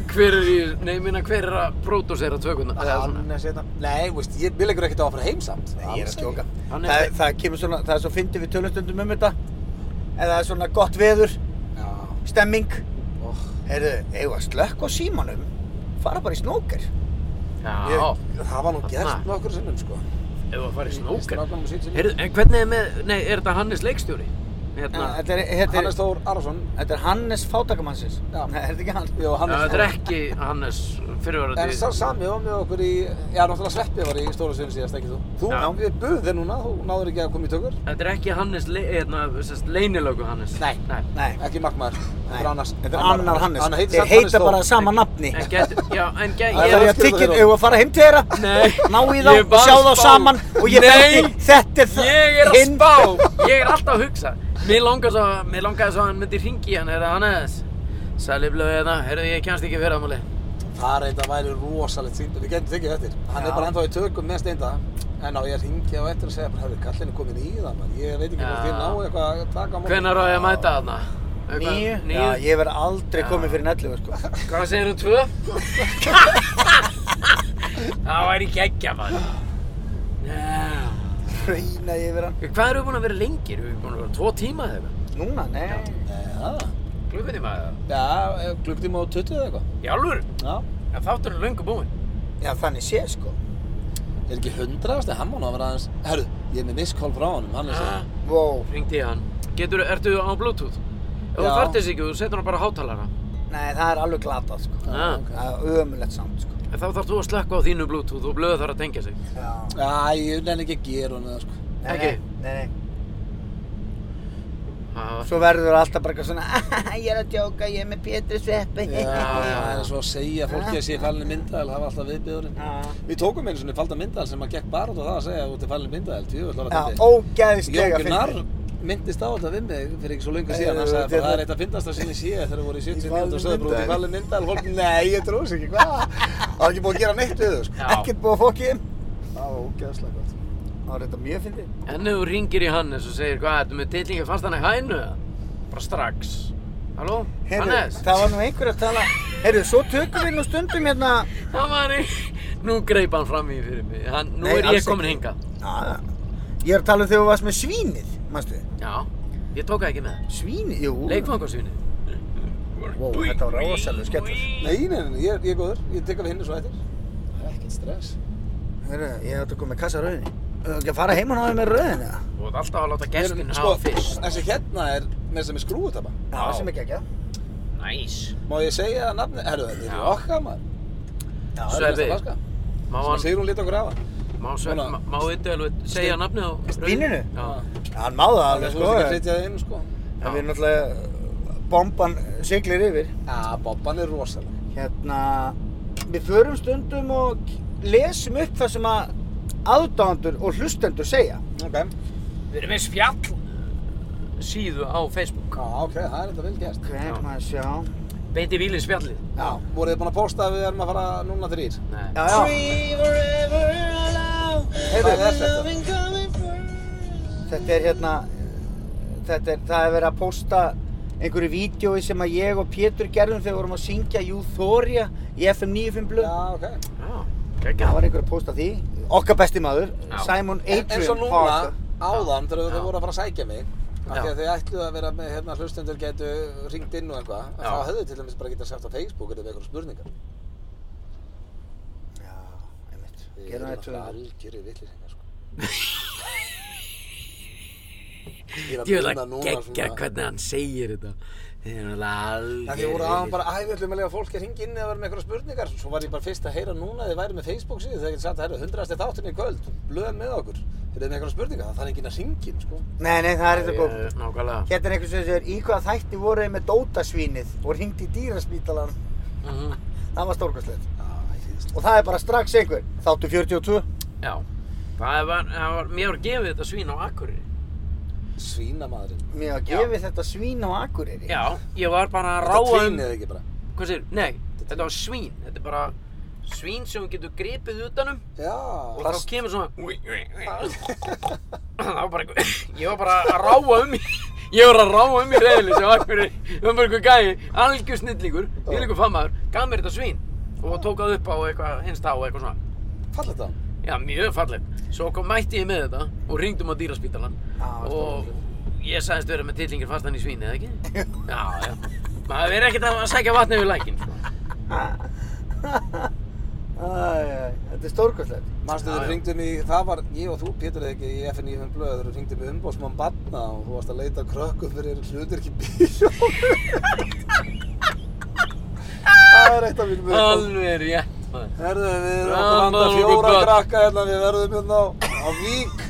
Hver er í... Nei, ég minna, hver er að pródúsera tökuna? Eða svona. er setna. Nei, veist, ég vil ekkert ekkert á að fara heim samt. Nei, ég er að skjóka. Hann er- Það, það kemur svona, það er svo fyndið við tölustundum um þetta. En það er svona gott veður, Já, Oh. stemming. óh. Heyrðu, eigum við að slökk á símanum, fara bara í snóker. Já, Ég- Það var nú Þarna. gert nokkur sinnum, sko. ef þú farið snóker. Strákanum sín sinni. Heyrðu, en hvernig er með... Nei, er þetta Hannes leikstjóri? Hérna... Þetta er, þetta er, Hannes Þór Arason. þetta er Hannes fátakamannsins. Já. Nei, er þetta ekki hann? Jó, Já, Hannes Þetta er ekki Hannes En fyrirvarandi... sá sami var með okkur í, já náttúrulega Sveppi var í stóra svinu síðast, ekki þú? Þú, Já. við buðum þér núna, þú náður ekki að koma í tökur. Þetta er ekki Hannes, le- hérna, sérst, leynilögu Hannes. Nei. Nei. Nei. Ekki markmaður, þetta er annars. Þetta er annar Hannes. Hann Þeir heitir samt Hannes heita Þór. bara sama nafni. En gæti, já, en gæti, Það Það er ég, að skrifa tikkin, þér á. eigum við að fara heim til þeirra? Nei. Ná í þá Ég er og bara sjá að þá spá. saman og ég Nei. beti, þetta er það. ég er að hinn- spá, ég er alltaf að hugsa. Mér langar svo, mér langaði svo að hann myndi ringi hann, er það Hannes? Sæli blöðu hérna, heyrðu ég kemst ekki fyrir afmáli. Það er eitthvað væri rosalegt síndum, við getum tekið þetta. Já. Hann er bara ennþá í tökum með steinda. En á ég að ringja á eftir að segja bara, herru, kallin er komin í það, man. Ég veit ekki hvort Já. þið náu eitthvað að taka á móti. Hvenær á ég að mæta þarna? Níu? Níu? Já, ég verð aldrei Já. komið fyrir nellu, sko. Hvað segir þú, tvö? það væri geggja, maður. Já. Hreina yfir hann. Hvað eru búin að vera lengir? Við erum búin að vera tvo tíma eða eitthvað. Núna, nei. Já, Klukkutíma eða? já eh, klukktíma og 20 eða eitthvað. Í alvöru? Já. En þáttur er löngu búinn. Já, þannig sé, sko. Er ekki hundraðast eða hann má ná að vera aðeins, herru, ég er með misskól frá honum, hann er svo. Wow. Ringdi ég hann. Getur, ertu á Bluetooth? Ef þú Já. þarft þess ekki, þú setur hann bara á hátalara. Nei, það er alveg glatað, sko. Já. Það er ömulegt samt, sko. En þá þarfst þú að slökka á þínu Bluetooth og blöðu þarf að tengja sig. Já. Æ, ég nenni ekki að gera honum það, sko. Nei, Ekki? Nei, nei. nei. Það- Svo verður það alltaf bara eitthvað svona, ég er að djóka, ég er með Pétur Sveppi. Já, já. það er svo að segja fólki að sé fallin myndaðal, hafa alltaf viðbjöðurinn. Við tókum einu svona falda myndaðal sem að gekk bara út á það að segja að þú ert fallin myndaðal, tjóðvöld, Já, hlóra ógæðislega Jókunar myndist á þetta við mig fyrir ekki svo lengur síðan hann Eh, sagði bara þetta- það er eitt að fyndast að sinni sé þegar þau voru í 70 Í mínútur og sögðu bara út í Valur valin myndal fólk, nei ég trúi þessu ekki, hvað? Það er ekki búið að gera neitt við þau sko. Já. Ekkert búið að fokki þeim. Það var ógæðislega gott. Það var þetta mjög fyndið. En ef þú ringir í hann eins og segir, hvað, ertu með tillingi, fannst hann í hænu eða? Bara strax. Halló? Heyrðu, Hannes? það var nú einhver að tala Heyrðu, svo tökum við nú stundum hérna Það var í... Nú greip hann fram í fyrir mig. Hann, nú Nei, er ég alls komin ekki. hingað. ah, Ég er að tala um þegar þú varst með svínið Manstu, Já, ég tók það ekki með. svínið, jú Leikfangarsvinni. Vó, þetta var rosalega skemmtilegt. Nei, nei, nei, ég, er- ég er góður, ég tek af hinnu svo eftir Það er ekkert stress Heyrðu, ég átti að koma með kassa af rauðinni Þú ekki að fara heim og náðu með rauðinni eða? Þú ert alltaf að láta Ég er- gestin sko, hafa fyrst. Þessi hérna er með sem er skrúutapa Já, sem ekki ekki Næs. Má ég segja það nafni, herru þetta er Já. Jokka maður Sveppi, má Sko, Má hann hann, Sigur hún lít okkur af hann má Sveppi, Svona. má- má Iddi alveg segja nafnið á rauðu? Víninu? Já. Já, hann máði það Þannig alveg, að þú sko ert ekki að setja það inn sko Já. Það við náttúrulega bomban siglir yfir Já, Bobban er rosalega Hérna, við förum stundum og lesum upp það sem að aðdáðandur og hlustendur segja Ok, já, Við erum með spjall síðu á Facebook. ok, það er þetta vel gert Hvernig maður sjá Beiti Víli spjallið. Já, Voruð þið búin að posta að við erum að fara núna þrýr? Nei. já, já Hvað er þetta? Þetta er hérna, þetta er, það er verið að posta einhverju vídjói sem að ég og Pétur gerðum þegar við vorum að syngja Júþória í FM 95 blöð. Já, ok. Já, Það geggjað. var einhver að posta því. Okkar besti maður, Já. Simon En, Adrian. eins og núna, Parker. áðan, þegar Já. þau voru að fara að sækja mig, af því Já. að þau ætluðu að vera með hérna hlustendur getu ringt inn og eitthvað, Já. þá höfðu þau til dæmis bara getað sagt á Facebook eða með eitthvað spurningar. Já, einmitt. Gerðum Við erum þetta náttúrulega tvöðar. algjörir vitlýsingar, sko. Ég Ég vil muna að núna geggja svona- hvernig hann segir þetta. Þið erum alveg alveg... Af Því voru aðan bara, æ, við ætlum að lega fólki að ringa inn eða vera með eitthvað spurningar. Svo var ég bara fyrst að heyra núna að þið væri með Facebook síðu. Þegar ég satt að herra, hundraðasti þátturinn í kvöld, blöðan með okkur. Þeir eru með eitthvað spurningar, það þarf enginn að ringin, sko. Nei, nei, það er þetta góð. Ég- Nákvæmlega. Hérna er einhver sem segir, í hvaða þætti voru þið með dótasvínið og ringdi í dýraspítalan. Mhm. Það var stórkastlegt. Æ, þið- Og það er bara strax einhver. Þáttu 42. Já. Það var, það var, mér var gefið þetta svín á Akureyri. Svínamaðurinn. Mér að gefi þetta svín á Akureyri. Já, ég var bara að Þetta ráa um... tvínið ekki bara. Hvað segir, nei, þetta var svín. Þetta er bara svín sem þú getur gripið utanum og Já, þá kemur svona... Það var bara einhver... Ég var bara að ráa um í... Ég var að ráa um í reyðli sem Akureyri. Það var bara einhver gæi, algjör snillingur, ég líka famaður, gaf mér þetta svín og tók það upp á eitthvað, hinsta á eitthvað svona. fallet það. Já, mjög falleg. Svo kom mætti ég með þetta og ringdum á dýraspítalan Já, og ég sagðist vera með tillingir fastan í svín, eða ekki? Já, já. Maður verið ekkert að sækja vatni við lækinn, sko. Æj, æj, þetta er stórkastlegt. Manstu Já, þeir já. ringdum í, það var ég og þú Pétur eða ekki í FNÍFM um blöð þeir ringdum í umbóðsmann barna og þú varst að leita að krökkum fyrir hlutir ekki bíó Það er eitt af mínum uppáhalds. Alveg rétt, maður. Herðu við erum Rambo okkur handa og fjóra Bubba. krakka hérna við verðum hérna á, á Vík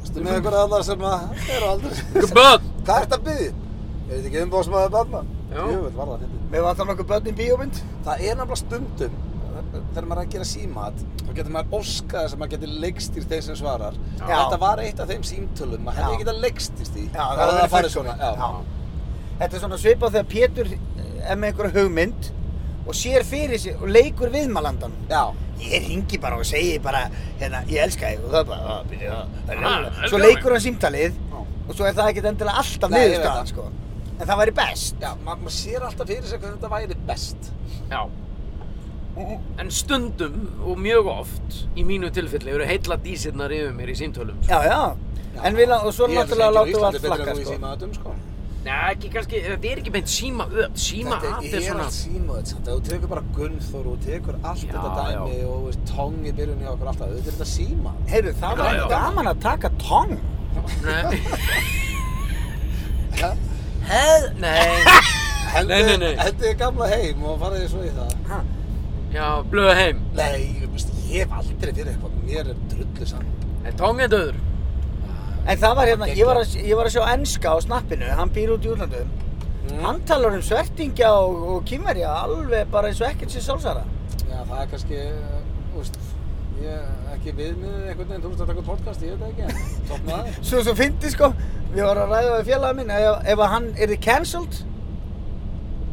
Vistu með einhverja allar sem að eru aldrei Gubböð! Hvað ert að byggja? Er þetta ekki umbóðsmaður barna? Já. Jöfull, var það fyndið. Mér vantar nokkuð börn í bíómynd. Það er nefnilega stundum þegar maður er að gera símat þá getur maður óskað þess að maður getur leikstýrt þeim sem svarar Já. Þetta var eitt af þeim símtölum, maður hefði Já. ekki getað leikstýrt í Já, það hefði hefði verið farið fullkomið. svona já. Þetta er svona svipað þegar Pétur eh, er með einhverja hugmynd og sér fyrir sér og leikur viðmælandan Já. ég ringi bara og segi bara hérna, ég elska þig og það er bara "Ah, byrju, ah, Ah, ah, svo elskar leikur hann símtalið og svo er það ekkert endilega alltaf Nei, ég veit niðurstaðan það. sko. en það væri best Já, ma- maður sér alltaf fyrir sig hvernig þetta væri best. Já. En stundum og mjög oft í mínu tilfelli eru heilla dísirnar yfir mér í símtölum. sko. já, já, en við lá- og svo náttúrulega látum við allt flakka sko. Ég held að það sé enginn á Íslandi betur en þú sko. í símaðutum, sko. Nei, ekki kannski, þetta er ekki beint síma öð, síma Þetta að er er svona... allt símaðut, samt. Ef Þú tekur bara Gunnþór og þú tekur allt Já, þetta dæmi og þú veist, tong í byrjun hjá okkur alltaf. Þetta er þetta síma. heyrðu, það Já, já. var gaman að taka tong Nei, Ja. heð, nei, Nei, nei, nei. Þetta er gamla heim og faraði svo í það. já, blöða heim. Nei, ég veist, ég hef aldrei fyrir eitthvað. Mér er drullu saman. En tóng er döður. En það var hérna, ég var, að, ég var að sjá enska á snappinu, hann býr út í útlandum. Hann talar um svertingja og, og kýmverja alveg bara eins og ekkert sér sjálfsara. Já, það er kannski, þú veist, ég ekki viðmiðið einhvern veginn. Þú veist, að taka upp podcast, ég veit það ekki. Topna það. Svo svo fyndi sko, við varum að ræða við félaga minn, ef, ef að hann erði cancelled,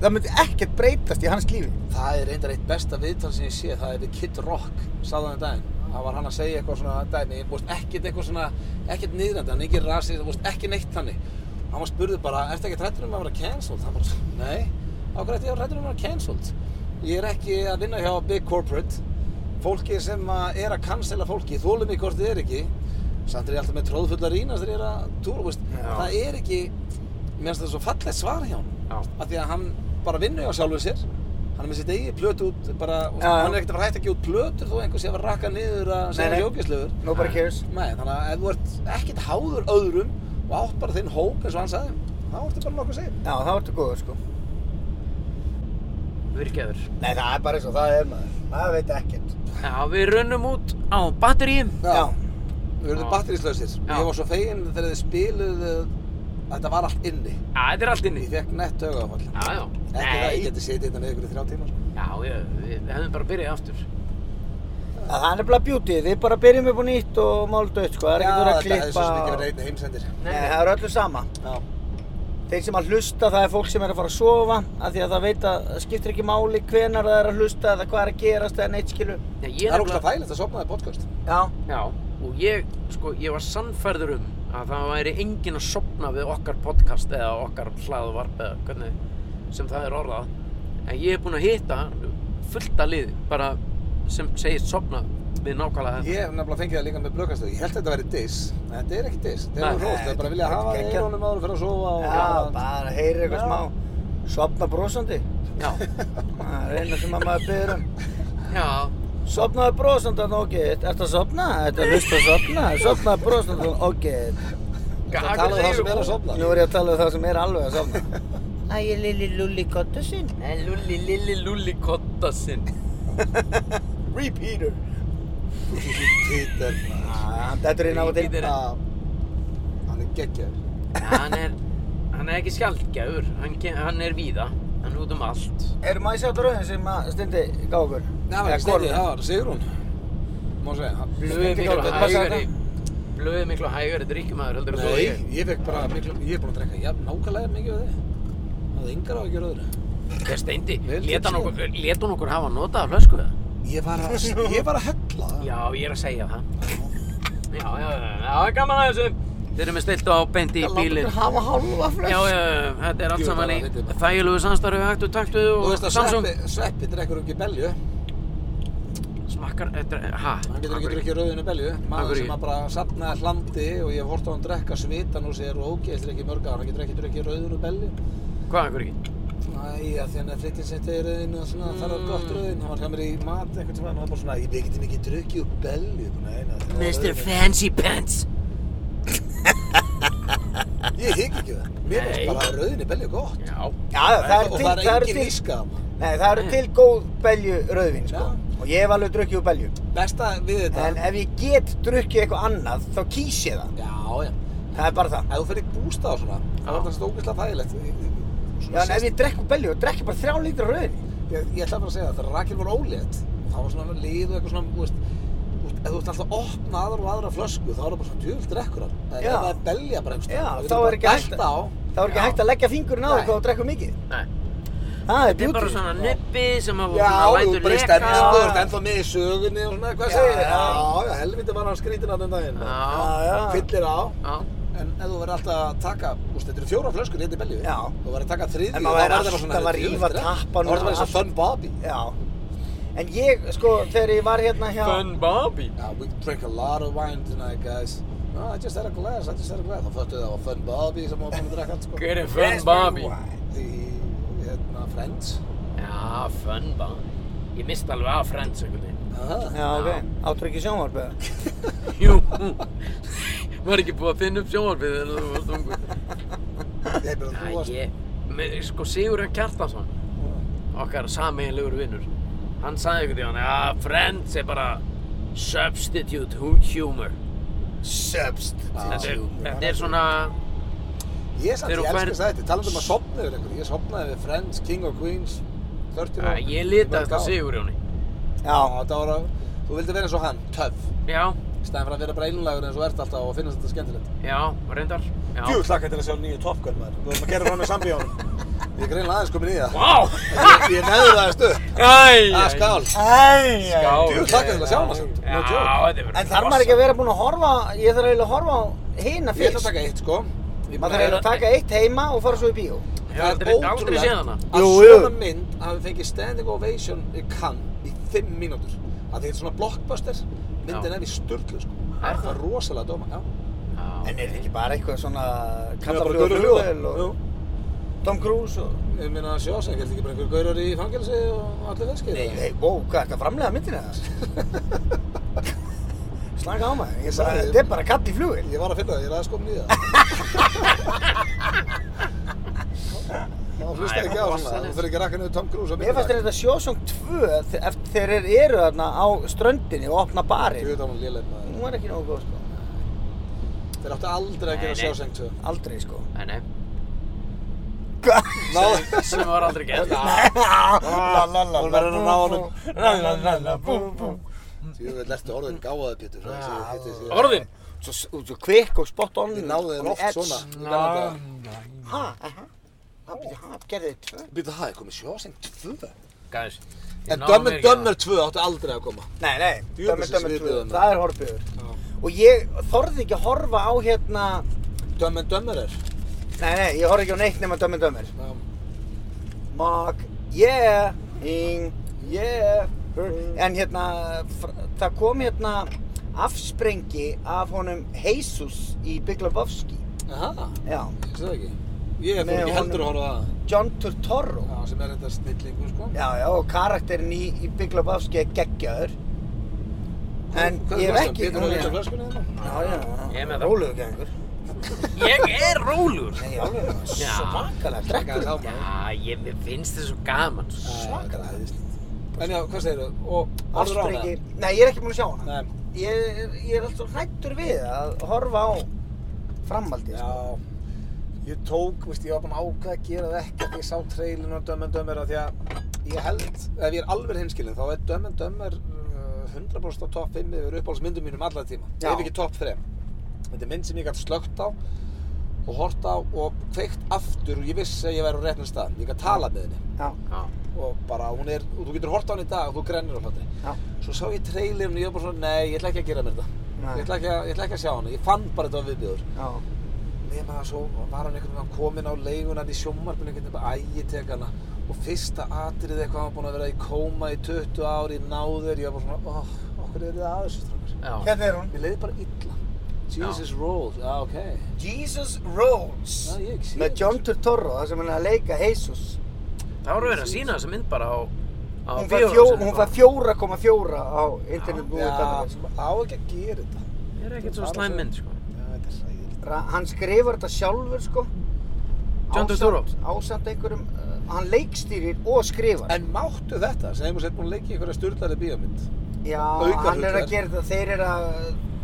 það myndi ekkert breytast í hans lífi. Það er reyndar eitt besta viðtal sem ég sé, það er við Kid Rock, sagði hann um daginn. Það var hann að segja eitthvað svona dæmi, ég búist ekkert eitthvað svona, ekkert niðrandi, hann er ekki rasið, það búist ekki neitt þannig. Hann var spurðið bara, ertu ekki trættur um að vera cancelled? Hann bara, svona, nei, á hverju ætti ég að vera trættur um að vera cancelled? Ég er ekki að vinna hjá Big Corporate, fólki sem að er að cancella fólki, þólum í hvort þið er ekki, samt er ég alltaf með tróðfullar rínast þegar ég er að túra, veist, það er ekki, mér finnst það svo fallegt svar hjá hann Já. af því að hann bara vinnur hjá sjálfur sér hann er með sitt eigi plötu út bara, Já, já. hann er ekkert að fara hægt að gefa út plötur þó einhver sé að fara að rakka niður að Nei, segja nei. sjókislegur Nobody cares. nei, þannig að ef þú ert ekkert háður öðrum og átt bara þinn hóp eins og hann sagði þá ertu bara nokkuð segir Já, það vartu góður sko. Virkaður. Nei, það er bara eins og það er maður. Það veit ekkert. Já, við runnum út á batteríum. Já. við Já. verðum batterislausir Já. ég var svo fegin þegar þið spiluðu að þetta var allt inni Já, þetta er allt inni. ég fekk nett tögafall Já, já. ekki það að ég Nei, geti setið þetta niður ykkur í þrjá tíma sko. já, ég, við við hefðum bara byrjað aftur. Að Það er nefnilega beauty, þið bara byrjum upp á nýtt og máldu upp sko, það er ekkert verið að þetta hefði svo klippa. sem ekki og- verið einni heimsendir Nei, það er öllu sama. já. Þeir sem að hlusta, það er fólk sem er að fara að sofa af því að það veit að það skiptir ekki máli hvenar það er að hlusta eða hvað er að gerast eða neitt skilu. Nei, ég það er nefnilega- ógst að þægilegt að sopnaði podcast Já. Já, og ég, sko, ég var sannfærður um að það væri enginn að sopna við okkar podcast eða okkar hlaðvarp eða hvernig sem það er orðað en ég hef búin að hitta fullt að liði bara sem segist sopna við nákvæmlega þetta Ég hef nefnilega fengið það líka með blökastöð. Ég held að þetta væri diss, en þetta er ekki diss. Þetta Nei. er róst, það er bara að vilja Þetta er hafa geggjað. eirónum áður fyrir að sofa og... Já, bara heyrir eitthvað smá. Sopna brosandi. Já, Það er eina sem að maður byrður um. já, Sopnaðu brosandi þannig ok, ertu að sopna? Ertu að hlusta að sopna? Sopnaðu brosandi þannig ok. Það talaðu það sem er að sofna. Nú um er ég að tala um það sem er alveg að sopna. Æ, ég lilli lulli kottu sinn. En lulli, lilli, lulli kotta sinn Repeater. Títir, Ah, Þetta er inn á og til. Repeater. hann er geggjaður. Hann er, hann er ekki skjaldgjafur hann, ke- hann er víða, hann er út um allt Eru maður sjá dröðin sem að stundi gá okkur? Nei, það var Eða ekki stendi, konur? það var Sigrún. Má segja, hann... Blöðu Steindi Gálvi, miklu passa hægari Blöðu miklu hægari drikkjumæður heldur en þú og Nei, ég ég fekk bara miklu... Ég er búinn að drekka jafn nákvæmlega mikið við þig. Það er yngra á ekki röður. Hver steindi, Vel leta hann hugsað. okkur, lét hann okkur hafa notað af flösku það? Ég var að... Ég var að hella það. Já, ég er að segja það. Já, já, já, já, það er gaman að þessu. Þeir eru með stilt á beint í bílinn. hafa hálfa Já, já, já, þetta er allt Jú, saman í það er fyndið. þægilegu samstarfi, hættu, taktu Þú og veist að Samsung. Sveppi, Sveppi drekkur ekki belju. Smakkar, þetta er, hæ? Hann getur ekki drukkið rauðinu belju. Af Maður hverju? sem að bara safnaði hlandi og ég hef hort á hann drekka svitan úr sér og ógeðist ekki mörg ára. Hann getur ekki drukkið rauðinu belju. Hvað, af hverju ekki? Æ, að því hann er flyttinn sem þetta er rauðinu og svona, það var gott rauðin. Hann var hjá mér í mat einhvern tíma og hann var bara svona, ég við getum ekki drukkið úr belju. Nei, nei, það var Mr. rauðinu. Fancy Pants. Ég higg ekki það. Mér Nei. finnst bara að rauðinu belju gott. Já, Já, já, það er og til, það er eru engin til, íska á maður. nei, það eru til góð belju rauðvin, sko. Já. Og ég hef alveg drukkið úr belju. Besta við En þetta, ef ég get drukkið eitthvað annað, þá kýs ég það. já, já. Það er bara það. Ef þú fyrir bústað og svona, þá er þetta stókislega þægilegt. Já, en ef ég drekk úr belju, þá drekk ég bara þrjá lítur rauðvin. Ég, ég ætla bara að segja það, þegar Rakel var ólétt, það var svona lið og eitthvað svona, þú veist, þú veist, ef þú ert alltaf að opna aðra og aðra flösku, þá er það bara svona djöfult rekkur hann. En Já. ef það er belja bara einhvers Já, staðar, þá er ekki hægt þá getur þú bara dælt á. Það er ekki hægt að leggja fingurinn á Nei. það hvað þú drekkur mikið. nei. Það er Þetta er bara beauty. svona nubbi sem að Já, svona þú lætur bara í leka. stemningu, þú ert ennþá með í sögunni og svona, hvað Já, segir þið? já. Já, já, helviti var hann skrítinn að þenn daginn. Já, Já, já. Fyllir á, já. en ef þú verður alltaf að taka, úst, þetta eru fjóra flöskur hérna í belju. Já. Þú verður að taka þriðju, En maður er alltaf að rífa tappann Þú verður bara og eins og Fun Bobby. Já. En ég, sko, þegar ég var hérna hjá... Fun Bobby. Yeah, we drink a lot of wine tonight, guys. No, I just had a glass, I just had a glass. Þá föttu það var Fun Bobby sem var búin að drekka allt, sko. Hver er Fun Bobby? Í, hérna, Friends. Já, Fun Bobby. Ég misti alveg af Friends einhvern veginn. Aha. Ah, Já, ok. Áttur ekki sjónvarpið? Jú. Var ekki búið að finna upp sjónvarpið þegar þú varst ungur. Ég meina, Já, þú varst... ég, með, sko Sigurðan Kjartansson, okkar sameiginlegur vinnur, hann sagði einhvern veginn, já, Friends er bara substitute hu- humor. Ah, Þetta er, þetta er svona, Ég samt, Þeir ég eru elskast færð- þetta, talandi um að sopna yfir einhverju, ég sopnaði við Friends, King of Queens, 30 að, ég litaðist að Sigurjóni. Já. Já, þetta var að, þú vildi vera eins og hann, töff, Já, stæðan fyrir að vera bara einlagur eins og ert alltaf og finnast þetta skemmtilegt. já, reyndar, já. Djú, hlakka til að sjá nýju Top Gun maður, þú erum að gera hann með sambíónum. Ég er greinlega aðeins komin í það. Vá! Ég, ég neður það stuð. Æj! Það er Ah, skál. Æj, æj. Djú, hlakka til að sjá hann samt. Já, No joke. þetta er verið En þarf maður ekki að vera búinn að horfa, ég þarf eiginlega að horfa á hina Ég ætla fyrst. að taka eitt sko. Ég Maður þarf eiginlega að taka eitt heima og fara svo í bíó. Já, þetta er aldrei séð hana. að Jú, svona jú. mynd hafi fengið standing ovation í Cannes í fimm mínútur. Að þetta er svona blockbuster, Já. myndin er í sturglu sko. Er Það það? er rosalega dóma, já. En er þetta ekki bara eitthvað svona Bara kallafljóð og gaurur í fljóðvel flugvél og Tom Cruise og... Ég meina sjóseng, heldur ekki bara einhver gaurar í fangelsi og allir feskir? Nei, nei, wow, hvað, ertu að framlega myndina það? Slanga á maður, ég bara, þetta er bara kall í fljóðvel. Ég var að finna það, ég er aðeins komin í það. Má hlusta Nei, ekki á svona, rosalegt. þú fyrir ekki að rakka niður Tom Cruise á Mér fannst þetta Sjósong 2 þe- eftir þegar þeir eru þarna á ströndinni og opna Ég barinn. veit að hún léleg maður. Hún var ekki nógu góð, sko. Þeir áttu aldrei að Nei, gera nei. sjóseng 2. Aldrei, sko. Nei, nei, Hvað? Náðu. sem var aldrei gert. La la la Hún la verður að ná honum. La la la la bú bú Þú veit, lertu orðin gáðaði Pétur. það sé- þetta er- Orðin? Svo, svo kvikk og spot on Þið náðu þeir on oft edge. svona. í gamla daga. Ha, aha Ha, býttu, ha, gerðu þið tvö? Býta það, er komið sjóseng 2? Gæðis. En Dumb and Dumber 2 áttu aldrei að koma. Nei, nei, Jú, dömur, þessi dömur tvö svipuðu þarna. Það er horfbjöður Og ég þorði ekki að horfa á hérna Dumb and Dumber er. Nei, nei, ég horfði ekki á neitt nema dömur, dömur Já. Mark, yeah, ing, yeah burn. En hérna, fr- það kom hérna afsprengi af honum Jesus í Big Lebowski Aha, Já, ég sé það ekki. Ég fór Nei, ekki heldur að honum- horfa á það. John Turturro Já, sem er þetta snillingu, sko. Já, já, og karakterin í, í Big Lebowski er geggjaður. En Hvað ég hef er flaskan? ekki... Pétur er ekki á Já, flaskunni þarna? já, já. Ég er með það. Rólegur gengur. Ég er rólugur. Nei, alveg, það var Já. svo makalega. Drekkur Taka það? það á maður. Já, ég mér finnst þetta svo gaman. sko. svo. Svakalega æðislegt. En já, hvað segirðu? Og horfður á Ástbrengi. hana? Nei, ég er ekki búinn að sjá hana. Nei. Ég, er- ég er alltaf hrættur við að horfa á framhaldið. Já. sko. Ég tók, veist, ég var búinn að ákveða að gera það ekki að ég sá trailinu og Dumb and Dumber af því að ég held, ef ég er alveg hinskilin, þá er Dumb and Dumber uh, 100% á topp 5 yfir uppáhaldsmyndum mínum alla tíma. Já. Ef ekki topp 3. Þetta er mynd sem ég gæti slögt á og hort á og kveikt aftur og ég vissi að ég væri á réttum stað. Ég gæti talað með henni. Já, Já. og bara hún er, og þú getur hort á hann í dag og þú grennir á hlátri. Já. Svo sá ég trailerinn og ég var bara svona, nei, ég ætla ekki að gera mér þetta. Nei. Ég ætla, ekki að, ég ætla ekki að sjá hana, ég fann bara þetta var viðbjöður. sko. já. Nefna það svo, var hann einhvern veginn kominn á leigunan í sjómarfinu, einhvern veginn bara ægi tek hana. Og fyrsta atrið eitthvað, hann var búinn að vera í kóma í 20 ár, ég náði þér, ég var bara svona, óh, okkur er þið aðeins, strákar. Já. Hérna er hún. Mér leiði bara illa. Jesus Rolls, já, ok. Jesus Rolls. Já, ég ekki sé Með þetta. John Turturro, það sem hann er að leika Jesus. Það voru verið að sína þessa mynd bara á, á Hún fær bíóinu fjó- sinni, hún bara. fær 4,4 á internetbúið Já, sem á ekki að gera þetta. Það er ekkert svo slæm mynd, sko. Já, þetta er hræðilegt. sko. Ra- hann skrifar þetta sjálfur sko John Turturro? Ásamt- ásamt einhverjum uh, hann leikstýrir og skrifar En máttu þetta, segjum við sér búin að leikja í einhverja styrlari bíómynd já, aukahlutverk. hann er að gera þetta þeir eru að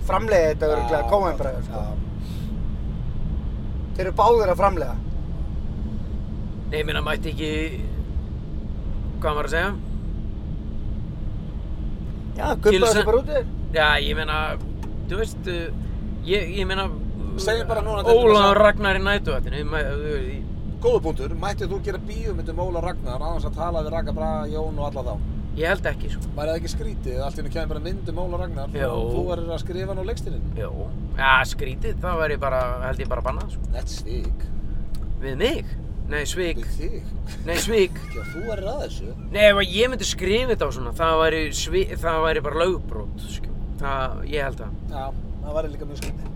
framlega þetta örgulega kóenbræður sko þeir eru báðir að framlega Nei, ég minna mætti ekki... Hvað maður að segja? já, gubbaðu Gilsen- þessu bara út í þér Já, ég meina, þú veist, uh, ég, ég meina... Segjum bara núna, þetta er Ólaður bara- Ragnar í nætuvættinu, góðu punktur, mættið þú gera bíómynd um Óla Ragnar aðeins að tala við Raka Braga, Jón og alla þá? Ég held ekki, sko. Var það ekki skrítið, allt í hennu kemur bara mynd um Óla Ragnar Jó. og þú verður að skrifa hann á leikstirinn? Jó. Já, skrítið, það væri bara, held ég bara bannað, sko. Þetta er svík, Við mig? Nei, svík. við þig, Nei, svík. ekki að þú verður að þessu. Nei, ef að ég myndi skrifa þetta á svona, það væri, svi, það væri bara lögbrót, sko. Það, ég held það. Já, það var líka mjög skrítið.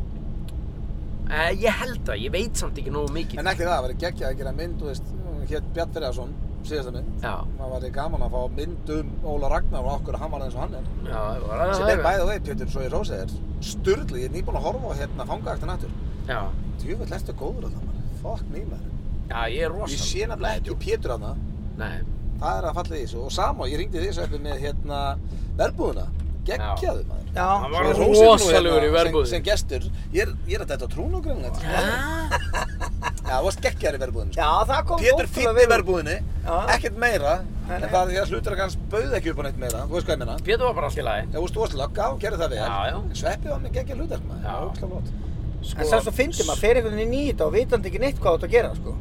Eh, ég held það, ég veit samt ekki nógu mikið. En ekki það, það verður geggjað að gera mynd, þú veist, hér Bjart Ferjarsson, síðasta mynd. Já, Það væri gaman að fá mynd um Óla Ragnar og okkur að hann var eins og hann er. já, það var Ah, aðeins Sem er bæðið vei, Pétur, svo ég rósi þér. Sturlu, ég er nýbúinn að horfa á hérna fangaaktan aftur. Já, Djúvill, ertu góður alltaf, maður. Fuck me, maður. já, ég er Ég rosalega. sé nefnilega ekki Pétur aðna. Nei, Það er að falla í þessu. Og sama, ég ringdi þessu eftir með hérna verbúðuna. Geggjaðu, maður. Já, hann Svo var ég hrósi þér nú rosalegur í hérna verbúðin. Sem, sem gestur. Ég er, ég er að þetta trún og grunn. Já, þú varst geggjaður í verbúðinu. já það kom Pétur ótrúlega fýtt vel í út. verbúðinni, Já. ekkert meira, Nei, en nei. það er hlutur að hans bauð ekki upp á neitt meira, þú veist hvað ég menna. Pétur var bara allt í lagi. Ef þú veist, þú varst lögga og gerði það vel, Já, já. en Sveppi var með geggja hlutark maður, það Já. var ógslag flott. En samt svo fyndið maður, fer einhvern veginn í þetta og vitandi ekki neitt hvað þú átt að gera, sko.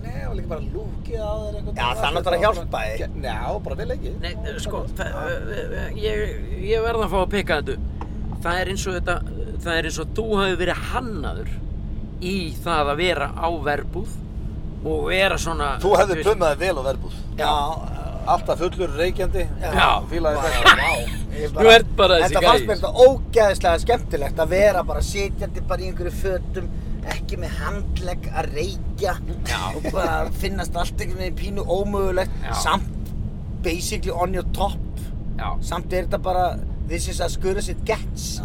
Nei, það var líka bara lúkið á þér einhvern Já, það er náttúrulega hjálpaði. Já, bara vel ekki. Nei, eh, sko, það, eh, eh, ég, ég verða að fá að pikka þetta. Það er eins og þetta, það er eins og þú hafi verið hannaður í það að vera á verbúð og vera svona... Þú hefði veist- plummaði vel á verbúð. Já, Alltaf fullur, reykjandi, Já. fílaði þetta. ég Þú ert bara þessi Þetta fannst gæi. mér þetta ógæðislega skemmtilegt að vera bara sitjandi bara í einhverju fötum, ekki með handlegg að reykja og bara finnast allt einhvern veginn pínu ómögulegt, Já. samt basically on your top, Já, samt er þetta bara this is as good as it gets.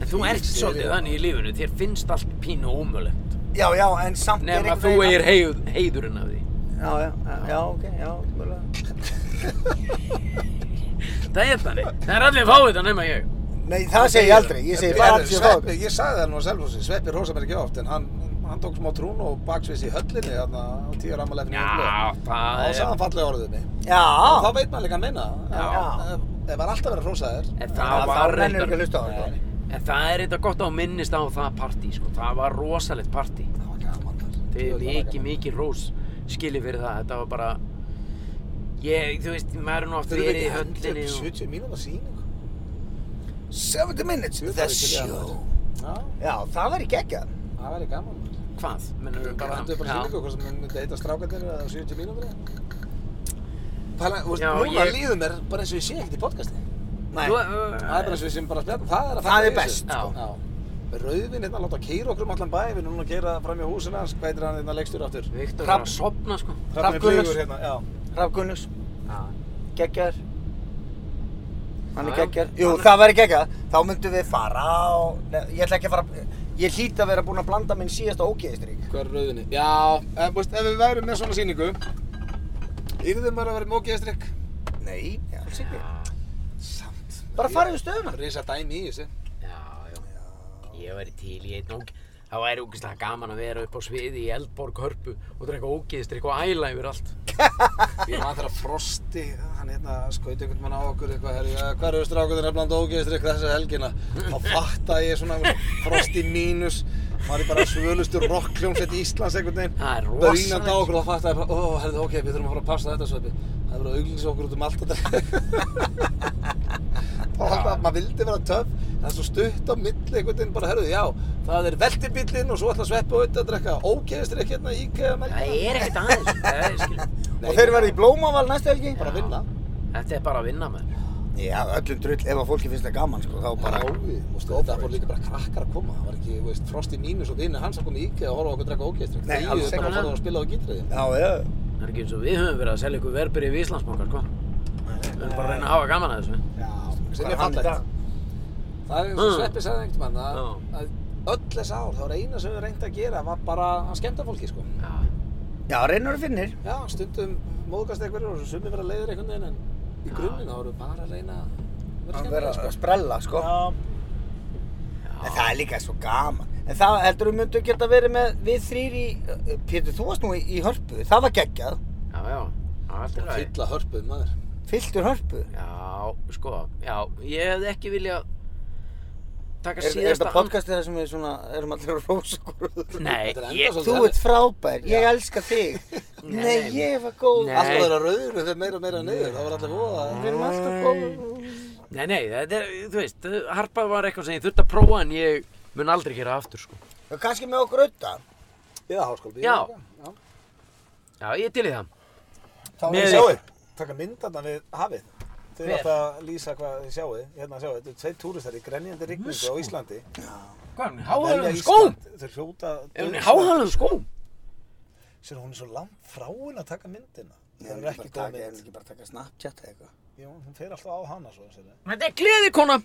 en þú ert Fílík svolítið sería. þannig í lífinu, þér finnst allt pínu ómögulegt. Já, já, en samt er Nefn einhvern að þú veginn- eigir heiður, heiðurinn af því. Já, já, já, ok, já, mögulega. Það er þannig. Það er allir fáið það nema ég. Nei, það segi ég aldrei, ég segi bara allt sem þá. Sveppi, ég sagði það nú að Selfossi, Sveppi rosa mér ekki oft, en hann, hann tók smá trún og baksvis í höllinni, þarna á tíu rammalefni. Já, það Og er... sagði hann fallega orðið mig. Já. þá veit maður líka að meina það. Já. Ef- ef maður er alltaf verið að hrósa þér En Já, það þá var nennirðu reyndar- ekki að hlusta á það, sko. Nei. En það er eitthvað gott að minnist á það partí, sko. Það var rosalegt partí. það var gaman þar Þið er Djöfull var mikið, gaman. mikið rós skilið fyrir það. Þetta var bara... Ég, þú veist, maður er nú oft Þurfum verið ekki í höllinni höndlinni og... 70 mínúna sýning 70 minutes, Djöfull the væri til í það, maður. show. já, Já, það væri geggjað. það væri gaman maður. Hvað? Mennum við bara bara... hendur upp á Já. sýningu hvort sem hún myndi heita strákarnir eða 70 mínúna Pæla, þú veist, Já, núna ég- líður mér bara eins og ég sé ekkert í podcasti Nei. Þú, uh, það er bara eins og ég sem bara spjall það er að Það fara er best, sko. Rauðin hérna að láta keira okkur um allan bæ við erum núna að keira fram hjá húsina hans hvað heitir hann hérna leikstur áttur Viktor var Hrafn- að sopna, sko. Hrafn Gunnars. hérna, já Raf Gunnus, geggjar Hann Já, er já. geggjar Jú, það væri geggjað Þá myndum við fara á Nei, Ég ætla ekki að fara Ég hlýt að vera búinn að blanda minn síðasta ógeðistrík Hvað er rauðinni? Já, ef, þú veist, ef við værum með svona sýningu Yrðum maður að vera mókiðastrykk Nei, alls ekki Samt Bara farið við stöðuna Risa dæmi í þessu Já, já. Ég væri til í einn og... Það væri ógeðslega gaman að vera upp á sviði í Eldborg hörpu og drekka ógeðstrykk og æla yfir allt. Ég man þegar Frosti, hann hérna skaut einhvern mann á okkur eitthvað herri, ja, Hver eru strákuðin er bland ógeðastrykk þessa helgina Þá fatta ég svona Frosti mínus Var ég bara svölustu rockljónsett Íslands einhvern veginn Það er Bönand rosalegt. á okkur og þá fatta ég bara Ó, herði, ok, við þurfum að fara að passa þetta sveppi Það er verið að auglýsa okkur út um allt að Þá haldið að maður vildi vera töff Það er svo stutt á milli einhvern veginn bara, herðu, já Það er veltibillinn og svo ætla sveppi og auðvitað að drekka Ógeðastrykk hérna í IKEA um Það helgina. er ekkert aðeins. Það er, skil, Nei, Og þeir verði í blómaval næstu helgi bara að vinna þetta er bara að vinna með. Já, öllum drull Ef að fólki finnst það gaman, sko Þá bara Jói, og stóð það fór líka bara krakkar að koma það var ekki, þú veist, Frosti Mínus og vinni hans að koma í IKEA og horfa á okkur að drekka ógeðstrykk Nei, það alls er bara ekki. að fara að spila á gítriðin Já, já Það er ekki eins og við höfum verið að selja ykkur verbrið í Íslandsbanka, sko. Við höfum bara að reyna að hafa gaman að þessu. Hvað sem er er hann í dag? fallegt það er eins og Mm. Sveppi sagði einhvern mann að, Já. að öll þess ár, þá er eina sem við reyndi að gera var bara að skemmta fólki sko Já, Já, reynur að finnir já, stundum móðgast einhverjir og sumi vera leiðir einhvern veginn en í grunninn þá erum við bara að reyna að Að vera skemmtileg vera sko að sprella, sko En það er líka svo gaman En það heldur við myndum geta verið með Við þrýr í uh, Pétur, þú varst nú í, í hörpu Það var geggjað já, já. Það er allt í lagi. fylla hörpuð maður Fylltur hörpu Já, sko, já, ég hefði ekki viljað taka Er, er síðasta þetta podcastið þar sem við svona, erum allir að rósa okkur? Nei, Þetta er enda ég, svolítið Þú þannig. ert frábær, ég elska þig. Nei, ég var góð. Nei. Alltaf þeirra rauður og þeir meira og meira niður, það var allir voða. Við erum alltaf góð. nei, nei, þetta er, þú veist, harpað var eitthvað sem ég þurfti að prófa en ég mun aldrei gera aftur, sko. Og kannski með okkur auðvitað. Já, háskólabíó. Já. Já, ég er til í það. Þá Með- við sjáum, taka myndarna við hafið. Þau eru Hver? alltaf að lýsa hvað þið sjáuð, hérna sjáuð, þetta eru tveir túristar í grenjandi rigningu á Íslandi. Hvað er hún í Velja háhælum skóm? Ísland, Þau hljóta... Er hún í háhælum skóm? Sér hún er svo langt frá henn að taka myndina. Ég Það er er ekki ekki bara góð taka, mynd. ekki bara taka Snapchat eða eitthvað. Jú, hún fer alltaf á hana svo, sér það. Þetta er gleðikona.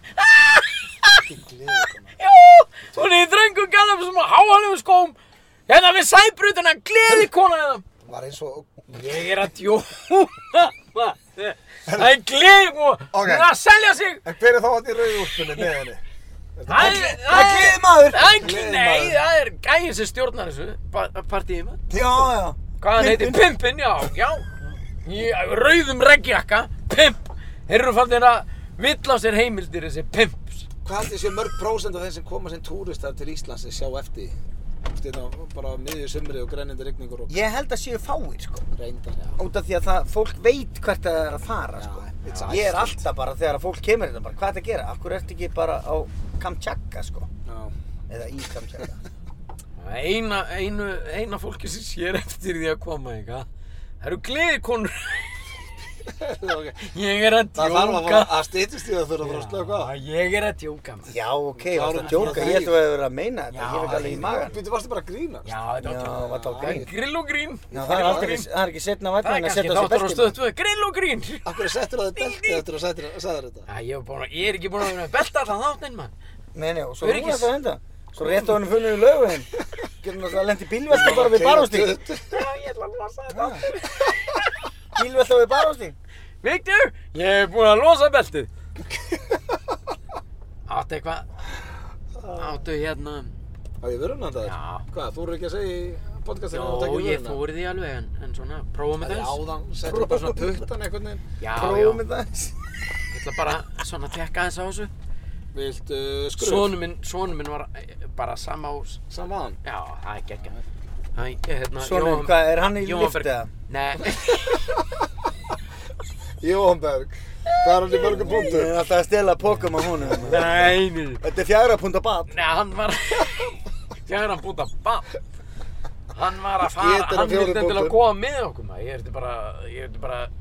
Ekki gleði koma. Jú, hún er í þröngu gæðum sem á háhælum skóm. Hérna við sæbrutina, gleðikona eða. Var eins og... Ég er að djóna. maður. Það er gleðikona. Hún er að selja sig. En hver er þá hann í rauðu úlpunni með henni? Það er- það er gleðimaður. Það er Gleðimaður. Nei, það er gæðin sem stjórnar þessu pa- partíi maður. Já, já. Hvað hann heitir? Pimpin, já, já. Í rauðum regnjakka, pimp. Þeir eru fannir að vill á sér heimildir þessi pimps. Hvað haldið séu mörg prósent af þeir sem koma sem túristar til Íslands sem sjá eftir? Þetta bara á miðju sumri og grennindi rigningur og Ég held að séu fáir, sko. reyndar, já. Út af því að það, fólk veit hvert það er að fara, Já, sko. it's Ég er Iceland. alltaf bara, þegar að fólk kemur hérna, bara, hvað er þetta að gera? Akkur ertu ekki bara á Kamchatka, sko? Já. Eða í Kamchatka. Eina, einu, eina fólki sem sér eftir því að koma, eitthvað. Það eru gleðikonur. okay. Ég er að Það þarf að fara djóka. að stýttist í það þurfa að fara að slöka á. Ég er að djóka maður. Já, ok, varstu Klárum að djóka, þetta ég í- held að þú hefur verið að meina þetta, ég hef ekki alveg í magan. Býttu, varstu bara að grína? Já, þetta var Já, djóka. þetta var grín. Grill og grín. Já, það er aldrei, það er ekki setna Það er vænna en að kannski setja á sig þáttur á beltið. stöðtu. Grill og grín. Akkur er settur að þetta belti eftir að settur að sagður þetta? Já, ég, er búinn að- ég er ekki búin að vera að belta allan þáttinn, mann. Nei, nei, og svo Öryggis. rúið þetta enda. Svo rétt á henni funnum við lögu henn. Getur náttúrulega lendi bílvelta bara við barhústing. Já, ég ætla að losa þetta aftur. Bílvelta við barhústing. Viktor, ég hef búin að losa beltið. Áttu eitthvað? Áttu hérna? Það er vörunandaður. Já. Hvað, þú eru ekki að segja í podcastinu að Jó, taka ég vöruna? fór í því alveg, en, en svona, prófa með Það er þess. áðan, settur bara svona puttan einhvern veginn. Já, já, Prófum við það. ég ætla bara svona að tekka þess á þessu. Viltu skröf? Sónu minn, sónu minn var eh, bara sama á, s- Saman. já, það er geggja. Hæ, hérna, Svonum, Jóhann- hvað, er hann í Jóhann lift Berg- eða? Nei, Jóhanberg. Hvað er hann í mörgum Ég punktum? er alltaf að stela pokum á honum. maður. nei, nei. Þetta er fjara pund á bat. Nei, hann var Þegar hann búið að bap Hann var að Ég fara er Hann fjórir vildi til að punktur. koma með okkur maður. Ég ertu bara Ég ertu bara að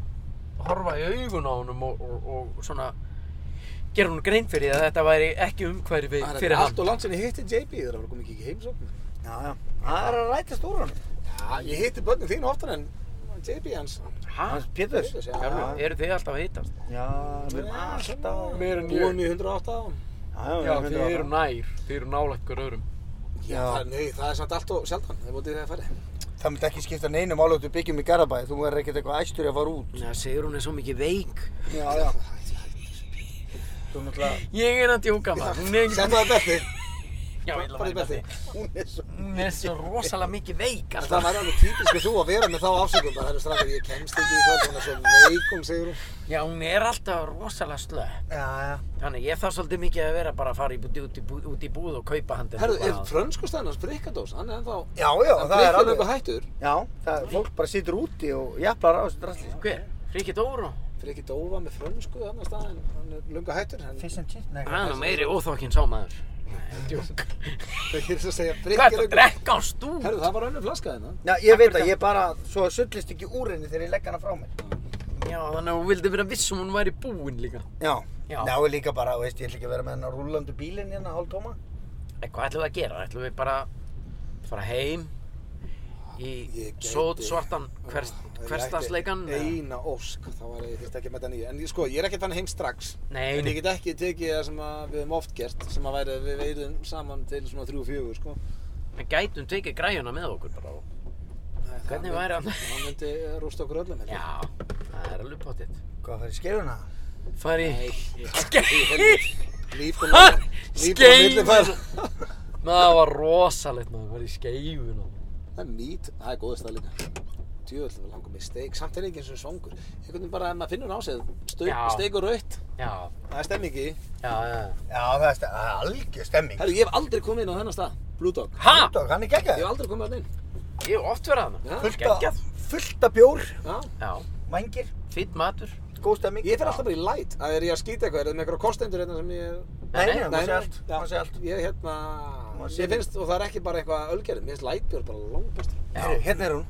Horfa í augun á honum og, og, og svona Gera hún grein fyrir því að þetta væri ekki umhverfi Það er fyrir hann allt og langt sinni hitti JB þegar það var komið ekki í heimsókn. Já, já. Það er að rætast úr honum. Já, ég hitti börnin þín oftar en JB hans. Hæ? Hans Péturs. Péturs, já. já. Eru þið alltaf að hittast? Já, við erum alltaf. Meira en ég. Búin í 108 á. Já, já, við Já, þið erum hundrað eru ára. nær Þið eru nálægt hver öðrum Já. það- Nei, það er samt allt og sjaldan. Það er búin í það að fara. Það myndi ekki skipta neinu máli út við byggjum í Garabæði, þú er ekkert eitthvað æstur í að fara út. Það segir hún er svo mikið veik Já, já. Þú náttúrulega... Ég er að djóka maður Hún er ekki Sett það að betti. Já, Bara í betti. Hún er svo... Hún er svo rosalega mikið veik En alltaf. það væri alveg típisku þú að vera með þá afsökum. Það er strafið, ég kemst ekki í kvöld, hún er svo veikum, segir hún. Já, hún er alltaf rosalega slöpp Já, já. Þannig ég þarf svolítið mikið að vera bara að fara í, út, í- út, í bú- út í búð og kaupa handið. Herðu, er frönskustæðin hans Brickadós? Hann er ennþá... Já, já, hann það er alveg... Brickadós eitthvað hættur. Já, það, fólk bara situr úti og jafnlar á þessu drasli. sko. Hver? Friki Dóru? Frikki Dófa með frönsku þarna staðinn. Hann er lunga hættur. Hann Fish and chips? Nei. Það er nú meiri óþokkinn sá maður. Nei, djók. er hér að Hvað segja er Frikki þetta að drekka á stú? Herðu, það var önnur flaska þarna. Já, ég veit það, ég bara, svo að sullist ekki úr henni þegar ég legg hana frá mér. Já, þannig að hún vildi vera viss um hún væri búinn líka. Já. Já. Já, ég líka bara, veist, ég ætla ekki að vera með hennar rúlandu bílinn hérna, hálf tóma. En Eh, hvað ætlum við að gera? Ætlum við bara að fara heim í Ég gæti- sót svartan Ef ég hverstansleikan? ætti Eina ósk, þá var ég þurfti ekki að mæta nýja. En ég- sko, ég er ekkert fann heim strax. Nei, En ég nei. get ekki tekið það sem að við hefum oft gert, sem að væri að við veirum saman til svona 3-4, sko. við gætum tekið græjuna með okkur bara. og- Nei, það Hvernig myndi- væri hann? Það myndi rústa okkur öllum, held ég. Já, það er alveg pottitt. Hvað fyrir skeruna? Fari Nei, í... Líf kom Ha? að... Líf kom að milli færa. Maður, það var rosalegt maður, það var í skeifun og... Það er mít, það er góðist það líka. djöðl, við langum í steik, samt er ég ekki eins og svangur. Einhvern veginn bara, ef maður finnur á sig, steik, Já. steik og raut, Já, það er stemmingi. já, já. Já, það er, ste- það er algjör stemming. Herru, ég hef aldrei komið inn á þennan stað, Blue Dog. Ha? Dog, hann er Ég geggjað. hef aldrei komið hann inn. Ég hef oft verið hana. Já, Fullt af- geggjað. Fullt af bjór, já. Já, vængir, fýtt matur. góð stemming. Ég fyrir alltaf bara í light. Það er ég að skýta eitthvað, er það með einhverja kostendur hérna sem ég... Nei, nei, Nei, maður sé allt, já. maður sé allt. Ég, hérna, Maður sé- ég finnst, og það er ekki bara eitthvað ölgerðin, mér finnst lightbjörn bara langbestur. Herru, hérna er hún.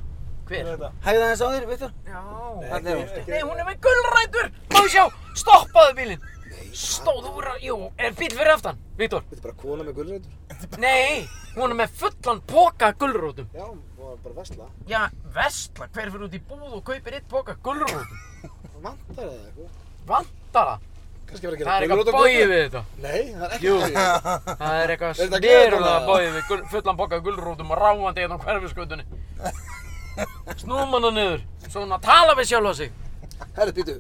Hver? Hægða þess á þér, Viktor. Já. Hérna er hún. Nei, hún er með gulrætur. Má ég sjá, stoppaðu bílinn. Stóð úr að, jú, er bíl fyrir aftan, Viktor. Þetta er bara kona með gulrætur. Nei, hún er með fullan póka af gulrótum. Já, og bara vesla. Já, vestla, hver fyrir út í búð og kaupir eitt póka af gulrótum? Vantar það eitthvað? Vantar það? Kannski verið að Það er gera eitthvað bóið við þetta. Nei, það er ekki bóið. Það er eitthvað Er þetta styrulega gleraugun, bóið við gul- fullan bóka af gulrótum og ráfandi hérna á hverfiskautunni. Snúum hana niður, svona tala við sjálfa sig. Herri, býtu.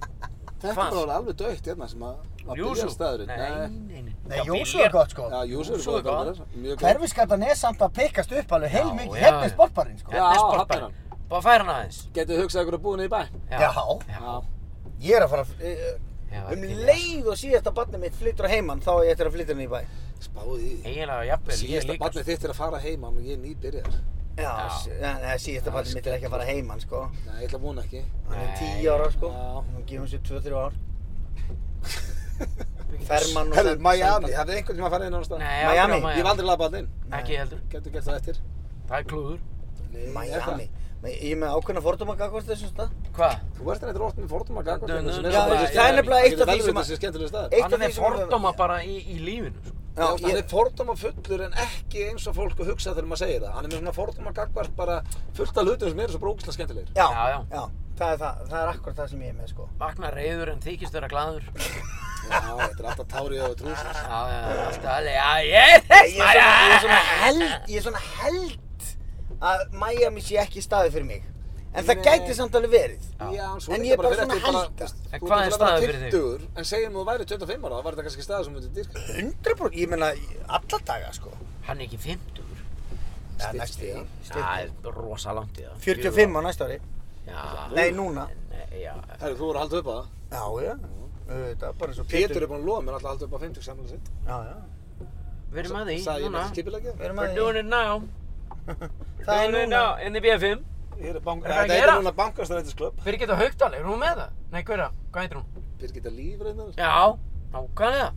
Þetta er Hvað? bara alveg dögt hérna sem að að Júsú? byrja staðurinn. Nei, nei, nei. Nei, Já, Jósu byrjar- er gott, sko. Já, Júsú er Júsú er góð góð. bæðar. Mjög góð. Hverfiskatan er samt að pikkast upp alveg heil Já, mikið, já, hérna er já. sportbarinn sko. Já. Hérna er hafnar sportbærin. Bara færa hana aðeins. Getið hugsað ykkur að búa niður í bæ? Já, Já. Ég er að fara, eh, Já, um til í það. leið og síðasta barnið mitt flyttur á heimann, þá á ég eftir að flytja henni í bæ. Spáði í því. Eiginlega jafnvel, ég Síðasta líka. sko. barnið þitt er að fara heim, hann og ég er nýbyrjar. Já, Já. s- ja, nei, síðasta barnið mitt er ekki að fara heimann sko. Nei, ég ætla að vona ekki. Hann er Nei. 10 ára sko, Já. hann gefur sér 2-3 ár. Fermann og Herri, send- Miami, senda- hafið einhvern tíma að fara inn á stað? Nei, Miami. aldrei á Ég hef aldrei labbað þarna inn. Ekki heldur. Getur gert það eftir. Það er klúður. er það? Miami. Nei, Ég er með ákveðna fordóma sko. gagvart þessum stað. Hvað? Þú ert reyndar oft með fordóma gagnvart Dun, hérna sem dun, dun, er svo bara- dun. Það er nefnilega eitt af Það því sem er að- þessi skemmtilega stað. Eitt Hann af því er sem við- fordóma bara í, í lífinu. sko. Já, Já, hann ég- er fordóma fullur en ekki eins og fólk að hugsa þegar maður segir það. Hann er með svona fordóma gagvart bara fullt af hlutum sem eru svo brókislega skemmtilegir. Já, Já, já. það er það, það er akkur það sem ég er með sko. Vakna reyður en þykist vera glaður. Já, þetta er alltaf tárið og trúsins. Já, já, alltaf alveg, já, ég er þess, Ég er svona, ég er svona held, ég er svona held að Miami sé ekki staði fyrir mig. En það Nei. gæti samt alveg verið. Já, svo En líka ég er bara fyrir svona eftir bara- helga. þú- En þú hvað ert er bara staður fyrir þig? 50, En segjum þú væri 25 ára, þá var þetta kannski staður sem þú myndir dyrka. 100% ég meina alla daga sko. Hann er ekki 50. Ja, Stytt næstu stig. því. Það er rosa langt í það. 45 á næsta ári. Já. Nei, núna. Nei, já. Herru, þú voru að halda upp á það. Já, já. Þetta er bara eins og Pétur er búinn að lofa mér alltaf að halda upp á 50 samlega sitt. Já, já. Við erum að því, Sagði ég núna. með skipilegja. Við erum We're að því. doing it now. Það er We're doing it núna. now in the BFM. Þetta er bank- Er það að Þetta er gera? núna bankastrætisklub. Birgitta Haugdal, er hún með það? Nei, hverja? Hvað heitir hún? Birgitta Líf reyndar. Já, nákvæmlega.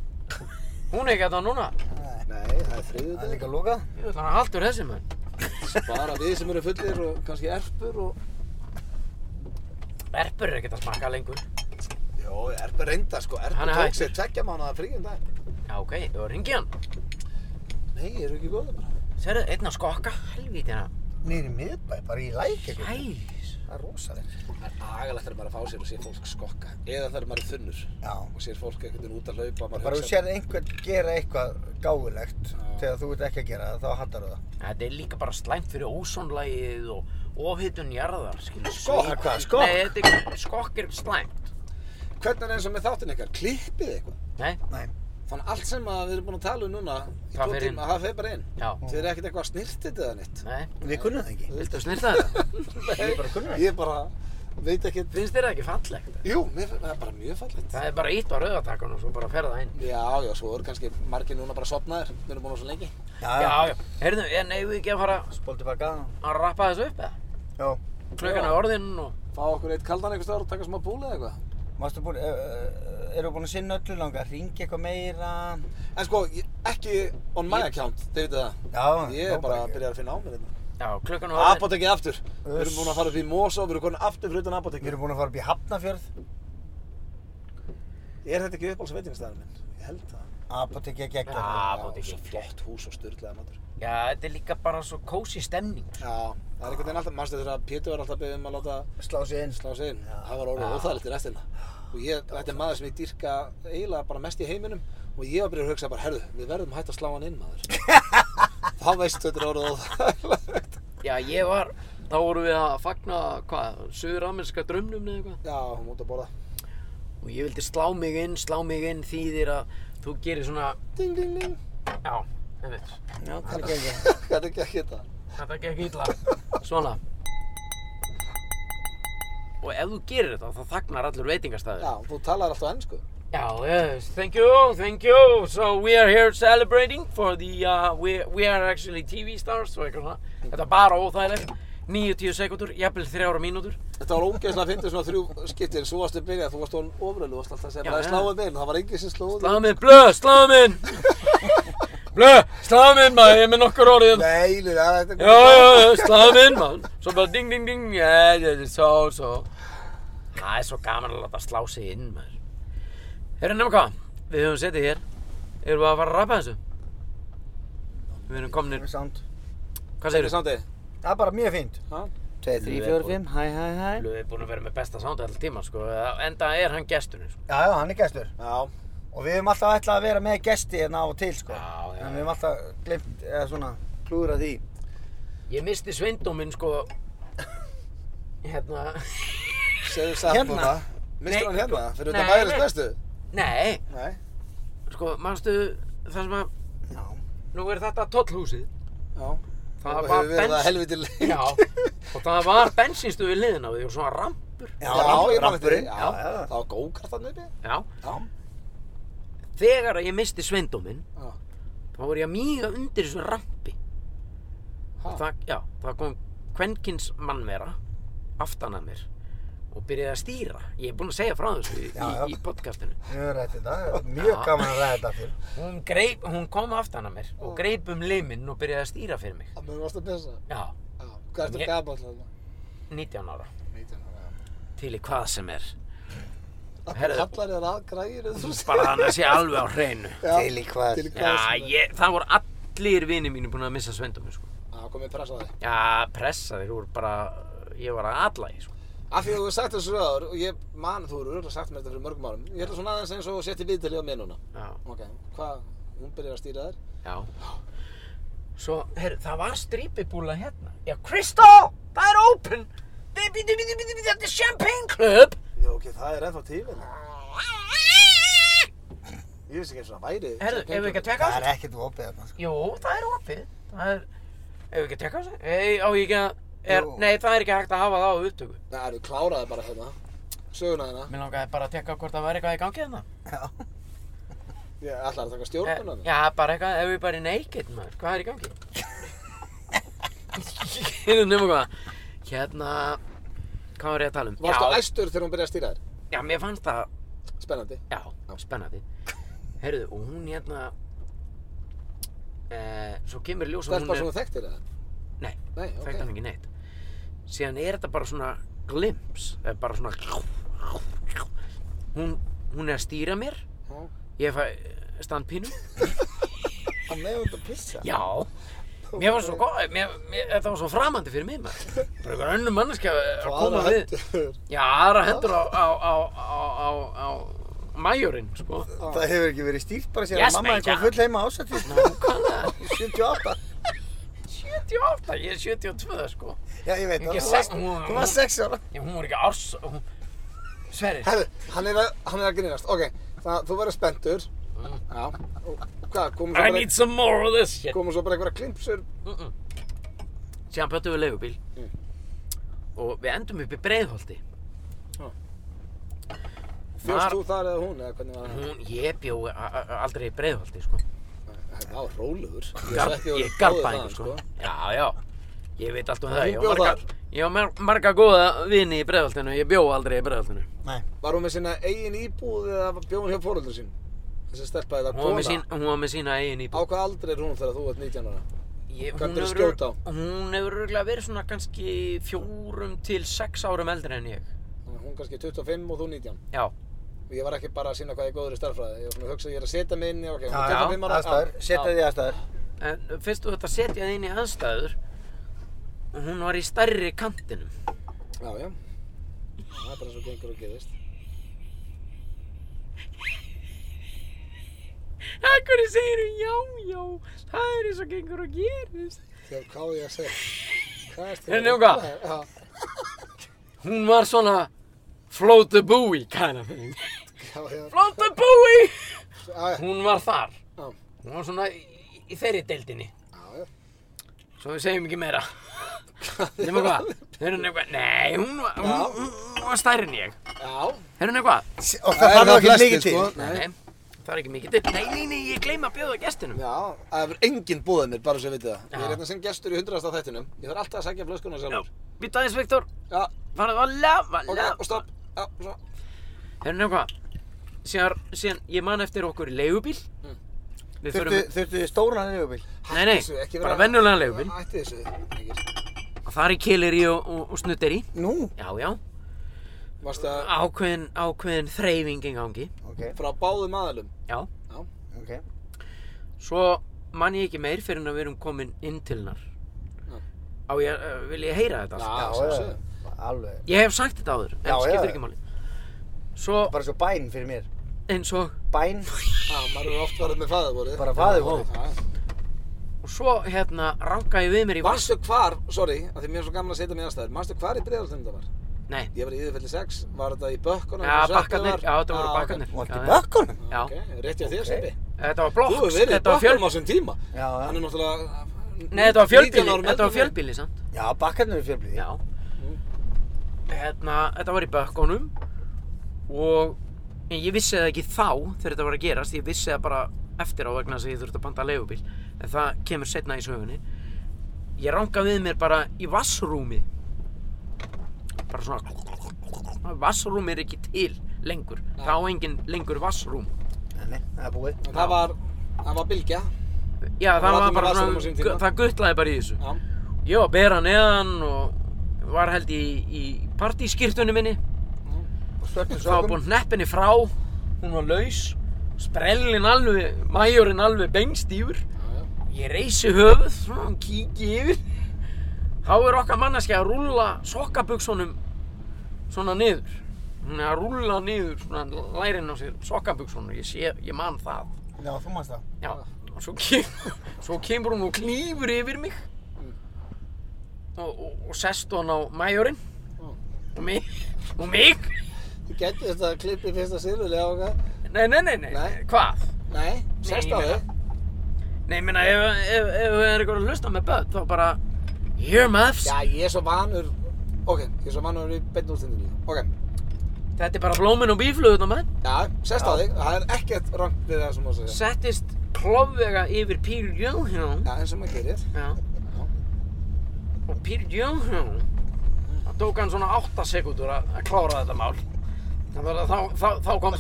Hún er ekki að það núna. Nei, það er Það er þriðjöldag. líka lokað. Ég vil hann að haldur þessi menn. Bara við sem eru fullir og kannski erpur og... Erpur er ekkert að smakka lengur. Jó, erpur reyndar sko. Hann Erpur er tók hættur. sér tveggja um mánuða fríum dag. Já, ok, þú ringi hann. Nei, eru ekki góðið bara. Serðu, einn að skokka, helvíti hana. Niður í miðbæ, bara í læk eitthvað. Hælis. Það er rosalegt. Það er agalegt þegar maður fá sér og sér fólk skokka. Eða þegar maður er þunnur Já. og sér fólk einhvern veginn út að laupa. maður Bara þú hugsar- sér einhvern gera eitthvað gáðilegt þegar þú ert ekki að gera það, þá hattar það. Þetta er líka bara slæmt fyrir ósónlægið og ofhittun jarðar, skilur. Skokk? Svita- Hvað, skokk? Nei, þetta er, skokk er slæmt. Hvernig er eins og með þáttinn ykkar? Klippið þið eitthvað? Nei, Þannig allt sem að við erum búin að tala um núna í Það tvo fer inn. tíma, það fer bara inn. já, Þið eru ekkert eitthvað snirtið eða nýtt. nei. Við kunnum það ekki. Viltu snirta þetta? Ég bara kunni það. Ég bara veit ekkert. Finnst þér það ekki fallegt? Jú, mér finnst það bara mjög fallegt. Það er bara ítt á rauðatakkan og svo bara ferða inn. Já, já, svo eru kannski margir núna bara sopnaðir. Við erum búin á svo lengi. Ah. Já, já. Heyrðu, en eigum við ekki að fara Spól tilbaka. að rappa þessu upp eða? Já. Klukkan er orðinn og Fá okkur eitt kaldan einhvers staðar og taka smá búli eða eitthvað. Mástu búin, uh, eru búin að sinna öllu langa, ringi eitthvað meira? En sko, ég- ekki on my account, þið veitu það. Já, Ég er nóg bara bara að ekki. byrja að finna á mér þetta. já, klukkan er Ah, orðinn Apotekið aftur. Við erum búin að fara upp í Mosó, við erum komin aftur fyrir utan Við apotekið. erum búin að fara upp í Hafnafjörð, Er þetta ekki uppáhalds veitingastæðurinn minn? Ég held það. apotekja geggar. Já, Já, Apótekið. svo flott hús og styrlaða matur. Já, þetta er líka bara svo kósi stemning Já, það er einhvern veginn alltaf, mannstu þegar að Pétur var alltaf beðið um að láta Slá sig inn. slá sig inn, það var orðið Já. óþægilegt í restina. Og ég, þetta er maður sem ég dýrka eiginlega bara mest í heiminum og ég var að byrja að hugsa bara, herðu, við verðum hægt að slá hann inn maður. þá veistu þetta er orðið óþægilegt. Já, ég var, þá vorum við að fagna, hvað, söður-amerska drömnum eða eitthvað Já, hún múti að borða. Og ég vildi slá mig inn, slá mig inn þýðir að þú gerir svona, Ding, ding, ding. já, einmitt Já, það geggar. Hvað er ekki að geta? Þetta gekk illa Svona og ef þú gerir þetta þá þagnar allur veitingastæður. Já, þú talar alltaf ennsku. Já, yes, thank you, thank you. So we are here celebrating for the, uh, we, we are actually TV stars og eitthvað svona. Þetta er bara óþægilegt, 90 sekundur, jafnvel 3 ára mínútur. Þetta var ógeðslega að finna svona þrjú skiptir, svo varstu byrjað, þú varst orðin ofrölu, varst alltaf að segja, Já, bara já. sláðu minn, það var enginn sem slóði. Sláðu minn, blöð, sláðu minn! Blöð, sláðu minn maður, ég er með nokkur orðið. hérna. Nei, Lina, þetta er Já, já, já, sláðu minn maður. Svo bara ding, ding, ding, yeah, yeah, yeah, so, so. Það er svo gaman að láta slá sig inn maður. Herra, nema hvað, við höfum setið hér, erum við að fara að rappa þessu? Við erum komnir, Með sound. hvað segir Þetta er samtið. Það er bara mjög fínt. 2, 3, 4, 5, hæ, hæ, hæ. Við erum búin að vera með besta sound alltaf tíma sko, en það er hann gesturinn sko. Já, já, hann er gestur. Já, Og við höfum alltaf ætlað að vera með gesti hérna á og til, sko. Já, já. En við höfum alltaf glemt, eða svona, klúðra því. Ég misti sveindóminn sko, hérna, segðu satt Hérna? núna. Mistur Nei, hann hérna? sko- Fyrir þetta Nei, mæðurist nei. bestu? nei, Nei. sko, manstu það sem að, Já. nú er þetta tollhúsið. Já. Það Þú var hefur verið það bens- helviti lengi. Já, og það var bensinstu við liðin á því og svona ramp, Já, Já, ég man eftir því. rampurinn. Já, Já, já. það var gókart þarna uppi. já. Já. Þegar að ég misti sveindóminn, Já. þá voru ég að míga undir þessu rampi. Ha? Það, já, það kom kvenkins mannvera aftan að mér og byrjaði að stýra. Ég er búin að segja frá þessu í, Já, já. í, í podcastinu. Við höfum rætt þetta. Það er Mjög gaman að ræða þetta fyrir. Hún, greip, hún kom aftan að mér og greip um liminn og byrjaði að stýra fyrir mig. Það mörgast að pissa. Já, Já. Hvað ertu Ég- gamall þarna? 19 ára. 19 ára. Til í hvað sem er. Það Herðu. kallar þér að græðir eða þú Bara þannig að sé alveg á hreinu. Til í hvað? Til í hvað Já, sem er. ég, það voru allir vinir mínu búin að missa svendum, sko. Já, komið pressa á þig. Já, pressa þeir voru bara, ég var að allægi, sko. Af því að þú hefur sagt þessu röður og ég man, þú hefur örgulega sagt mér þetta fyrir mörgum árum. Ég ætla svona aðeins eins og sett í viðtalið á mér núna. Já, Ok, hvað, hún byrjar að stýra þér? já. Svo, herru, það var strípibúla hérna. Já, Kristó, það er open. Bi- bi- bi- bi- bi- bi- bi- Þetta er champagne club. Já, ok, það er ennþá tífinn. Ég vissi ekki eins og það væri. Herru, ef við ekki að tekka á Það þessu? er ekkert opið þarna, sko. Jú, það er opið. Það er, ef við ekki að tekka á þessu? Ei, á ég ekki að, er, Jú. nei, það er ekki hægt að hafa það á upptöku. Nei, það eru kláraði bara hérna. Söguna hérna. Mér langaði bara að tekka hvort það væri eitthvað í gangi hérna. Ég ætlaði að taka stjórnuna hérna. Eh, Já, bara eitthvað, ef við bara er naked, maður, hvað er í gangi? Hérna, nema hvað, hérna, hvað var ég að tala um? Varstu já, æstur þegar hún byrjar að stýra þér? já, mér fannst það, Spennandi. já, spennandi. Heyrðu, og hún hérna, eh, svo kemur í ljós að Stelpa hún sem er, þú þekktir eða? nei, Nei, okay. ok. þekkt hann ekki neitt. Síðan er þetta bara svona glimps, eða bara svona, hún, hún er að stýra mér, Já. ég fæ standpínu, Hann meður þetta pissa. Já, mér var svo góð, mér, mér, þetta var svo framandi fyrir mig maður. Bara einhver önnum manneskja að koma aðra við. hendur. Ah. Já, aðra hendur á, á, á, á, á, á majorinn, sko. Það hefur ekki verið stýrt bara sér Yes, að mamma mate, er kom já. full heima ásættið. Nákvæmlega. 78. 78, ég er 72, sko. Já, ég veit Ég það. Þú sex- varst- Þú varst 6 ára. Já, hún var ekki árs, hún... Sverri, Herðu, hann er að, hann er að grínast. Ok, þannig að þú verður spenntur. Mm. Já. Og hvað, komum I svo bara, need some more of this shit. komum svo bara einhverja klimpsur? Síðan pjöttum við leigubíl. Mm. Og við endum upp í breiðholti. Þar- Fjóst þú þar eða hún eða hvernig var hann? Hún, ég bjó a- a- a- aldrei í breiðholti, sko. Það var rólegur. Garb, ég er garbaðingur sko. Já, já. Ég veit allt um það. Þú Ég á bjóð marga, þar? ég á mar- marga góða vini í bregðaltinu. Ég bjó aldrei í bregðaltinu. Var hún með sína eigin íbúð eða bjó hún hjá fóröldur sín? Þessi stelpa eða Hún var, með sín, kona? hún var með sína eigin Á íbúð. hvað aldrei er hún þegar þú ert 19 ára? Ég, hún hvað ertu að hefur- skjóta á? Hún hefur örugglega verið svona kannski fjórum til sex árum eldri en ég. Þannig að Hún kannski 25 og þú 19. Já. Og ég var ekki bara að sína hvað ég er góður í starffræði. Ég var svona að hugsa, ég er að setja mig inn í, ok, hún Já, er já, 25 ára. aðstæður. já, Setja já. því aðstæður. En fyrst þú þetta setjaði inn í aðstæður, hún var í stærri kantinum. Já, já. Það er bara svo gengur og gerist. Akkur segir hún, já, já, það er eins og gengur og gerist. Þegar hvað á ég að segja? Hvað er Heyrðu, nema hvað? Já, Hún var svona float the buoy kind of thing. já, já. Float the buoy! Já, já. Hún var þar. Já. Hún var svona í, í þeirri deildinni. Já, já. Svo við segjum ekki meira. Nefnum hvað? Nefnum hvað? Nei, hún var... Hún, hún, og stærri en ég. Já, Heyrðu henni eitthvað? Og það þarf nú ekki mikið til. sko. Nei. Það er ekki mikið til. Nei, nei, nei, ég gleyma að bjóða gestinum. Já, það hefur enginn búðið mér, bara svo ég veit það. Ég Já. er hérna sem gestur í 100. þættinum. Ég þarf alltaf að sækja flöskuna Já, sjálfur. býta aðeins, Viktor. Já, Farðu að lafa, ok, lafa. og stopp. Já, svo. Heyrðu henni eitthvað? Síðan, síðan, ég man eftir okkur í leigubíl. Mm. Við förum, Þurftu- Þurftu þið stóran yfirbíl? nei, nei, bara venjulegan leigubíl. Ætti þessu, Engir. Og það er kýlir í og, og, og snuttir í. Nú, Já, já. Varst það Ákveðin, ákveðin þreyfing í gangi. ok, frá báðum aðalum? Já. ok. Svo man ég ekki meir fyrir en að við erum komin inn til hennar. Já. Á ég, uh, vil ég heyra þetta? allt? Já, Já, svo já, séu. alveg. Ég hef sagt þetta áður, en Já, skiptir já. ekki máli. Svo Bara svo bæn fyrir mér. eins og, Bæn, Já, maður er oft varðið með fæðavorið. bara faður voru. og svo hérna ranka ég við mér í vask. Varstu hvar, sorry, af því mér er svo gaman að setja mig í aðstæður, varstu hvar í Breiðholtinu þetta var? Nei, Ég var í Íðurfelli 6, var þetta í Bökkunum? Ah, ja, bakkarnir, já þetta voru bakkarnir. Vart í Já, bökkunum? Já, Ok, rétt ég að þér, Ok. Sippi. þetta var Þú hefur blokks, verið í þetta var Bökkunum á fjölbíli. þessum tíma. Já, já. Hann er náttúrulega... Nei, þetta var 19 fjölbíli, árum þetta var eldri en ég. fjölbíli samt. Já, bakkarnir eru fjölblíði. Já. Hérna, þetta var í bökkunum og en ég vissi það ekki þá þegar þetta var að gerast, ég vissi það bara eftir á vegna þess að ég þurfti að panta leigubíl en það kemur setna í sögunni ég ranga við mér bara í vassrúmi bara svona vassrúmi er ekki til lengur það á engin lengur vassrúm Nei, það er búið. En Það var, það var Bilgja. já það var var allir með bara vatnsrúm á sínum svona tíma. það guttlaði bara í þessu Já. ég var að bera neðan og var held í, í partískýrtunni minni Svörtu Það var búin hneppinni frá, hún var laus, sprellin alveg, majorinn alveg bengstífur. Ég reysi höfuð, svona hann kíki yfir. Þá er okkar manneski að rúlla sokkabuksunum svona niður. Hún er að rúlla niður svona lærin á sér sokkabuksunum, ég sé, ég man það. Já, þú mannst það. Já, og svo, kem, svo kemur hún og klýfur yfir mig og, og, og sest hún á majorinn Mm. og mig, og mig. Þú getur þetta að klippi fyrsta sérfjöli á okkar. Nei, nei, nei, nei, Nei. hvað? Nei, sest ég á meina- þig. Nei, ég meina, ef, ef, ef það er eitthvað að hlusta með börn, þá bara, here muffs, Já, ég er svo vanur, ok, ég er svo vanur í beinn útsendingu. Ok, þetta er bara blómin og bíflugurna menn. já, sest á þig, það er ekkert rangt við það sem þú segja. Settist klofvega yfir Pír Jóhjón, Já, eins og maður gerir. já, og Pír Jóhjón, það tók hann svona 8 sekúndur að að klára þetta mál. Þannig að þá, þá, þá kom,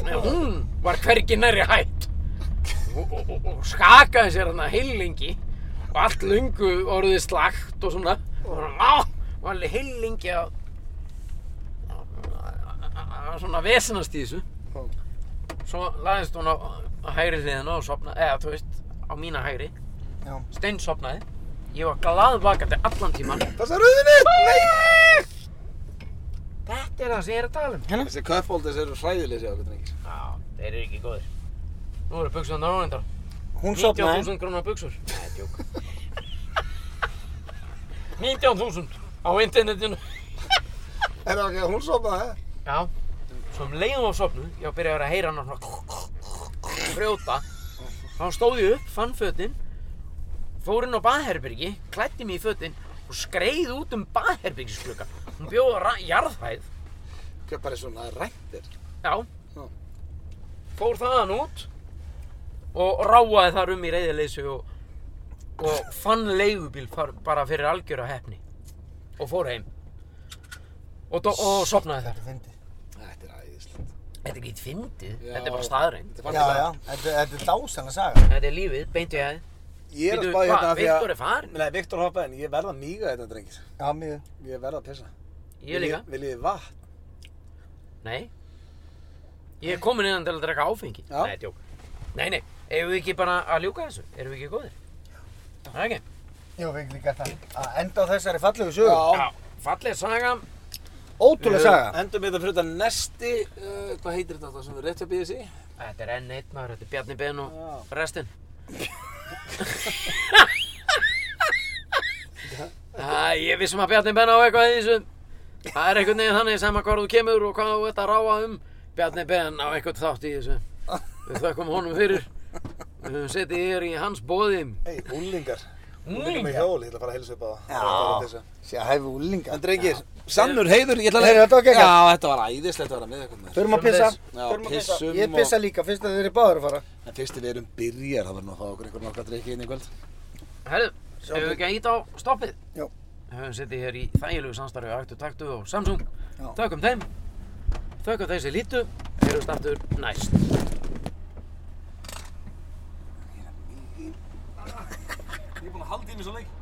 en hún var hvergi nærri hætt og, og, og, og skakaði sér hann að heilingi og allt lungu orðið slagt og svona og svona, á, og allir heilingi að að- að svona vesenast í þessu svo laðist hún á, á hægri hliðina og sopnaði, eða þú veist á mína hægri, Já. stein sopnaði ég var glaðvakandi allan tíman Passa rauðinni! Nei! þetta er það sem ég er að tala um Þessi köpbóldis eru hræðilegis hjá okkur, drengir. já, þeir eru ekki góðir nú eru buksum þarna ávendar Hún sopnaði. 19.000 grónar buksur Nei, tjók 19.000 á internetinu Er það ekki að hún sopnaði? Já Svo um leiðum á sopnu, ég var að byrja að vera að heyra hann svona Frjóta Þá stóð ég upp, fann fötin Fór inn á baðherbyrgi, klætti mig í fötin Og skreið út um baðherbyrgisklukka Hún bjóð á ra- jarðhæð Hvað bara svona ræntir? Já Já. Fór þaðan út Og ráaði þar um í reyðileysu og, og fann leigubíl far- bara fyrir algjöra hefni Og fór heim Og, dó- og sopnaði þar Þetta er fyndið. Þetta er æðislegt. Þetta er ekki eitt fyndið, Já. þetta er bara staðreind Þetta er Já, bara- já. Þetta þetta er dásanna saga. Þetta er lífið, beintu ég aðeins. Ég er að Bíddu, spá hérna hvað, af því að... Viktor er farinn? Nei, Viktor hoppaði en ég verð að míga þetta, drengir. Já, mjög. Ég verð að pissa. Ég líka. Viljið þið vatn? Nei. Ég er komin innan til að drekka áfengi. Já. Nei, tjók. Nei, nei, eigum við ekki bara að ljúka þessu? Erum við ekki góðir? Það er ekki. Jú, við ekki líka það. Að enda á þessari fallegu sögu. Já, falleg saga. Ótrúlega saga. Endum við þetta fyrir þetta nesti, uh, hvað heitir þetta þetta sem við rétt að býðið sér? Þetta er enn eitt maður, þetta er Bjarni Ben og Já. restin. Æ, ég vissum að Bjarni Ben á eitthvað í þessu. Það er einhvern veginn þannig sem að hvað þú kemur og hvað þú ert að ráa um. Bjarni Ben á eitthvað þátt í þessu. Við þökkum honum fyrir. Við höfum setið hér í hans bóðim. Hei, úlingar. Minnum mig hjóli, ég ætla að fara að heilsa upp á það. Já. Þetta var að pissa. Sér að hæfu úlinga. En drengir, sannur heiður, ég ætla að... Heyrðu, þetta var geggjað. Já, þetta var æðislegt að vera með ykkur með. Förum að pissa. Já, Förum að pissa. pissum Ég og- pissa líka fyrst að þeir eru báður að fara. En fyrst við erum byrjar, þá verðum við að fá okkur einhver nokkra drikki inn í kvöld. Herðu, hefur við ekki að íta á stoppið? Jó. Höfum setið hér í þægilegu samstarfi á Aktu Taktu og Samsung. Já. Þökkum þeim. Þökkum þeim sem lítu. Heyrjumst aftur næst. Ég er búin að halda í mig svo leik.